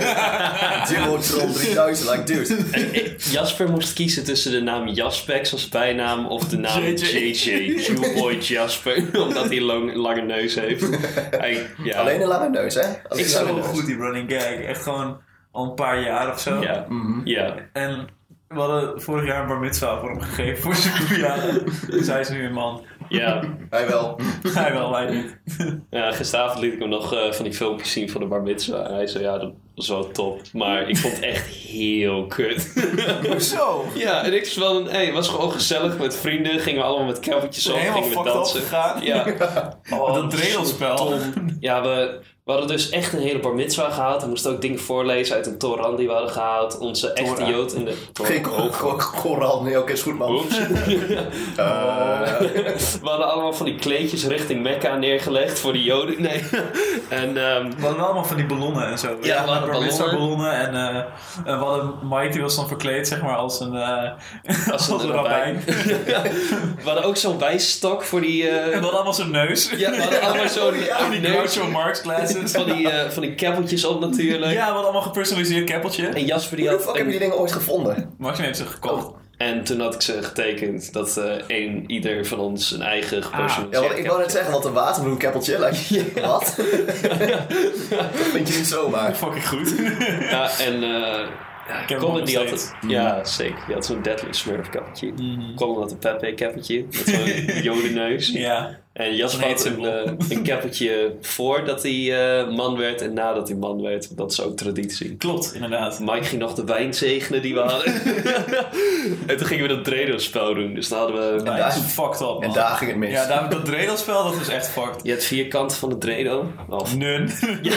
A: [laughs]
C: Jim wordt er om 3000, like dude.
A: Ik- Jasper moest kiezen tussen de naam Jaspex als bijnaam of de naam
B: JJ.
A: JJ. Q-boy Jasper. [laughs] Omdat hij lang, lange neus heeft. Hij, ja.
C: Alleen een lange neus, hè? Alleen
A: Ik
C: een lange
B: Zo
C: neus.
B: goed die running gag. Echt gewoon al een paar jaar of zo.
A: Ja.
C: Mhm.
A: Ja.
B: En we hadden vorig jaar een bar mitzwa voor hem gegeven voor zijn verjaardag. Dus hij is nu een man.
A: Ja.
C: Hij [laughs] wel.
B: Hij wel, wij niet.
A: Ja, gisteravond liet ik hem nog eh, van die filmpjes zien van de bar mitzwa. En hij zei, ja, dat was wel top. Maar ik vond het echt heel kut.
B: Zo.
A: Ja, en ik was wel een... Hey, was gewoon gezellig met vrienden. Gingen we allemaal met kabeltjes op.
B: Helemaal
A: gingen we
B: fucked up
A: dansen.
B: gegaan.
A: Ja,
B: Oh, dat dreelspel.
A: ja we, we hadden dus echt een hele bar mitzwa gehaald. We moesten ook dingen voorlezen uit een Toran die we hadden gehaald. Onze echte
B: Torah.
A: jood in de...
C: Geen kor- kor- koral. Nee, oké, is goed, man. [laughs]
A: Oeps.
C: Eh,
A: We hadden allemaal van die kleedjes richting Mekka neergelegd voor de joden. Nee. En ehm,
B: We hadden allemaal van die ballonnen en zo.
A: Ja, we hadden
B: bar mitzwa
A: ballonnen.
B: ballonnen. En eh, en we hadden Mike, die was dan verkleed, zeg maar, als een, eh
A: Als
B: [laughs] als
A: een
B: een rabbijn.
A: rabbijn. [laughs] we hadden ook zo'n wijsstok voor die... eh,
B: En we hadden allemaal zo'n neus.
A: ja, we hadden allemaal zo'n
B: [laughs] Van die
A: neus-
B: Groucho Marx glasses.
A: Van die, eh, van die keppeltjes op natuurlijk.
B: Ja, we hadden allemaal gepersonaliseerd keppeltje.
A: En Jasper die
C: Hoe de
A: had...
C: fuck
A: een-
C: heb je die dingen ooit gevonden?
B: Max heeft ze
A: Oh.
B: gekocht.
A: En toen had ik ze getekend dat eh één, ieder van ons een eigen
B: Ah,
C: Ja,
A: gepersonaliseerd
C: want ik wou net zeggen, wat een
A: [laughs]
C: waterbloemkeppeltje. Like, wat? dat vind je niet zomaar.
A: [laughs]
B: Fucking goed.
A: Ja, en eh ja,
B: hem
A: Colin
B: nog
A: die had
B: steeds. Mhm.
A: het. Ja, zeker. Die had zo'n Deadly Smurf kappetje. Colin had een Pepe kappetje met
B: [laughs]
A: zo'n jodenneus.
B: ja.
A: En Jasper
B: Een
A: had een,
B: heetsymbool.
A: eh, een kappetje voordat hij eh, man werd en nadat hij man werd. Dat is ook traditie.
B: Klopt, inderdaad.
A: Mike ging nog de wijn zegenen die we
B: [laughs]
A: hadden. en toen gingen we dat Dredo-spel doen. Dus dan hadden we...
C: Ja.
B: Dat Nou, is fucked up, man.
C: En daar ging het mis.
B: Ja, daar, dat dredelspel, dat is echt fucked.
A: Je hebt vier kanten van de Dredo. Of
B: Nun. [laughs]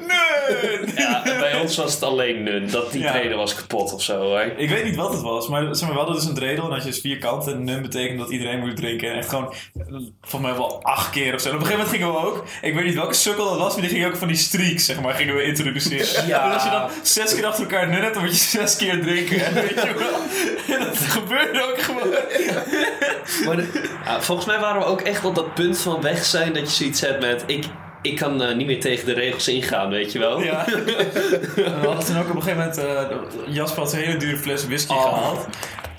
B: Nun!
A: Ja, bij ons was het alleen nun. Dat die
B: Ja.
A: trainer was kapot of zo, hè?
B: Ik weet niet wat het was, maar zeg maar, we hadden dus een dredel en als je dus vierkant en nun betekent dat iedereen moet drinken. En echt gewoon, eh, volgens mij wel acht keer of zo. En op een gegeven moment gingen we ook, ik weet niet welke sukkel dat was, maar die gingen ook van die streaks, zeg maar, gingen we introduceren.
A: Ja.
B: En als je dan zes keer achter elkaar nun hebt, dan moet je zes keer drinken. En, weet je wel. en dat gebeurde ook gewoon.
A: Maar de- ja, volgens mij waren we ook echt op dat punt van weg zijn dat je zoiets hebt met... Ik, ik kan eh, niet meer tegen de regels ingaan, weet je wel? [laughs]
B: Ja. En we hadden toen ook op een gegeven moment... eh, Jasper had een hele dure fles whisky
A: Oh.
B: gehaald.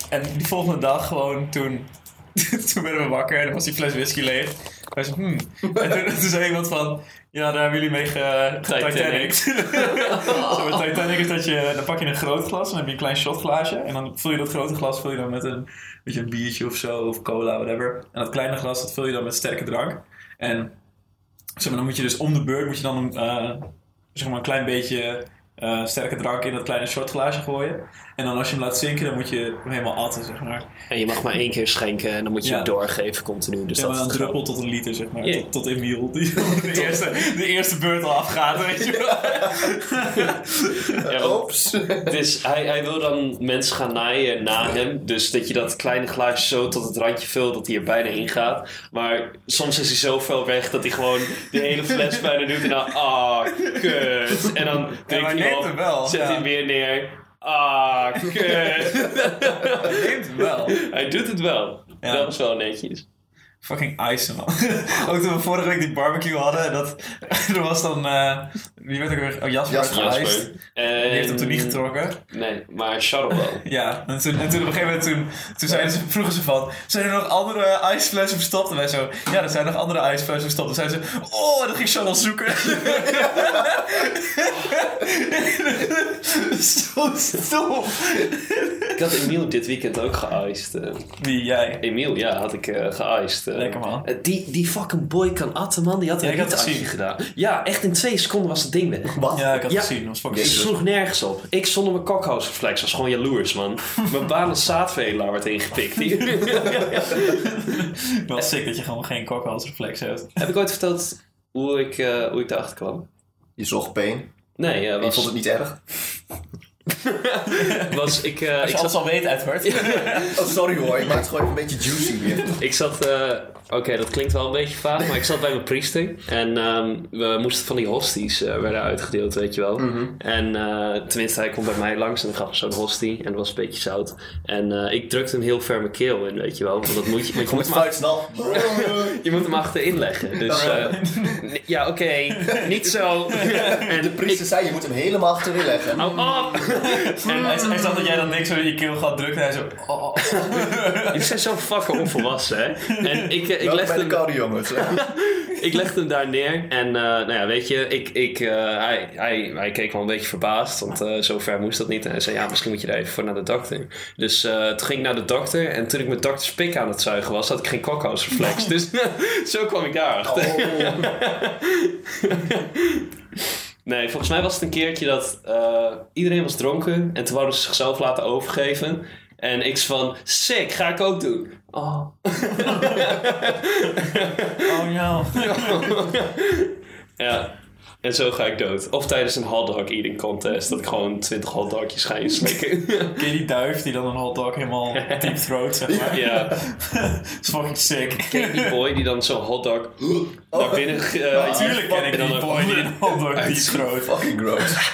B: En die volgende dag gewoon toen... [laughs] toen werden we wakker en dan was die fles whisky leeg. Wij zeiden, hmm. En toen, toen zei iemand van... Ja, daar hebben jullie mee ge
A: Titanic.
B: Titanic.
A: [laughs]
B: Zo, met Titanic is dat je... Dan pak je een groot glas en dan heb je een klein shotglaasje. En dan vul je dat grote glas vul je dan met een, weet je, een biertje of zo. Of cola, whatever. En dat kleine glas dat vul je dan met sterke drank. En zeg maar, dan moet je dus om de beurt moet je dan een, eh, zeg maar een klein beetje eh, sterke drank in dat kleine shotglaasje gooien. En dan als je hem laat zinken, dan moet je hem helemaal atten, zeg maar.
A: Dus
E: En je mag maar één keer schenken en dan moet je
B: Ja.
E: hem doorgeven continu. Dus
B: Ja,
E: dat
B: maar
E: is
B: een
E: het
B: druppel tot een liter, zeg maar.
E: Ja.
B: Tot, tot Emiel, die [laughs] de eerste, de eerste beurt al afgaat, weet je wel.
A: Ja, want
C: Oeps.
A: het is- hij, hij wil dan mensen gaan naaien na hem. Dus dat je dat kleine glaasje zo tot het randje vult dat hij er bijna in gaat. Maar soms is hij zo fel weg dat hij gewoon de hele
B: [laughs]
A: fles bijna doet. En dan, ah, kut. En dan drinkt
B: maar
A: hij
B: neemt
A: op,
B: hem wel,
A: zet
B: ja.
A: hij hem weer neer. Ah, kut.
B: [laughs] Neemt wel.
A: hij doet het wel.
B: Ja.
A: Dat is wel netjes.
B: Fucking ice, man. [laughs] Ook toen we vorige week die barbecue hadden, en dat, [laughs] er was dan... eh, wie werd ook weer... Oh, Jasper,
C: Jasper.
B: werd geïced.
A: Jasper. Ehm,
B: Die heeft hem toen niet getrokken.
A: Nee, maar Charles wel.
B: Ja, en toen, en toen op een gegeven moment toen, toen zeiden ze, vroegen ze van... Zijn er nog andere ijsflessen verstopt? En wij zo... Ja, er zijn nog andere ijsflessen verstopt. En zeiden ze... Oh, en dat ging zo wel zoeken. [laughs] zo stom.
A: Ik had Emiel dit weekend ook geëist. eh.
B: Wie, jij?
A: Emiel, ja, had ik eh geëist. eh.
B: Lekker, man.
A: Eh, die, die fucking boy kan atten, man. Die had
B: Ja,
A: een
B: ik had het
A: rietatje
B: gezien.
A: gedaan. Ja, echt in twee seconden was het ding weg.
C: Wat?
B: Ja, ik had
A: Ja.
B: het gezien. Dat was
A: Ik
B: fucking zielig.
A: sloeg nergens op. Ik zonder mijn kokhousreflex was gewoon jaloers,
B: [laughs]
A: man. Mijn baan als zaadvelaar werd ingepikt hier.
B: Wel sick dat je gewoon geen kokhalsreflex hebt.
A: Heb ik ooit verteld hoe ik, eh hoe ik daarachter kwam?
C: [laughs] Je zocht pijn.
A: Nee, eh,
C: Je vond
A: was,
C: het niet erg?
A: was ik...
B: [laughs]
A: eh, ik
B: Als je alles al weet, Edward.
C: Oh, sorry hoor. Ik maak het gewoon een beetje juicy
A: [laughs]
C: weer.
A: Ik zat, eh, oké, dat klinkt wel een beetje vaag, maar ik zat bij mijn priester. En ehm, we moesten van die hosties eh, werden uitgedeeld, weet je wel.
C: Mhm.
A: En eh, tenminste, hij komt bij mij langs en dan gaf me zo'n hostie. En dat was een beetje zout. En eh, ik drukte hem heel ver mijn keel in, weet je wel. Want dat moet je, want je,
C: Kom [laughs]
A: moet,
C: met
A: hem ach-
C: vuist dan.
A: [laughs] je moet hem achterin
C: [laughs]
A: leggen. Dus eh, n- ja, oké, niet zo. en Oh, de
C: Ze zei je moet hem helemaal achterin leggen.
A: Hou op!
B: En hij, hij zag dat jij dan niks zo in je keel gaat drukken. En hij zo... Oh, oh.
A: Ik zijn zo fucking onvolwassen, hè. En ik, eh, ik
C: Welkom
A: legde
C: bij de
A: hem...
C: koude
A: [laughs]
C: jongens.
A: ik legde hem daar neer. En eh, nou ja, weet je, ik, ik, eh, hij, hij, hij keek wel een beetje verbaasd. Want eh zo ver moest dat niet. En hij zei, ja, misschien moet je daar even voor naar de dokter. Dus eh, toen ging ik naar de dokter. En toen ik mijn dokterspik aan het zuigen was, had ik geen kokosreflex. dus [laughs] zo kwam ik daar achter.
C: Oh.
A: Nee, volgens mij was het een keertje dat eh, iedereen was dronken. En toen wouden ze zichzelf laten overgeven. En ik van, sick, ga ik ook doen. Oh,
B: Oh, no.
A: Ja, en zo ga ik dood. Of tijdens een hotdog eating contest, dat ik gewoon 20 hotdogjes ga inslikken. [laughs]
B: Ken je die duif die dan een hotdog helemaal deep throat, zeg maar?
A: ja, [laughs]
B: Dat is fucking sick.
A: ken je die boy die dan zo'n hotdog naar binnen... eh,
B: Natuurlijk ken ik
A: en dan
B: die
A: ook-
B: boy die een [laughs] hotdog deep throat.
C: Fucking gross.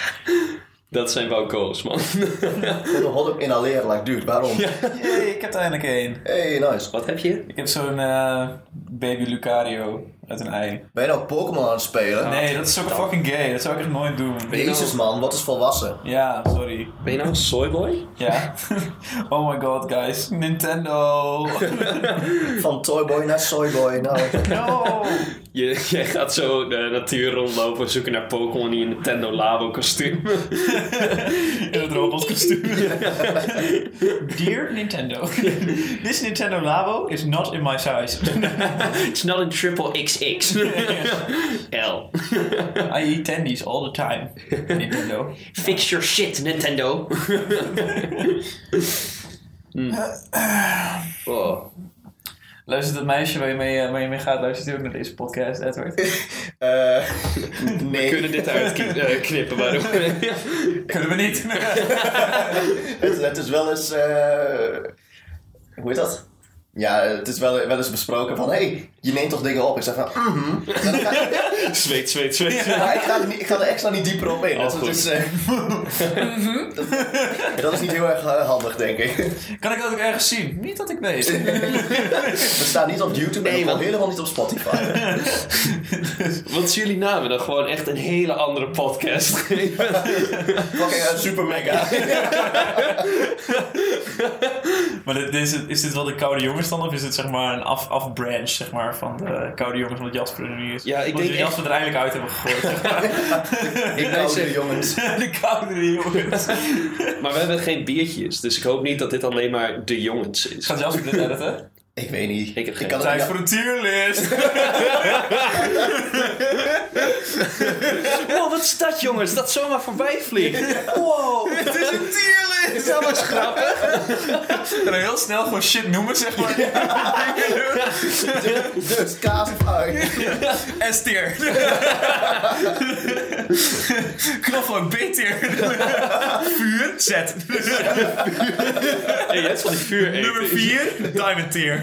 A: Dat zijn wel goals, man.
C: Gewoon een hotdog inhaleren, like dude, waarom?
B: Jee, ik heb er eindelijk één.
C: Hey,
A: [laughs]
C: nice.
A: Wat heb je?
B: Ik heb zo'n eh, baby Lucario uit een ei.
C: Ben je nou Pokémon aan het spelen?
B: Nee, dat is ook fucking gay. Dat zou ik echt nooit doen.
C: Jezus
A: nou.
C: man, wat is volwassen?
B: Ja, sorry.
A: Ben je nou een soyboy?
B: Ja. [laughs] Oh my god, guys. Nintendo.
C: Van Toyboy naar Soyboy.
A: [laughs]
C: Nou,
B: [laughs] No.
A: Je, jij gaat zo de natuur rondlopen, zoeken naar Pokémon in je Nintendo Labo kostuum.
B: In het robotkostuum. [laughs] Dear Nintendo. [laughs] This Nintendo Labo is not in my size.
A: [laughs]
B: [laughs]
A: It's not een triple XX. [laughs] L.
B: I eat candies all the time. Nintendo.
A: Fix your shit, [laughs] Nintendo. Hmm. oh.
B: Luistert het meisje waar je mee, eh, waar je mee gaat, luistert die ook naar deze podcast, Edward. [laughs]
C: eh
A: We
C: nee.
A: kunnen dit eh, uitknippen, waarom? [laughs]
B: Kunnen we niet.
C: Het, het is wel eens. eh, hoe heet dat? Ja, het is wel, wel eens besproken van: hé, hey, je neemt toch dingen op? Ik zeg van: mhm. En dan ga
A: [laughs]
C: ik-
A: zweet, zweet, zweet.
C: maar ik, ga er niet- ik ga er extra niet dieper op in.
A: Oh,
C: dat,
A: goed.
C: is, eh, [laughs] dat, dat is niet heel erg eh, handig, denk ik.
B: Kan ik dat ook ergens zien? Niet dat ik weet.
C: We staan niet op YouTube
A: Nee,
C: en we gaan
A: want-
C: helemaal niet op
A: [laughs]
C: Spotify.
A: Wat is jullie namen dan gewoon echt een hele andere podcast [laughs] geven?
C: Fucking eh, super [laughs] mega.
B: [laughs] Maar dit, dit is, is dit wel de koude jongens dan? Of is dit zeg maar een af, afbranch zeg maar, van de koude jongens omdat Jasper er nu is?
A: Ja, ik
B: Omdat
A: denk
B: we Jasper er eindelijk uit hebben gegooid. Zeg maar.
C: ik
A: ben
C: ben
A: ze-
C: jongens.
B: [laughs] de koude
A: [laughs]
B: jongens.
A: Maar we hebben geen biertjes, dus ik hoop niet dat dit alleen maar de jongens is.
B: Gaat Jasper dit editen?
C: Ik weet niet.
A: Ik heb geen
C: kan het-
B: Tijd
C: ja,
B: voor een tierlist.
A: Wow, wat is dat jongens? Dat zomaar voorbij vliegt. Wow.
B: Het is een tierlist. Dat was grappig. En heel snel gewoon shit noemen, zeg maar.
C: Dus kaas of ui.
B: [laughs] S-tier. [laughs] Knoflook B-tier. Vuur, Z.
A: [laughs] Hey, je hebt van die vuur
B: Nummer 4, diamond tier.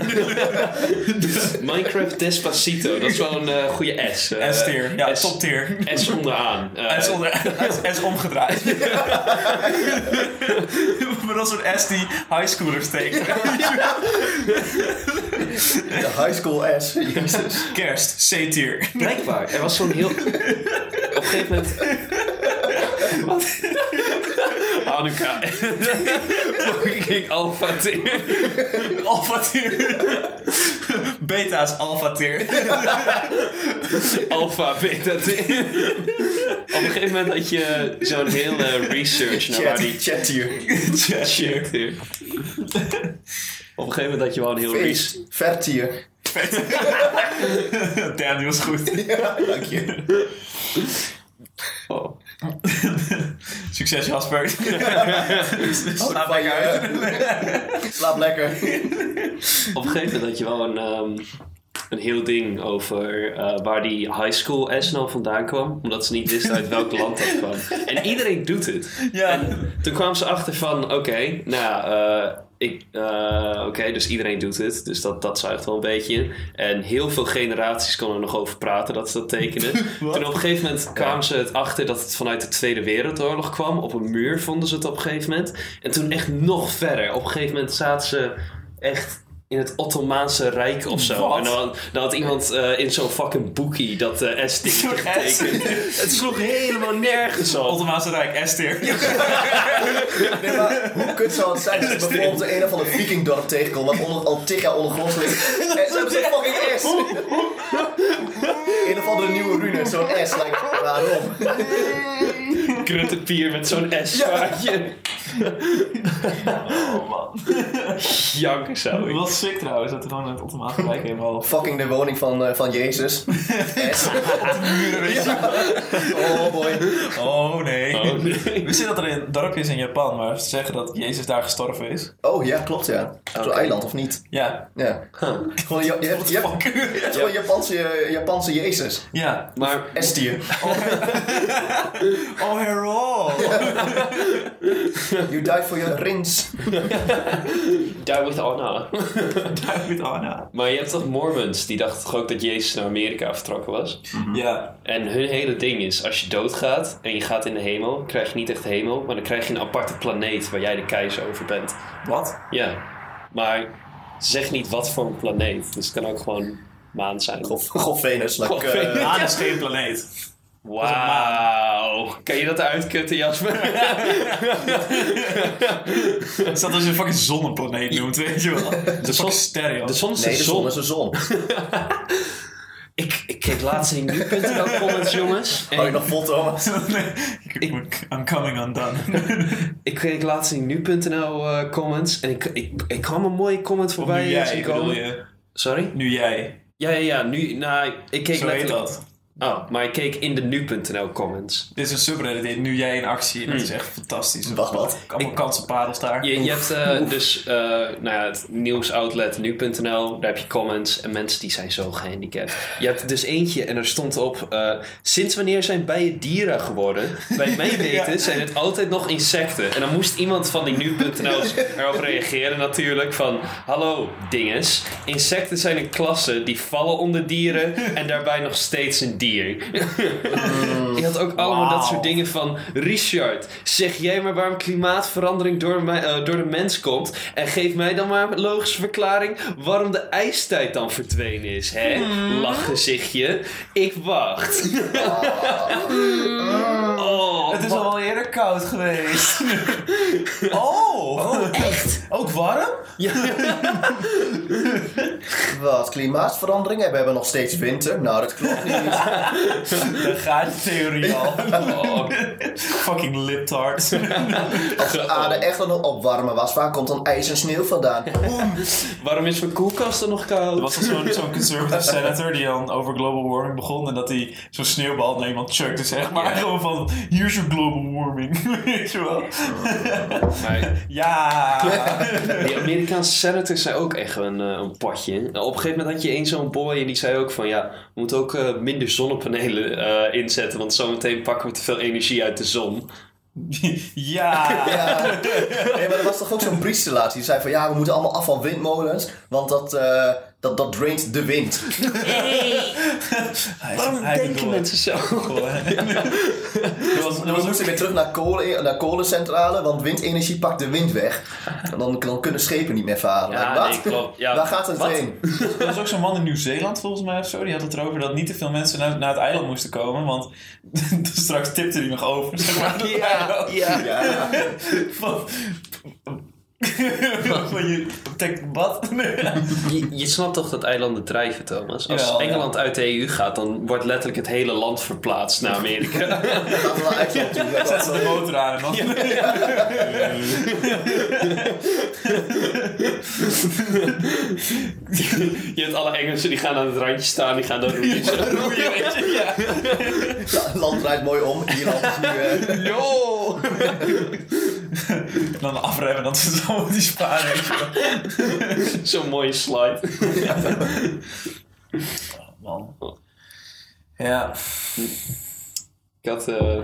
A: Minecraft Despacito. Dat is wel een eh, goede S. eh,
B: S-tier. Ja,
A: S-
B: top tier.
A: S
B: [laughs]
A: onderaan. Eh,
B: S, onder, S [laughs] omgedraaid. maar dat is een S die highschoolers tekenen.
C: De high school S. Jezus.
B: Kerst, C-tier.
A: Blijkbaar. Er was zo'n
B: [laughs]
A: heel... Op een gegeven moment... [laughs] Wat? [laughs] Hanukkah. Fucking alpha tier.
B: Alpha tier. Beta is alpha tier.
A: Alpha beta tier. Op een gegeven moment had je zo'n hele research naar waar die...
C: Chat hier.
A: Check tier. Op een gegeven moment had je wel een heel research...
C: Feest. Vert hier.
B: Damn, die was goed.
C: Ja, dank je.
A: Oh.
B: Succes Jasper. [laughs] Ah, Slaap
C: van
B: lekker
C: je,
B: uit.
C: Slaap lekker.
A: Op een gegeven moment had je wel een, ehm, een heel ding over eh, waar die high school S nou vandaan kwam. Omdat ze niet wisten uit welk land dat kwam. En iedereen doet het.
B: Ja.
A: En toen kwamen ze achter van, oké, nou, eh, ik, eh, oké, dus iedereen doet het. Dus dat, dat zuigt wel een beetje. in. En heel veel generaties konden er nog over praten dat ze dat
B: [laughs]
A: tekenen. toen op een gegeven moment kwamen ze het achter dat het vanuit de Tweede Wereldoorlog kwam. Op een muur vonden ze het op een gegeven moment. En toen echt nog verder. Op een gegeven moment zaten ze echt... In het Ottomaanse Rijk of zo.
B: Wat?
A: En dan, dan had iemand eh, in zo'n fucking boekie dat eh S
B: Zo'n S. [laughs]
A: getekend. het sloeg helemaal nergens op.
B: Ottomaanse Rijk, S-tier.
C: Nee, maar hoe kut zou het zijn als je bijvoorbeeld een of ander vikingdorp tegenkomt wat onder, al tig jaar ondergronds ligt. En ze hebben zo'n fucking S. Een of andere nieuwe rune, zo'n S. Like, waarom?
A: kruttenpier met zo'n S-vaartje.
B: Oh man.
A: Janken zou ik.
B: Wat sick trouwens, dat er gewoon het Ottomaanse Rijk helemaal...
C: Fucking de woning van, eh, van
A: [laughs]
C: Jezus. S. Oh boy.
B: Oh nee.
A: Oh, nee.
B: Wist je dat er een dorpje is in Japan waar ze zeggen dat Jezus daar gestorven is?
C: Oh ja, klopt ja. Zo'n eiland of niet?
B: Ja.
C: Ja. [laughs] Gewoon je, je, hebt- je, [laughs] hebt- je hebt gewoon Japanse, eh, Japanse Jezus.
B: Ja.
A: Maar
C: S-tier.
B: Oh [laughs] Harold.
C: You died for your rins.
A: daar wordt Anna.
B: David Anna.
A: Maar je hebt toch Mormons, die dachten toch ook dat Jezus naar Amerika vertrokken was?
B: Ja.
A: En hun hele ding is, als je doodgaat en je gaat in de hemel, krijg je niet echt hemel, maar dan krijg je een aparte planeet waar jij de keizer over bent.
B: Wat?
A: Ja, maar ze zeggen niet wat voor een planeet. Dus het kan ook gewoon maan zijn.
C: Of God Venus. Like,
A: God
C: eh,
A: Venus.
B: Maan is geen planeet.
A: Wauw. Kan je dat uitkutten, Jasper?
B: Is dat als je een fucking zonneplaneet noemt, weet je
A: [laughs]
B: wel? Dat is
A: zon-
B: fucking stereo.
A: De zon is
C: nee,
A: de
C: de zon
A: zon.
C: is de zon.
A: Ik, ik keek laatst in
B: [laughs]
A: nu.nl comments, jongens.
C: Hou je
A: En-
C: nog vol, Thomas?
B: Nee, ik, I'm coming undone.
A: Ik kreeg laatst in nu.nl eh, comments en ik, ik, ik kwam een mooie comment
B: Of nu
A: voorbij eh,
B: jij,
A: zien
B: bedoel
A: komen.
B: je?
A: Sorry?
B: Nu jij.
A: Ja, ja, ja. Nu, nou, ik keek
B: Zo heet
A: letterlijk-
B: dat.
A: Oh, maar ik keek in de nu.nl comments.
B: Dit is een subreddit, die heet nu jij in actie. Dat is echt fantastisch.
C: Wacht, wat?
B: Allemaal kansenparels daar.
A: Je, je hebt eh, dus eh, nou ja, het nieuwsoutlet nu.nl, daar heb je comments en mensen die zijn zo gehandicapt. Je hebt dus eentje en er stond op, eh, sinds wanneer zijn bijen dieren geworden? Bij mijn weten
B: Ja.
A: zijn het altijd nog insecten. En dan moest iemand van die nu.nl erop reageren natuurlijk van, hallo dinges, insecten zijn een klasse die vallen onder dieren en daarbij nog steeds een dier. Je had ook allemaal
B: Wauw.
A: dat soort dingen van... Richard, zeg jij maar waarom klimaatverandering door, mij, eh, door de mens komt... en geef mij dan maar een logische verklaring... waarom de ijstijd dan verdwenen is, hè? Lachgezichtje. Ik wacht. Oh,
B: Het is al wel eerder koud [laughs] geweest. oh, echt? Ook warm?
C: Wat, klimaatverandering? En we hebben nog steeds winter? Nou, dat klopt niet.
B: Daar gaat je theorie al.
A: Oh,
B: Fucking liptard.
C: Als de aarde echt aan het opwarmen was, waar komt dan ijs en sneeuw vandaan?
A: waarom is mijn koelkast er nog koud?
B: Er was zo'n zo'n conservative senator die dan over global warming begon en dat hij zo'n sneeuwbal naar iemand chuckte, zeg maar. Gewoon van, here's your global warming. [laughs] Weet je wel?
A: Nee.
B: Ja! [laughs]
A: Die Amerikaanse senators zijn ook echt een, eh, een potje. Op een gegeven moment had je één zo'n boy en die zei ook van... ja, we moeten ook eh, minder zonnepanelen eh, inzetten... want zometeen pakken we te veel energie uit de zon.
B: Ja!
C: Ja. Nee, maar er was toch ook zo'n priestelaat die zei van ja, we moeten allemaal af van windmolens, want dat, eh, dat, dat draint de wind.
B: Hij-
A: Waarom
B: hij
A: denken
B: bedoelt-
A: mensen zo?
B: [laughs] Er was, er
C: We
B: was ook
C: moesten weer terug naar, kolen, eh, naar kolencentrale, want windenergie pakt de wind weg. En dan, dan kunnen schepen niet meer varen.
A: Ja,
C: wat?
A: nee, klopt. Ja,
C: Waar gaat het
A: wat?
C: heen?
B: Er was ook zo'n man in Nieuw-Zeeland volgens mij of zo. Die had het erover dat niet te veel mensen naar, naar het eiland moesten komen. Want [laughs] straks tipte hij nog over. Zeg maar.
A: Ja, ja.
C: [laughs] Ja.
B: Van, [laughs] van je, tek, wat?
A: Je, je snapt toch dat eilanden drijven, Thomas? Als
B: Jawel, ja.
A: Engeland uit de EU gaat... dan wordt letterlijk het hele land verplaatst naar
B: [laughs]
A: Amerika.
C: Gaat er wel IJsland toe? Ja,
B: Zet ze
C: dat-
B: de motor aan en dan...
A: je hebt alle Engelsen die gaan aan het randje staan... die gaan dan roeien. Zo,
B: [laughs]
A: roeien, weet je.
C: Ja, eh, land draait mooi om. Ierland is nu... eh,
A: Yo!
B: Dan afremmen, dan zit allemaal die spaar.
A: [laughs] Zo'n mooie slide.
B: Man. Ja.
A: Ik had, eh,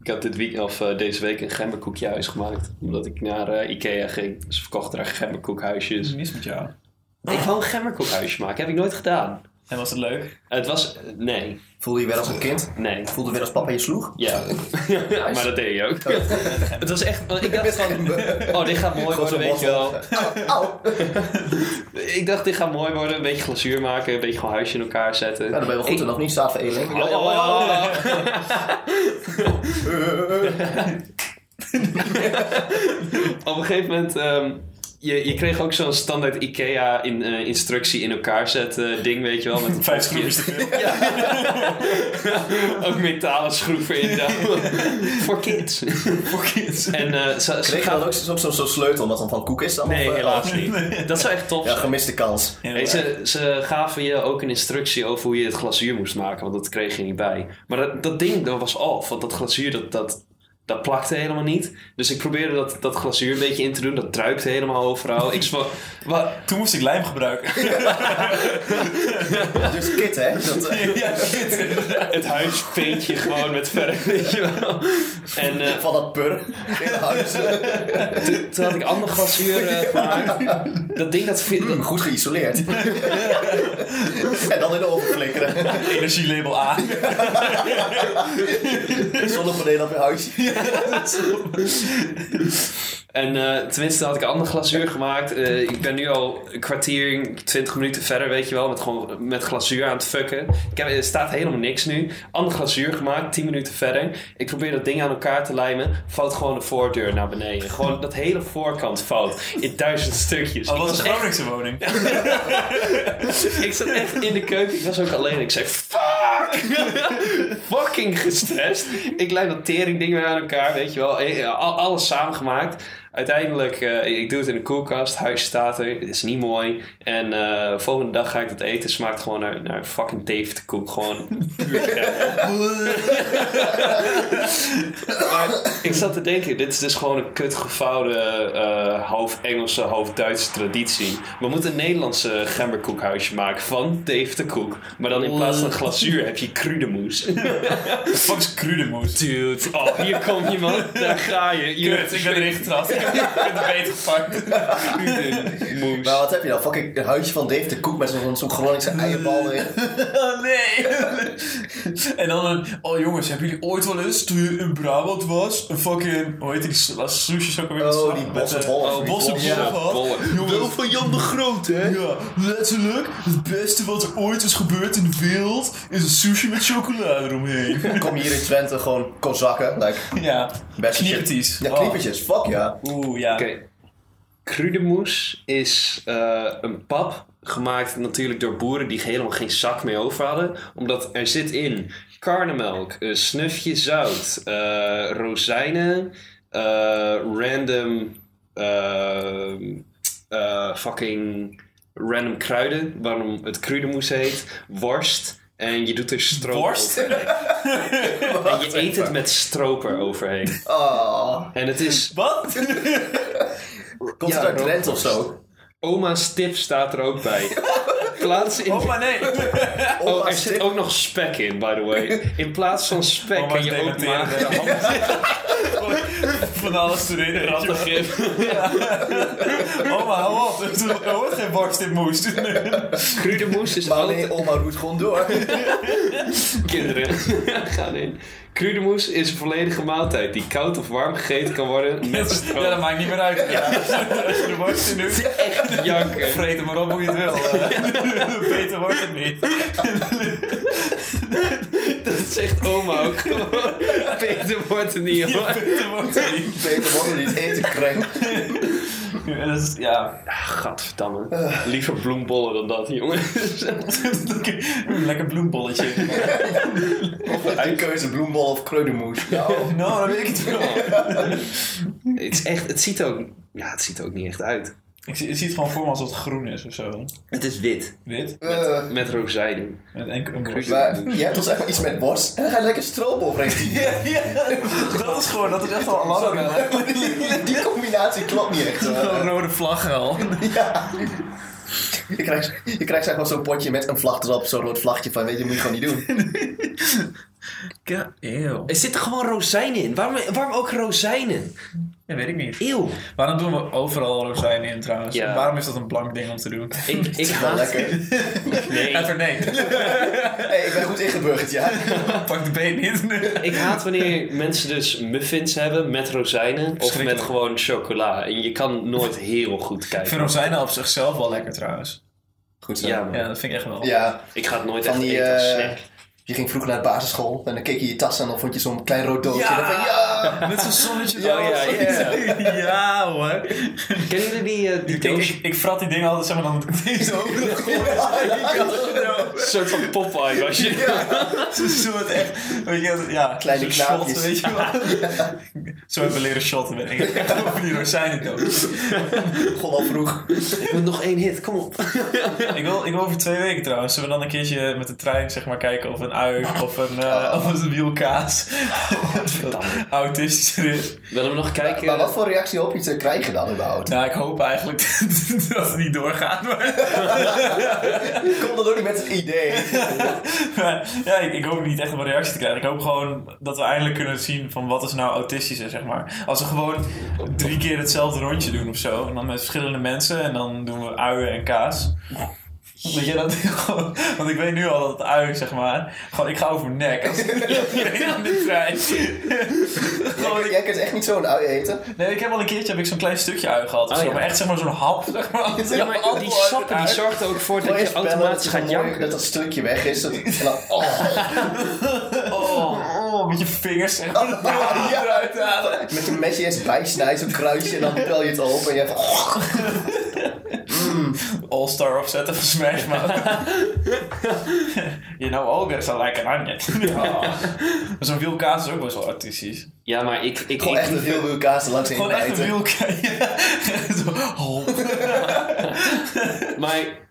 A: ik had dit week, of, eh, deze week een gemberkoekjehuis gemaakt. Omdat ik naar eh, Ikea ging. Ze verkochten daar gemberkoekhuisjes.
B: Is mis met jou?
A: Ik wou een gemberkoekhuisje maken. Heb ik nooit gedaan.
B: En was het leuk?
A: Het was... Nee.
C: Voelde je weer als een kind?
A: Nee.
C: Voelde je weer als papa je sloeg?
A: [laughs] Ja. maar dat deed je ook. [laughs] het was echt...
B: [laughs]
A: want Ik dacht van... [laughs] Oh, dit gaat mooi worden, weet je wel.
C: Au!
A: Ik dacht, dit gaat mooi worden. Een beetje glazuur maken. Een beetje gewoon huisje in elkaar zetten.
C: Ja, dan ben je wel goed en nog niet staat voor één link.
A: Oh, oh, oh, oh. [laughs] Op een gegeven moment, ehm, je, je kreeg ook zo'n standaard IKEA in, eh, instructie in elkaar zetten ding, weet je wel.
C: [laughs]
A: Met een
B: Vijf
A: knopje.
B: schroefjes te veel.
A: Ook metalen schroeven
C: [laughs]
A: in. [laughs] daar. Voor kids. Voor kids. En eh, ze, ze
C: Kreeg je
A: gaan...
C: dan ook zo'n zo, zo'n sleutel wat dan van koek is? Dan,
A: Nee,
C: Of, eh,
A: helaas
C: [laughs]
A: niet. Dat zou echt tof
C: Ja,
A: zijn.
C: gemiste kans.
B: Ja,
A: Hey, ze, ze gaven je ook een instructie over hoe je het glazuur moest maken, want dat kreeg je niet bij. Maar dat, dat ding dat was af, want dat glazuur dat, dat, dat plakte helemaal niet. Dus ik probeerde dat, dat glazuur een beetje in te doen, dat druipte helemaal overal. ik sma- [laughs] wa-
B: Toen moest ik lijm gebruiken.
C: Dus kit, hè? Dat, eh,
B: ja, shit.
A: het huis paint je gewoon met verf, weet je wel. En eh,
C: van dat pur in huis.
A: toen had ik ander glazuur eh, [laughs] gemaakt. Dat ding dat viel,
C: Hmm, [clears throat] Goed geïsoleerd. en dan in de oven
B: [laughs]
C: flikkeren.
B: Energielabel A.
C: Zonnepaneel op je huis.
A: En eh, tenminste had ik een ander glazuur gemaakt. Eh, ik ben nu al een kwartier, twintig minuten verder, weet je wel, met, gewoon, met glazuur aan het fucken. Ik heb, er staat helemaal niks nu. Ander glazuur gemaakt, tien minuten verder. Ik probeer dat ding aan elkaar te lijmen. Valt gewoon de voordeur naar beneden. Gewoon dat hele voorkant fout. In duizend stukjes.
B: Al
A: ik,
B: Oh,
A: was
B: was een
A: echt,
B: Groningse woning.
A: [laughs] ik zat echt in de keuken. Ik was ook alleen. Ik zei, fuck! [laughs] Fucking gestrest. Ik lijm dat tering dingen aan elkaar, weet je wel. Eh, al- Alles samengemaakt. Uiteindelijk, eh, ik doe het in de koelkast. Huis staat er. Het is niet mooi. En eh, volgende dag ga ik dat eten. Smaakt gewoon naar, naar fucking teeftekoek. Gewoon puur gek. Maar ik zat te denken, dit is dus gewoon een kut gevouwen eh, half Engelse, half Duitse traditie. We moeten een Nederlandse gemberkoekhuisje maken van teeftekoek. Maar dan in plaats van glazuur heb je kruidemoes.
B: Fuck is kruidemoes.
A: Dude, oh, hier komt iemand, daar ga je. Je
B: Kut, ik ben erin getrapt. Ik ben er beter gepakt.
A: moes.
C: Maar wat heb je nou? Fucking een huisje van Dave de Koek met zo'n zo'n Groningse eierbal erin.
B: Oh, nee. en dan een... Oh jongens, hebben jullie ooit wel eens, toen je in Brabant was, een fucking... Hoe heet die s- was sushi ook alweer? eh,
C: Oh, die bossen
A: Oh,
C: Holland.
B: Bosse
A: Bosse bollen.
B: Wel van Jan de Groot, hè? Ja, letterlijk. Het beste wat er ooit is gebeurd in de wereld is een sushi met chocolade eromheen.
C: [laughs] Kom je hier in Twente gewoon kozakken. Like,
B: ja,
C: best shit.
B: kniepertjes.
C: Ja, kniepertjes. Fuck ja.
B: Oh, Oeh, ja.
A: Oké. Kruidemoes is eh, een pap gemaakt natuurlijk door boeren die helemaal geen zak meer over hadden. Omdat er zit in karnemelk, eh, snufje zout, eh, rozijnen, eh, random eh, eh, fucking random kruiden, waarom het kruidenmoes heet, worst. En je doet er stroop
B: Worst?
A: overheen. En je eet het met stroop eroverheen.
C: Oh.
A: En het is
B: Wat? [laughs]
C: Komt
A: Ja,
C: het uit
A: rookworst.
C: Drenthe of zo?
A: Oma's tip staat er ook bij.
C: [laughs]
A: Plaats in...
B: Oh, maar nee.
A: oh,
C: Oma's
A: er zit
C: tip.
A: ook nog spek in, by the way. In plaats van spek
B: Oma's
A: kan je ook
B: dementeren
A: maken...
B: bij de hand. Van alles erin,
A: [laughs]
B: ratten. Oma, Oh, hou op. Er hoort geen worst in moest.
A: Kruidenmoes
C: [laughs]
A: is
C: Maar
A: altijd...
C: nee, oma roet gewoon door.
A: Kinderen, [laughs] gaan in. Kruidenmoes is een volledige maaltijd die koud of warm gegeten kan worden met stroop.
B: Ja, dat maakt niet meer uit. [laughs] Als je de worst in doet,
A: Janken.
B: vreet hem maar op hoe je het [laughs] wil. eh. Beter wordt het [laughs] niet.
A: [laughs] Dat zegt oma ook gewoon. [laughs] Peter wordt er niet hoor.
B: Beter wordt het niet.
C: Peter Morgen niet eten krenk.
B: En dat is- Ja,
A: Gadverdamme.
C: Eh.
A: Liever bloembollen dan dat, jongens. [laughs]
B: lekker bloembolletje.
C: Een keuze bloembol of kreudenmoes. Nou,
B: [laughs] Nou, dat weet ik het wel.
A: het, is echt, het, ziet ook, ja, het ziet er ook niet echt uit.
B: Ik zie, ik zie het gewoon voor me als het groen is of zo.
A: Het is wit.
B: Wit.
C: eh,
A: Met rozijnen.
B: Met enkel een worst.
C: maar je hebt ons echt wel iets met bos en dan ga je lekker stroop
B: [laughs]
C: overheen.
B: Ja, ja, dat is gewoon, dat is echt al [laughs] alarm.
C: Sorry, die, [laughs] die combinatie klopt niet echt. eh.
B: rode vlaggen al.
C: Ja. Je krijgt, je krijgt zeg maar zo'n potje met een vlag erop, zo'n rood vlagje van, weet je, moet je gewoon niet
A: [laughs]
C: doen.
B: Ja, eeuw.
A: Er zitten gewoon rozijnen in. Waarom, waarom ook rozijnen?
B: Dat weet ik niet.
A: Eeuw.
B: Waarom doen we overal rozijnen in trouwens?
A: Ja.
B: Waarom is dat een blank ding om te doen?
A: Ik, [laughs] ik
C: Wel
A: haat...
C: lekker.
A: Nee.
B: Even nee,
C: hey, ik ben goed ingeburgerd,
A: [laughs]
C: ja.
B: [laughs] pak de beet niet.
A: Ik haat wanneer mensen dus muffins hebben met rozijnen of met
B: Schrikkelijk.
A: gewoon chocola. En je kan nooit heel goed
B: Ik vind
A: kijken.
B: rozijnen op zichzelf wel lekker trouwens.
C: Goed zo.
A: Ja,
C: Ja.
A: man.
B: Ja, dat vind ik echt wel.
A: Ik ga het nooit
C: Van
A: echt
C: die,
A: eten als
C: eh,
A: snack.
C: Je ging vroeger naar de basisschool en dan keek je je tas aan en dan vond je zo'n klein rood doosje.
B: Ja!
C: En dan van, ja!
B: Met zo'n zonnetje
A: Ja, ja,
B: ja. [laughs] ja hoor.
A: Kennen jullie die, eh, die
B: Ik, ik,
A: doos?
B: ik frat die dingen altijd, zeg maar, dan moet ik deze over de grond.
A: Een soort van Popeye was [laughs] je.
B: Zo'n soort echt, weet je, ja, zo'n
C: Kleine
B: shot,
C: knaapjes.
B: weet je wel. Zo hebben we leren shotten, weet ik. Echt over die rozijnen doos.
C: Gewoon al vroeg.
A: Ik moet nog één hit, kom op.
B: Ik wil, ik wil over twee weken trouwens, zullen we dan een keertje met de trein, zeg maar, kijken of een ui of een, eh, of een wiel kaas autistisch is.
A: Willen we nog kijken?
C: Maar wat voor reactie hoop je te krijgen dan
A: [laughs]
C: überhaupt?
B: Nou, ik hoop eigenlijk [laughs] dat het niet doorgaat, maar...
C: Kom dan ook niet met een
A: [laughs]
C: idee.
B: Maar [laughs] ja, ik, ik hoop niet echt om een reactie te krijgen. Ik hoop gewoon dat we eindelijk kunnen zien van wat is nou autistisch is, zeg maar. Als we gewoon drie keer hetzelfde rondje doen of zo. En dan met verschillende mensen. En dan doen we uien en kaas. Weet je dat? [laughs] gewoon- Want ik weet nu al dat het ui, zeg maar. Gewoon, ik ga over mijn
A: [laughs]
B: nek. Als ik [laughs] weet aan de trein. gewoon, ik-
C: Jij kunt echt niet zo'n ui eten.
B: nee, ik heb al een keertje heb ik zo'n klein stukje ui gehad. Of
A: Ah,
B: zo,
A: ja.
B: Maar echt zeg maar zo'n hap, zeg maar.
C: Ja, maar
A: Al die sappen die zorgt er ook voor dat je
C: Eerst bellen,
A: automatisch
C: dat
A: gaat
C: het mooi-
A: janken.
C: Dat dat stukje weg is. dat- en dan-
A: [laughs]
C: oh,
B: Oh, met je vingers
A: [laughs]
B: zeg maar.
C: ja.
B: eruit halen.
C: met een mesje eerst bijsnijden, zo'n kruisje en dan pel je het op en je hebt van, oh,
B: All-Star opzetten van Smash
A: [laughs]
B: Mouth. you know, ogres are like an
A: [laughs]
B: onion. Maar zo'n wielkaas is ook best wel artistisch.
A: Ja, maar ik... ik,
C: gewoon
A: ik-
C: echt een heel veel kaas er langs heen
B: Gewoon echt een [laughs]
C: bijten.
B: wielkaas. Zo,
A: [laughs]
B: oh.
A: Maar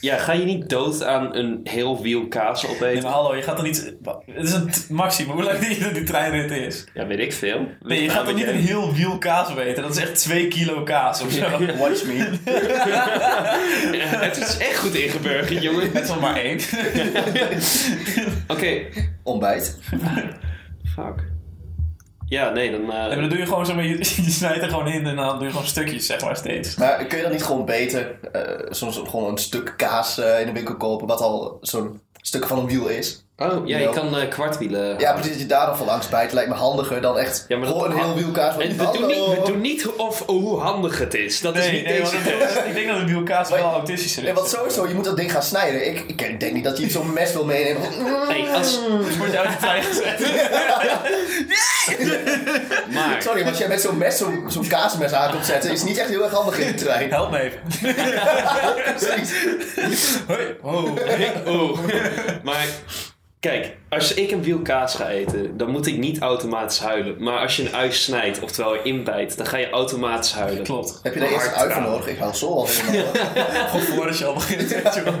A: ja, ga je niet dood aan een heel wiel kaas
B: Nee, maar
A: opeten?
B: hallo, je gaat dan niet... Het is een t- maximum, hoe lang die, [laughs] die treinrit is.
A: Ja, weet ik veel.
B: Nee, je gaat dan niet een heel wiel kaas weten. Dat is echt 2 kilo kaas of
A: [laughs]
B: zo.
C: Watch me.
A: Het is echt goed ingeburgerd, jongen.
B: Het is nog maar
A: [laughs]
B: één.
A: Oké.
C: Ontbijt.
A: Fuck. Ja, nee, dan... eh,
B: En dan doe je gewoon, zeg maar, je, [laughs] je snijdt er gewoon in en dan doe je gewoon stukjes, zeg maar, steeds.
C: Maar kun je dan niet gewoon beter eh, soms gewoon een stuk kaas eh, in de winkel kopen, wat al zo'n stuk van een wiel is?
A: Oh, ja, je
C: Ja.
A: kan eh, kwartwielen.
C: Ja, precies, dat je daar dan van langs bijt lijkt me handiger dan echt
A: Ja, maar dat-
C: gewoon een heel wielkaart van
A: En Eh, we
C: iemand.
A: doen, niet, we
C: Hallo.
A: doen niet of hoe handig het is. Dat is
B: Nee,
A: niet
B: nee, want
A: deze
B: het- ik denk dat de wielkaas wel autistischer is.
C: Nee, want sowieso, je moet dat ding gaan snijden. Ik, ik denk niet dat je iets zo'n mes wil meenemen.
A: Hey, als,
B: Dus word je uit de trein gezet.
A: maar,
C: Sorry, want als jij met zo'n mes zo'n zo'n kaasmes aan komt zetten, is niet echt heel erg handig in de trein.
B: Help me even.
C: Precies.
B: Hoi. Oh.
A: oh, maar kijk, als ik een wiel kaas ga eten, dan moet ik niet automatisch huilen. Maar als je een ui snijdt, oftewel je inbijt, dan ga je automatisch huilen.
B: Klopt.
C: Heb je daar eerst een uit voor nodig? Ik hou zo al helemaal.
B: Gewoon voordat je al begint te doen.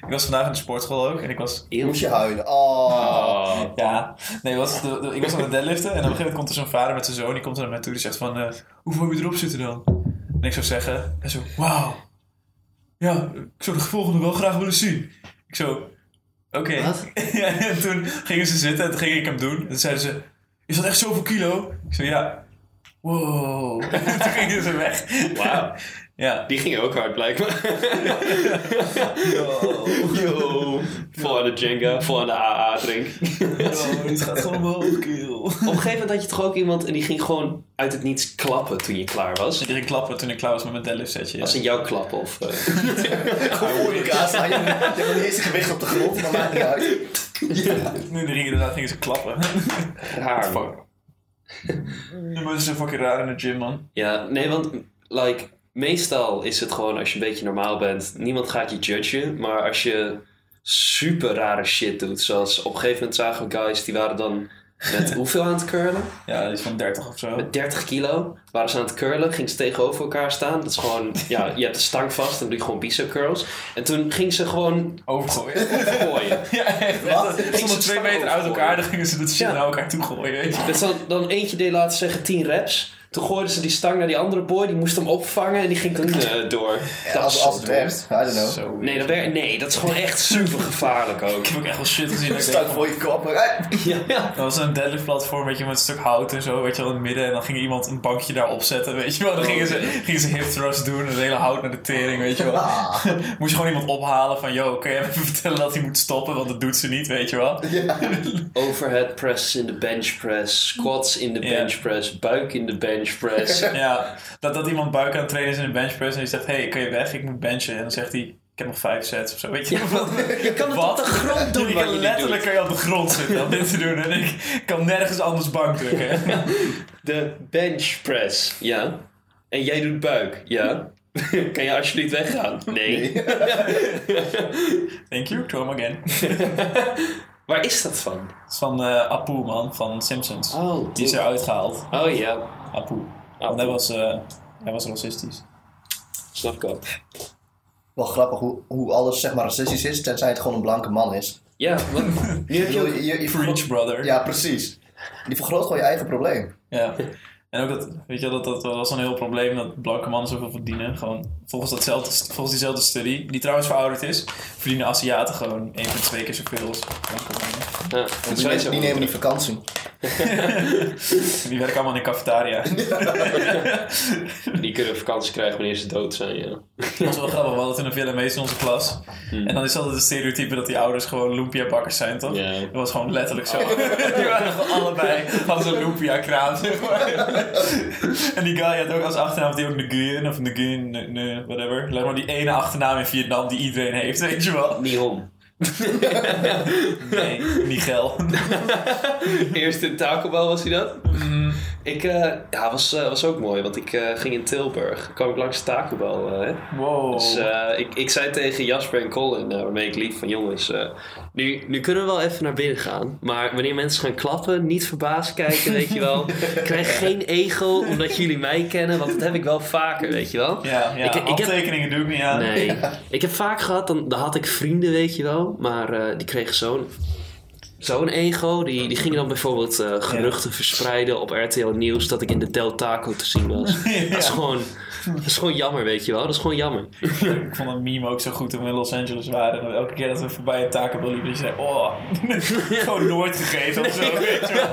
B: Ik was vandaag in de sportschool ook en ik was
C: Moest je huilen. Oh.
A: Oh.
B: Ja, nee, wat, de, de- ik was aan het deadliften en op een gegeven moment komt er zo'n vader met zijn zoon. Die komt er naar mij toe die zegt van, eh, hoeveel heb je erop zitten dan? En ik zou zeggen, en zo, wauw. Ja, ik zou de volgende wel graag willen zien. Ik zo, oké.
A: Wat?
B: [laughs] Ja, en toen gingen ze zitten en toen ging ik hem doen. En toen zeiden ze, is dat echt zoveel kilo? Ik zo, ja. Wow. [laughs] En toen gingen ze weg.
A: Wauw.
B: Ja.
A: Die ging ook hard, blijkbaar. Yo. Vol aan de Jenga, vol aan de AA-drink.
B: het Oh, gaat gewoon omhoog,
A: [laughs]
B: kilo.
A: Op een gegeven moment had je toch ook iemand en die ging gewoon uit het niets klappen toen je klaar was?
B: Ik ging klappen toen ik klaar was met mijn deadlift setje. ja.
A: Als in jouw klap of... [laughs] eh,
C: Gewoon voor je kaas. aan. Je je hebt nog niet eens een gewicht op de grond, maar maakt niet uit.
B: Nu gingen inderdaad gingen ze klappen.
A: raar.
B: Die mensen zijn fucking raar in de gym, man.
A: Ja, nee, want like, meestal is het gewoon als je een beetje normaal bent, niemand gaat je judgen. Maar als je super rare shit doet, zoals op een gegeven moment zagen we guys die waren dan [laughs] met hoeveel aan het curlen?
B: Ja, die is van 30 of zo.
A: Met 30 kilo waren ze aan het curlen, gingen ze tegenover elkaar staan. Dat is gewoon, ja, je hebt de stang vast en dan doe je gewoon bicep curls. En toen ging ze gewoon
B: Overgooien.
A: gooien.
B: ja, echt.
C: Wat?
B: Ze stonden twee meter uit elkaar, dan gingen ze dat shit
A: Ja.
B: naar elkaar toe gooien. weet je.
A: Dus dan, dan eentje deed laten zeggen 10 reps. Toen gooiden ze die stang naar die andere boy, die moest hem opvangen en die ging toen eh, door.
C: Ja,
A: Dat
C: als,
A: is
C: als
A: zo
C: het
A: dom.
C: werkt, I don't know.
B: Zo.
A: Nee, dat, wer- nee, dat is gewoon echt super gevaarlijk
C: [laughs]
A: ook.
B: Ik heb ook echt wel shit gezien. dat ik
C: Staat
B: denk,
C: voor je kop. maar, eh,
A: Ja.
B: dat was een deadlift platform, weet je, met een stuk hout en zo, weet je wel, in het midden. En dan ging iemand een bankje daarop zetten, weet je wel. Dan gingen ze, gingen ze hip thrust doen, het hele hout naar de tering, weet je wel.
C: Ah.
B: [laughs] Moest je gewoon iemand ophalen van, yo, kun je even [laughs] vertellen dat hij moet stoppen, want dat doet ze niet, weet je wel.
A: Overhead press in de bench press, squats in de
B: Ja.
A: bench press, buik in de bench
C: [laughs]
A: press.
B: Ja, dat, dat iemand buik aan het trainen is in een benchpress en die zegt, hey, kun je weg? Ik moet benchen. En dan zegt hij, ik heb nog vijf sets of zo. Weet je,
A: Je kan het
B: Wat?
A: op de grond doen
B: [laughs] je
A: waar je
B: kan
A: dit
B: letterlijk
A: doet.
B: kan je op de grond zitten om dit te doen. En ik kan nergens anders bank drukken. [laughs]
A: De bench press, ja. En jij doet buik, ja. [laughs] kan je alsjeblieft weggaan? Nee.
B: Thank you, Tom again. Het
A: Waar is dat van?
B: is van eh Apu, man, van Simpsons.
A: Oh,
B: Die is eruit gehaald.
A: Oh ja,
B: Apu. Want hij was, eh, hij was racistisch.
A: snap ik ook.
C: Wel grappig hoe, hoe alles zeg maar racistisch is, tenzij het gewoon een blanke man is.
A: Ja, want nu heb
C: Ik
A: je
C: bedoel,
A: ook-
C: je- je- je
B: Preach, brother.
C: Ja, precies. Je vergroot gewoon je eigen probleem.
B: Ja. [laughs] En ook dat, weet je, wel, dat, dat was een heel probleem dat blanke mannen zoveel verdienen. Gewoon volgens, datzelfde, volgens diezelfde studie, die trouwens verouderd is, verdienen Aziaten gewoon 1 tot 2 keer zoveel als blanke mannen.
A: Ja, dat zijn
C: Die, nemen-
A: ze
C: die
A: wel.
C: nemen die vakantie.
B: En Die werken allemaal in de cafetaria.
A: Die kunnen vakantie krijgen wanneer ze dood zijn, ja.
B: Dat is wel grappig, we hadden toen een Vietnamees in onze klas. En dan is altijd het stereotype dat die ouders gewoon lumpia-bakkers zijn, toch?
A: Ja.
B: Dat was gewoon letterlijk zo. [laughs] Die waren gewoon allebei, hadden zo'n lumpia-kraam, zeg maar. [laughs] en die guy had ook als achternaam, had die ook Nguyen of Nguyen, N- N- whatever. Lijkt maar die ene achternaam in Vietnam die iedereen heeft, weet je wel.
A: Nihon.
B: Nee, Miguel.
A: [laughs] Eerst in Taco Bell was hij dat. Ik, eh, ja, was, eh, was ook mooi, want ik eh, ging in Tilburg. kwam ik langs Taco Bell. eh, hè.
B: Oh, Wow.
A: Dus eh, ik, ik zei tegen Jasper en Colin, eh, waarmee ik liep, van jongens, eh, nu, nu kunnen we wel even naar binnen gaan. Maar wanneer mensen gaan klappen, niet verbaasd kijken, weet je
B: [laughs]
A: wel. Ik Krijg geen egel omdat jullie mij kennen, want dat heb ik wel vaker, weet je wel.
B: ja, ja.
A: Ik- ik heb-
B: handtekeningen doe ik niet aan.
A: Nee. Ik heb vaak gehad, dan, dan had ik vrienden, weet je wel. Maar eh, die kregen zo'n Zo'n ego, die, die ging dan bijvoorbeeld eh, geruchten verspreiden op RTL Nieuws dat ik in de Del Taco te zien
B: [laughs]
A: was. dat, is gewoon, dat is gewoon jammer, weet je wel. Dat is gewoon jammer.
B: [laughs] Ik vond dat meme ook zo goed toen we in Los Angeles waren. En elke keer dat we voorbij een taco liepen, die zei: Oh, gewoon nooit gegeten of zo. Weet je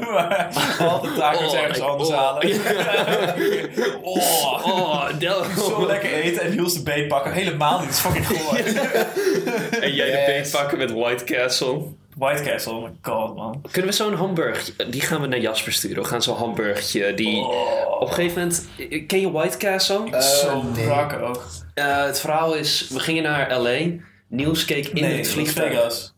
B: wel. maar altijd tacos
A: Oh,
B: ergens
A: ik-
B: anders
A: oh.
B: halen. [laughs] oh,
A: Oh, Del
B: zo lekker eten en Niels de B pakken. Helemaal niet, dat is fucking goor.
A: En jij
C: Yes.
A: de beet pakken met White Castle.
B: White Castle, oh my god man.
A: Kunnen we zo'n hamburgertje... Die gaan we naar Jasper sturen. We gaan zo'n hamburgertje die... Op een gegeven moment... eh, Ken je White Castle?
B: zo
C: nee.
B: brak ook.
A: Eh, het verhaal is... We gingen naar L.A. Niels keek in
B: Nee,
A: het
B: Las
A: vliegtuig.
B: Vegas.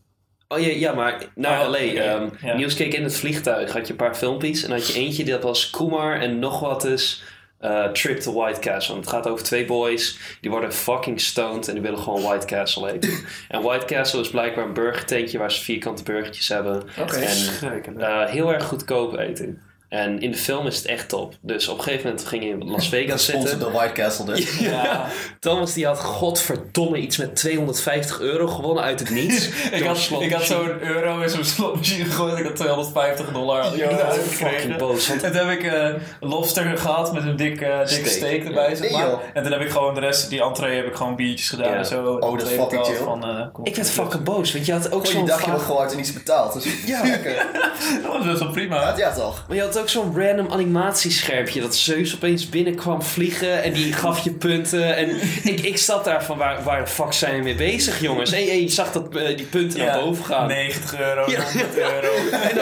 A: Oh ja, ja, maar naar
B: Oh,
A: L.A.
B: oké,
A: ehm,
B: ja.
A: Niels keek in het vliegtuig. Had je een paar filmpjes. En had je eentje, dat was Kumar en nog wat is... eh, trip to White Castle. Want het gaat over twee boys. Die worden fucking stoned. En die willen gewoon White Castle eten.
B: [laughs]
A: en White Castle is blijkbaar een burgertentje. Waar ze vierkante burgertjes hebben. En
B: Schrikkelijk.
A: eh, heel erg goedkoop eten. En in de film is het echt top. Dus op een gegeven moment ging je in
B: [laughs]
A: Las
C: Dat
A: Vegas
C: sponsort
A: zitten.
C: de White Castle dus.
B: Ja.
A: Thomas die had godverdomme iets met 250 euro gewonnen uit het niets.
B: [laughs] Ik
A: Door
B: had,
A: slot-
B: ik had zo'n euro in zo'n slotmachine gegooid. Ik had 250 dollar. had ik
C: Ja,
B: eruit
C: dat is
B: gekregen.
A: fucking boos, want-
B: En toen heb ik eh, lobster gehad met een dik, eh, dikke
A: Steak.
B: steak erbij. Zeg
C: Nee,
B: maar.
C: joh.
B: en toen heb ik gewoon de rest, die entree, heb ik gewoon biertjes gedaan.
A: Ja. Oh,
B: En zo.
C: dat
B: En
C: is
B: toen
C: fucking
B: heb ik
C: chill.
B: wel van, eh, kom op.
A: Ik werd fucking boos, want je had ook
C: Gewoon je
A: zo'n
C: dagje
A: va-
C: wat gehoord en iets betaald. Dus ja, lekker.
B: [laughs] Dat was best wel prima.
C: Ja, toch?
A: maar je had ook zo'n random animatieschermpje dat Zeus opeens binnenkwam vliegen en die gaf je punten.
B: [laughs]
A: En ik, ik zat daar van waar, waar de fuck zijn we mee bezig jongens? En, en je zag dat eh, die punten naar boven gaan.
B: 90 euro,
A: Ja.
B: 100 euro.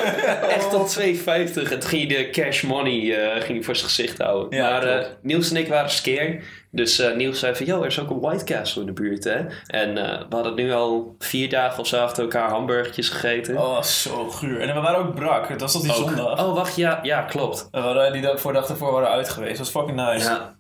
B: [laughs]
A: Echt tot 2,50. En toen ging hij de cash money eh, ging hij voor zijn gezicht houden.
B: Ja,
A: maar eh,
B: klopt.
A: Niels en ik waren scared. Dus eh, Niels zei van, yo, er is ook een White Castle in de buurt, hè. En eh, we hadden nu al vier dagen of zo achter elkaar hamburgertjes gegeten.
B: Oh, zo guur. En we waren ook brak. Het was tot die
A: Ook.
B: zondag.
A: Oh, wacht, ja, ja klopt.
B: We waren die dag voor dag ervoor waren uit geweest. Dat was fucking nice.
A: Ja.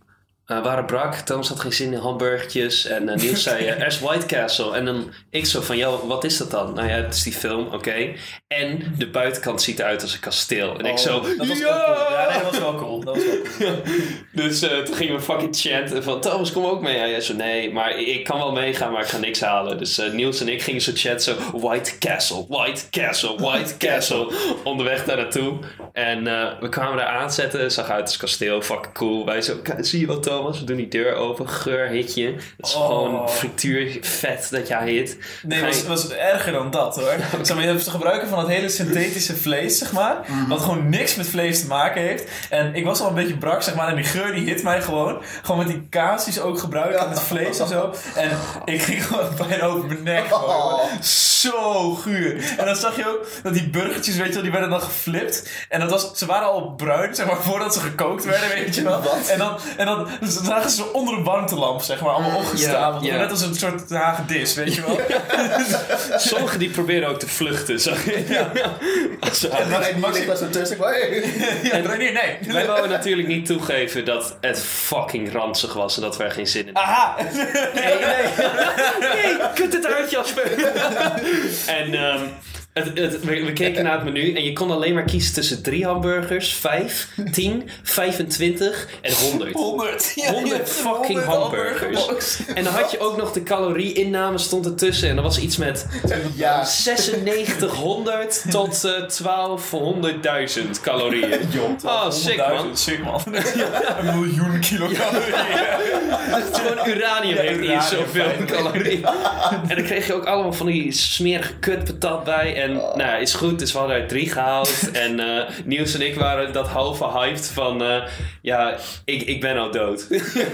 A: Eh, we waren brak, Thomas had geen zin in hamburgertjes. En eh, Niels zei, eh, er is White Castle. En dan ik zo van, yo, wat is dat dan? Nou ja, het is die film, oké. En de buitenkant ziet eruit als een kasteel. En ik zo,
B: Oh, dat was
A: ja!
B: wel cool. Ja, nee, dat was wel cool. Dat was wel cool.
A: Dus eh, toen gingen we fucking chanten van Thomas kom ook mee. Ja, jij zo nee, maar ik- ik kan wel meegaan, maar ik ga niks halen. Dus eh, Niels en ik gingen zo chatten zo White Castle, White Castle, [laughs] White Castle. Onderweg daar naartoe. En eh, we kwamen daar aanzetten, zag uit als kasteel, fucking cool. Wij zo, "Kijk, zie je wel Thomas? We doen die deur open, geur hit je. Dat is
B: Oh.
A: gewoon frituurvet dat jij hit.
B: Nee,
A: Ga
B: het
A: je-
B: was, was erger dan dat hoor. Zeg maar, je hebt het gebruiken van het hele synthetische vlees, zeg maar. Wat gewoon niks met vlees te maken heeft. En ik was al een beetje brak, zeg maar. En die geur die hit mij gewoon. Gewoon met die kaas die ze ook gebruiken. En het vlees en zo. En ik ging gewoon [laughs] bijna over mijn nek. gewoon.
C: Oh.
B: Zo guur. En dan zag je ook dat die burgertjes, weet je wel, die werden dan geflipt. En dat was, ze waren al bruin, zeg maar, voordat ze gekookt werden, weet je wel.
C: Wat?
B: En dan, en dan dus dan zagen ze onder een warmtelamp, zeg maar, allemaal opgestapeld.
A: ja.
B: Net als een soort hagedis, weet je wel.
A: Sommigen die proberen ook te vluchten, [laughs] zag je. Als ze-
C: En dan
B: Maxi-
C: ik was zo tussen. Maar, hey.
B: Ja, nee, nee.
A: Wij wouden natuurlijk niet toegeven dat het fucking ranzig was en dat we er geen zin in hadden.
B: Aha!
A: Nee, nee. Nee, kut het uit, Jasper. en ehm, het, het- we, we keken naar het menu en je kon alleen maar kiezen tussen drie hamburgers, vijf, tien, 25 en 100.
B: 100. Ja,
A: 100 fucking hamburgers. En dan had je ook nog de calorie-inname stond ertussen. En dat was iets met
C: Ja,
A: 9600 tot eh 1200.000 calorieën. Oh, sick man.
B: Sick man. Een miljoen kilocalorieën.
A: Gewoon uranium heeft
B: uranium,
A: niet zoveel calorieën. En dan kreeg je ook allemaal van die smerige kutpatat bij. En
B: Oh.
A: nou ja, is goed, dus we hadden er drie gehaald. [laughs] en eh, Niels en ik waren dat halve hyped van... eh, ja, ik, ik ben al dood.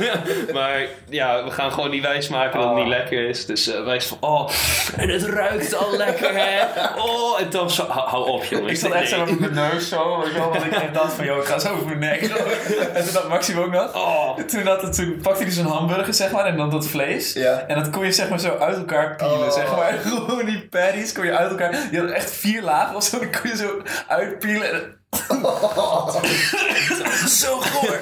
A: [laughs] maar ja, we gaan gewoon niet wijsmaken dat het
B: Oh.
A: niet lekker is. Dus eh, wij zo van... Oh, en het ruikt al lekker, hè? Oh, en dan zo... "Hou- Hou op, jongens.
B: Ik zat
A: Nee.
B: echt zo met mijn neus zo, weet je wel, want ik echt dacht van, joh, ik ga zo over mijn nek. En toen had Maxime ook nog.
A: Oh,
B: Toen, had het, toen pakte hij zo'n hamburger, zeg maar, en dan dat vlees.
C: Ja.
B: En dat kon je, zeg maar, zo uit elkaar pielen,
C: Oh.
B: zeg [laughs] maar. Gewoon die patties kon je uit elkaar... Je had echt vier lagen of zo, die kon je zo uitpielen. En [laughs] Zo goor.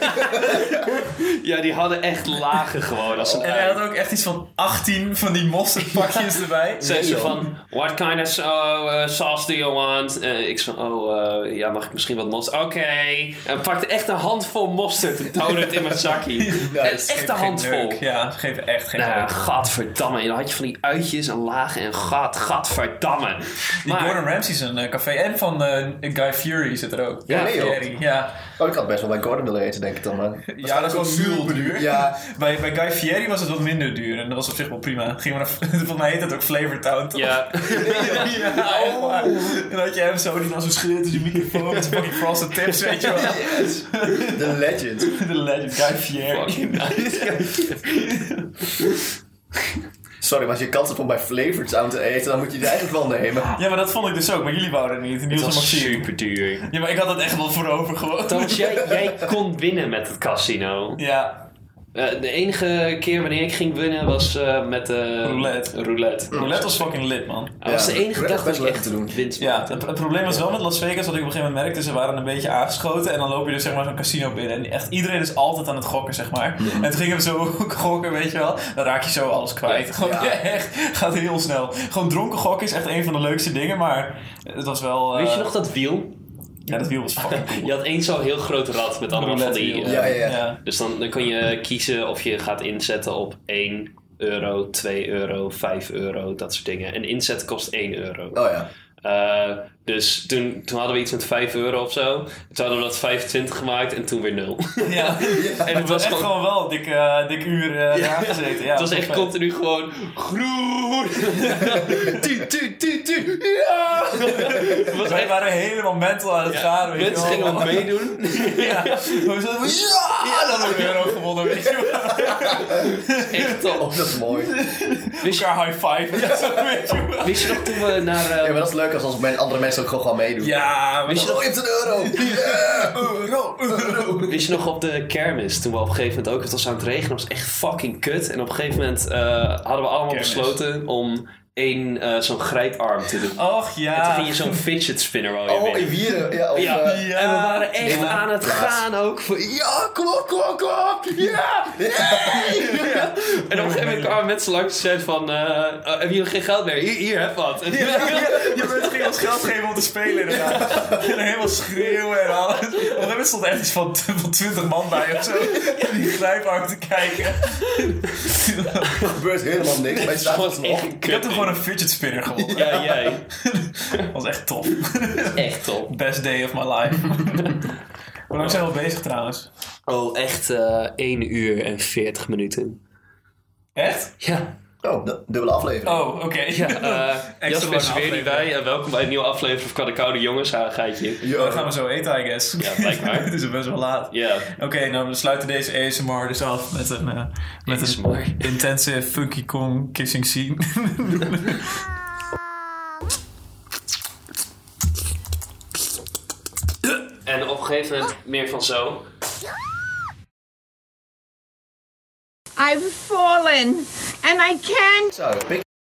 A: Ja, die hadden echt lagen gewoon als een
B: En hij had ook echt iets van 18 van die
A: [laughs]
B: mosterdpakjes erbij.
A: Zei ze van, what kind of uh, uh, sauce do you want? Eh, ik van, oh, eh, ja, mag ik misschien wat mosterd? Oké. En pakte echt een handvol mosterd en duwde het in mijn zakje. En echt
B: Geef
A: een
B: geen
A: handvol.
B: neuk. Ja, geef echt geen
A: Nou,
B: neuk.
A: gadverdamme. En dan had je van die uitjes en lagen en gat, gadverdamme.
B: Die Gordon Ramsay's een eh, café. En van eh, Guy Fury zit er ook.
A: Ja,
C: nee, joh.
B: Fieri, ja.
C: Oh, ik had best wel bij Gordon willen eten, denk ik dan. Maar.
B: ja, dat was
C: gewoon
B: super duur.
C: Ja.
B: [laughs] Bij, bij Guy Fieri was het wat minder duur. En dat was op zich wel prima. Ging maar naar, [laughs] volgens mij heet het ook Flavortown, toch?
A: Ja,
B: [laughs]
A: [laughs]
B: Ja, echt waar. En dan had je hem zo, die was zo schreeuwt in zijn microfoon. Met zijn fucking frosted tips, weet je wel.
C: Yes. The legend.
B: [laughs] De legend Guy Fieri.
C: Sorry, maar als je kans hebt om bij Flavored Sound te eten, dan moet je die eigenlijk wel nemen.
B: Ja, maar dat vond ik dus ook. Maar jullie wouden het niet. Niels
A: het
B: en
A: was
B: Maxime.
A: super duur.
B: Ja, maar ik had het echt wel voor over gewoon.
A: Thomas, jij, jij kon winnen met het casino.
B: Ja,
A: Eh, de enige keer wanneer ik ging winnen was eh, met eh,
B: Roulette.
A: roulette.
B: roulette was fucking lit, man.
A: Dat was
C: Ja,
A: de enige
C: roulette
A: dag dat
C: is
A: ik
C: leuk te
A: echt
C: doen.
A: winst
B: Ja, het, het probleem was wel met Las Vegas, wat ik op een gegeven moment merkte, ze waren een beetje aangeschoten en dan loop je dus zeg maar zo'n casino binnen en echt iedereen is altijd aan het gokken, zeg maar. En toen gingen we zo [laughs] gokken, weet je wel, dan raak je zo alles kwijt. Gewoon [laughs]
C: Ja.
B: ja, echt, gaat heel snel. Gewoon dronken gokken is echt een van de leukste dingen, maar het was wel... eh,
A: Weet je nog dat wiel?
B: Ja, dat wiel was fucking
A: [laughs]
B: cool.
A: Je had één zo'n heel groot rad met allemaal van die...
B: Roulette
A: eh,
C: Ja, ja, ja.
A: Dus dan, dan kon je kiezen of je gaat inzetten op 1 euro, 2 euro, 5 euro, dat soort dingen. En inzetten kost 1 euro.
C: Oh ja.
A: Eh, dus toen, toen hadden we iets met 5 euro of zo. Toen hadden we dat 25 gemaakt en toen weer 0. [laughs]
B: Ja.
A: en
B: Het was echt gewoon, wel een dik, eh, dik uur eh eraan gezeten. Ja,
A: het was echt
B: vet.
A: continu gewoon
B: [laughs]
A: groen.
C: Tu, tu, tu, tu.
A: Het was
B: Wij
A: echt,
B: waren helemaal mental aan het gaan, weet je
A: mensen
B: wel.
A: gingen wat meedoen.
B: [laughs] Ja, we zaten van, ja, dan hebben we een euro gewonnen, weet je wel.
A: Echt top.
C: Oh, dat is mooi.
A: Wist je,
B: Elkaar high five, ja, zo, weet je wel.
A: wist je nog toen we naar... eh,
C: Ja, maar dat is leuk als, als men- andere mensen ook gewoon gaan meedoen.
B: Ja, weet
A: wist,
B: je
A: je nog,
C: Oh, je hebt een euro! Yeah, euro, euro.
A: wist je nog op de kermis, toen we op een gegeven moment ook... Het was aan het regenen, het was echt fucking kut. En op een gegeven moment eh, hadden we allemaal
B: Kermis.
A: besloten om één eh, zo'n grijparm te doen.
B: Och
A: En toen
B: Oh, ja.
A: ging je zo'n fidget spinner wel weer
C: Oh, in
A: binnen.
C: Wieren. Ja, of,
A: Ja.
C: eh,
B: Ja.
A: En we waren echt
C: Ja.
A: aan het gaan ook. Van,
C: ja, kom op, kom op, kom op! Ja! Yeah.
A: En op een gegeven moment kwamen mensen langs en zeiden van... eh, oh, hebben jullie geen geld meer? Hier, hier heb wat. En-
B: Je bent ging ons geld geven om te spelen inderdaad. En dan helemaal schreeuwen en alles. Op een gegeven moment stond echt iets van, van 20 man bij of zo. Die grijparm te kijken.
C: Er gebeurt helemaal niks, maar je staat
A: Dat was echt
C: alsnog.
A: een
B: Ik heb toen
A: kut.
B: gewoon een fidget spinner gewonnen.
A: Ja, jij.
B: Dat was echt tof.
A: Echt top.
B: Best day of my [laughs] life. Hoe lang zijn we al bezig trouwens?
A: Oh, echt eh 1 uur en 40 minuten.
B: Echt?
A: Ja.
C: Oh, du- dubbele aflevering.
B: Oh, oké.
A: ja
B: [laughs]
A: eh Jasper
B: lange
A: is er weer niet
B: aflevering.
A: bij. en welkom bij een nieuwe aflevering van de Koude Jongens Haagheidje.
C: Ja,
B: Oh, Dan gaan we zo eten, I guess.
A: Ja,
B: [laughs]
A: blijkbaar.
B: Het is best wel laat.
A: Ja.
B: Oké, nou we sluiten deze ASMR dus af met een, eh, met
A: ASMR.
B: een intense Funky Kong kissing scene. [laughs]
A: En op een gegeven moment meer van zo.
D: I've fallen, and I can't
C: Zo, pik.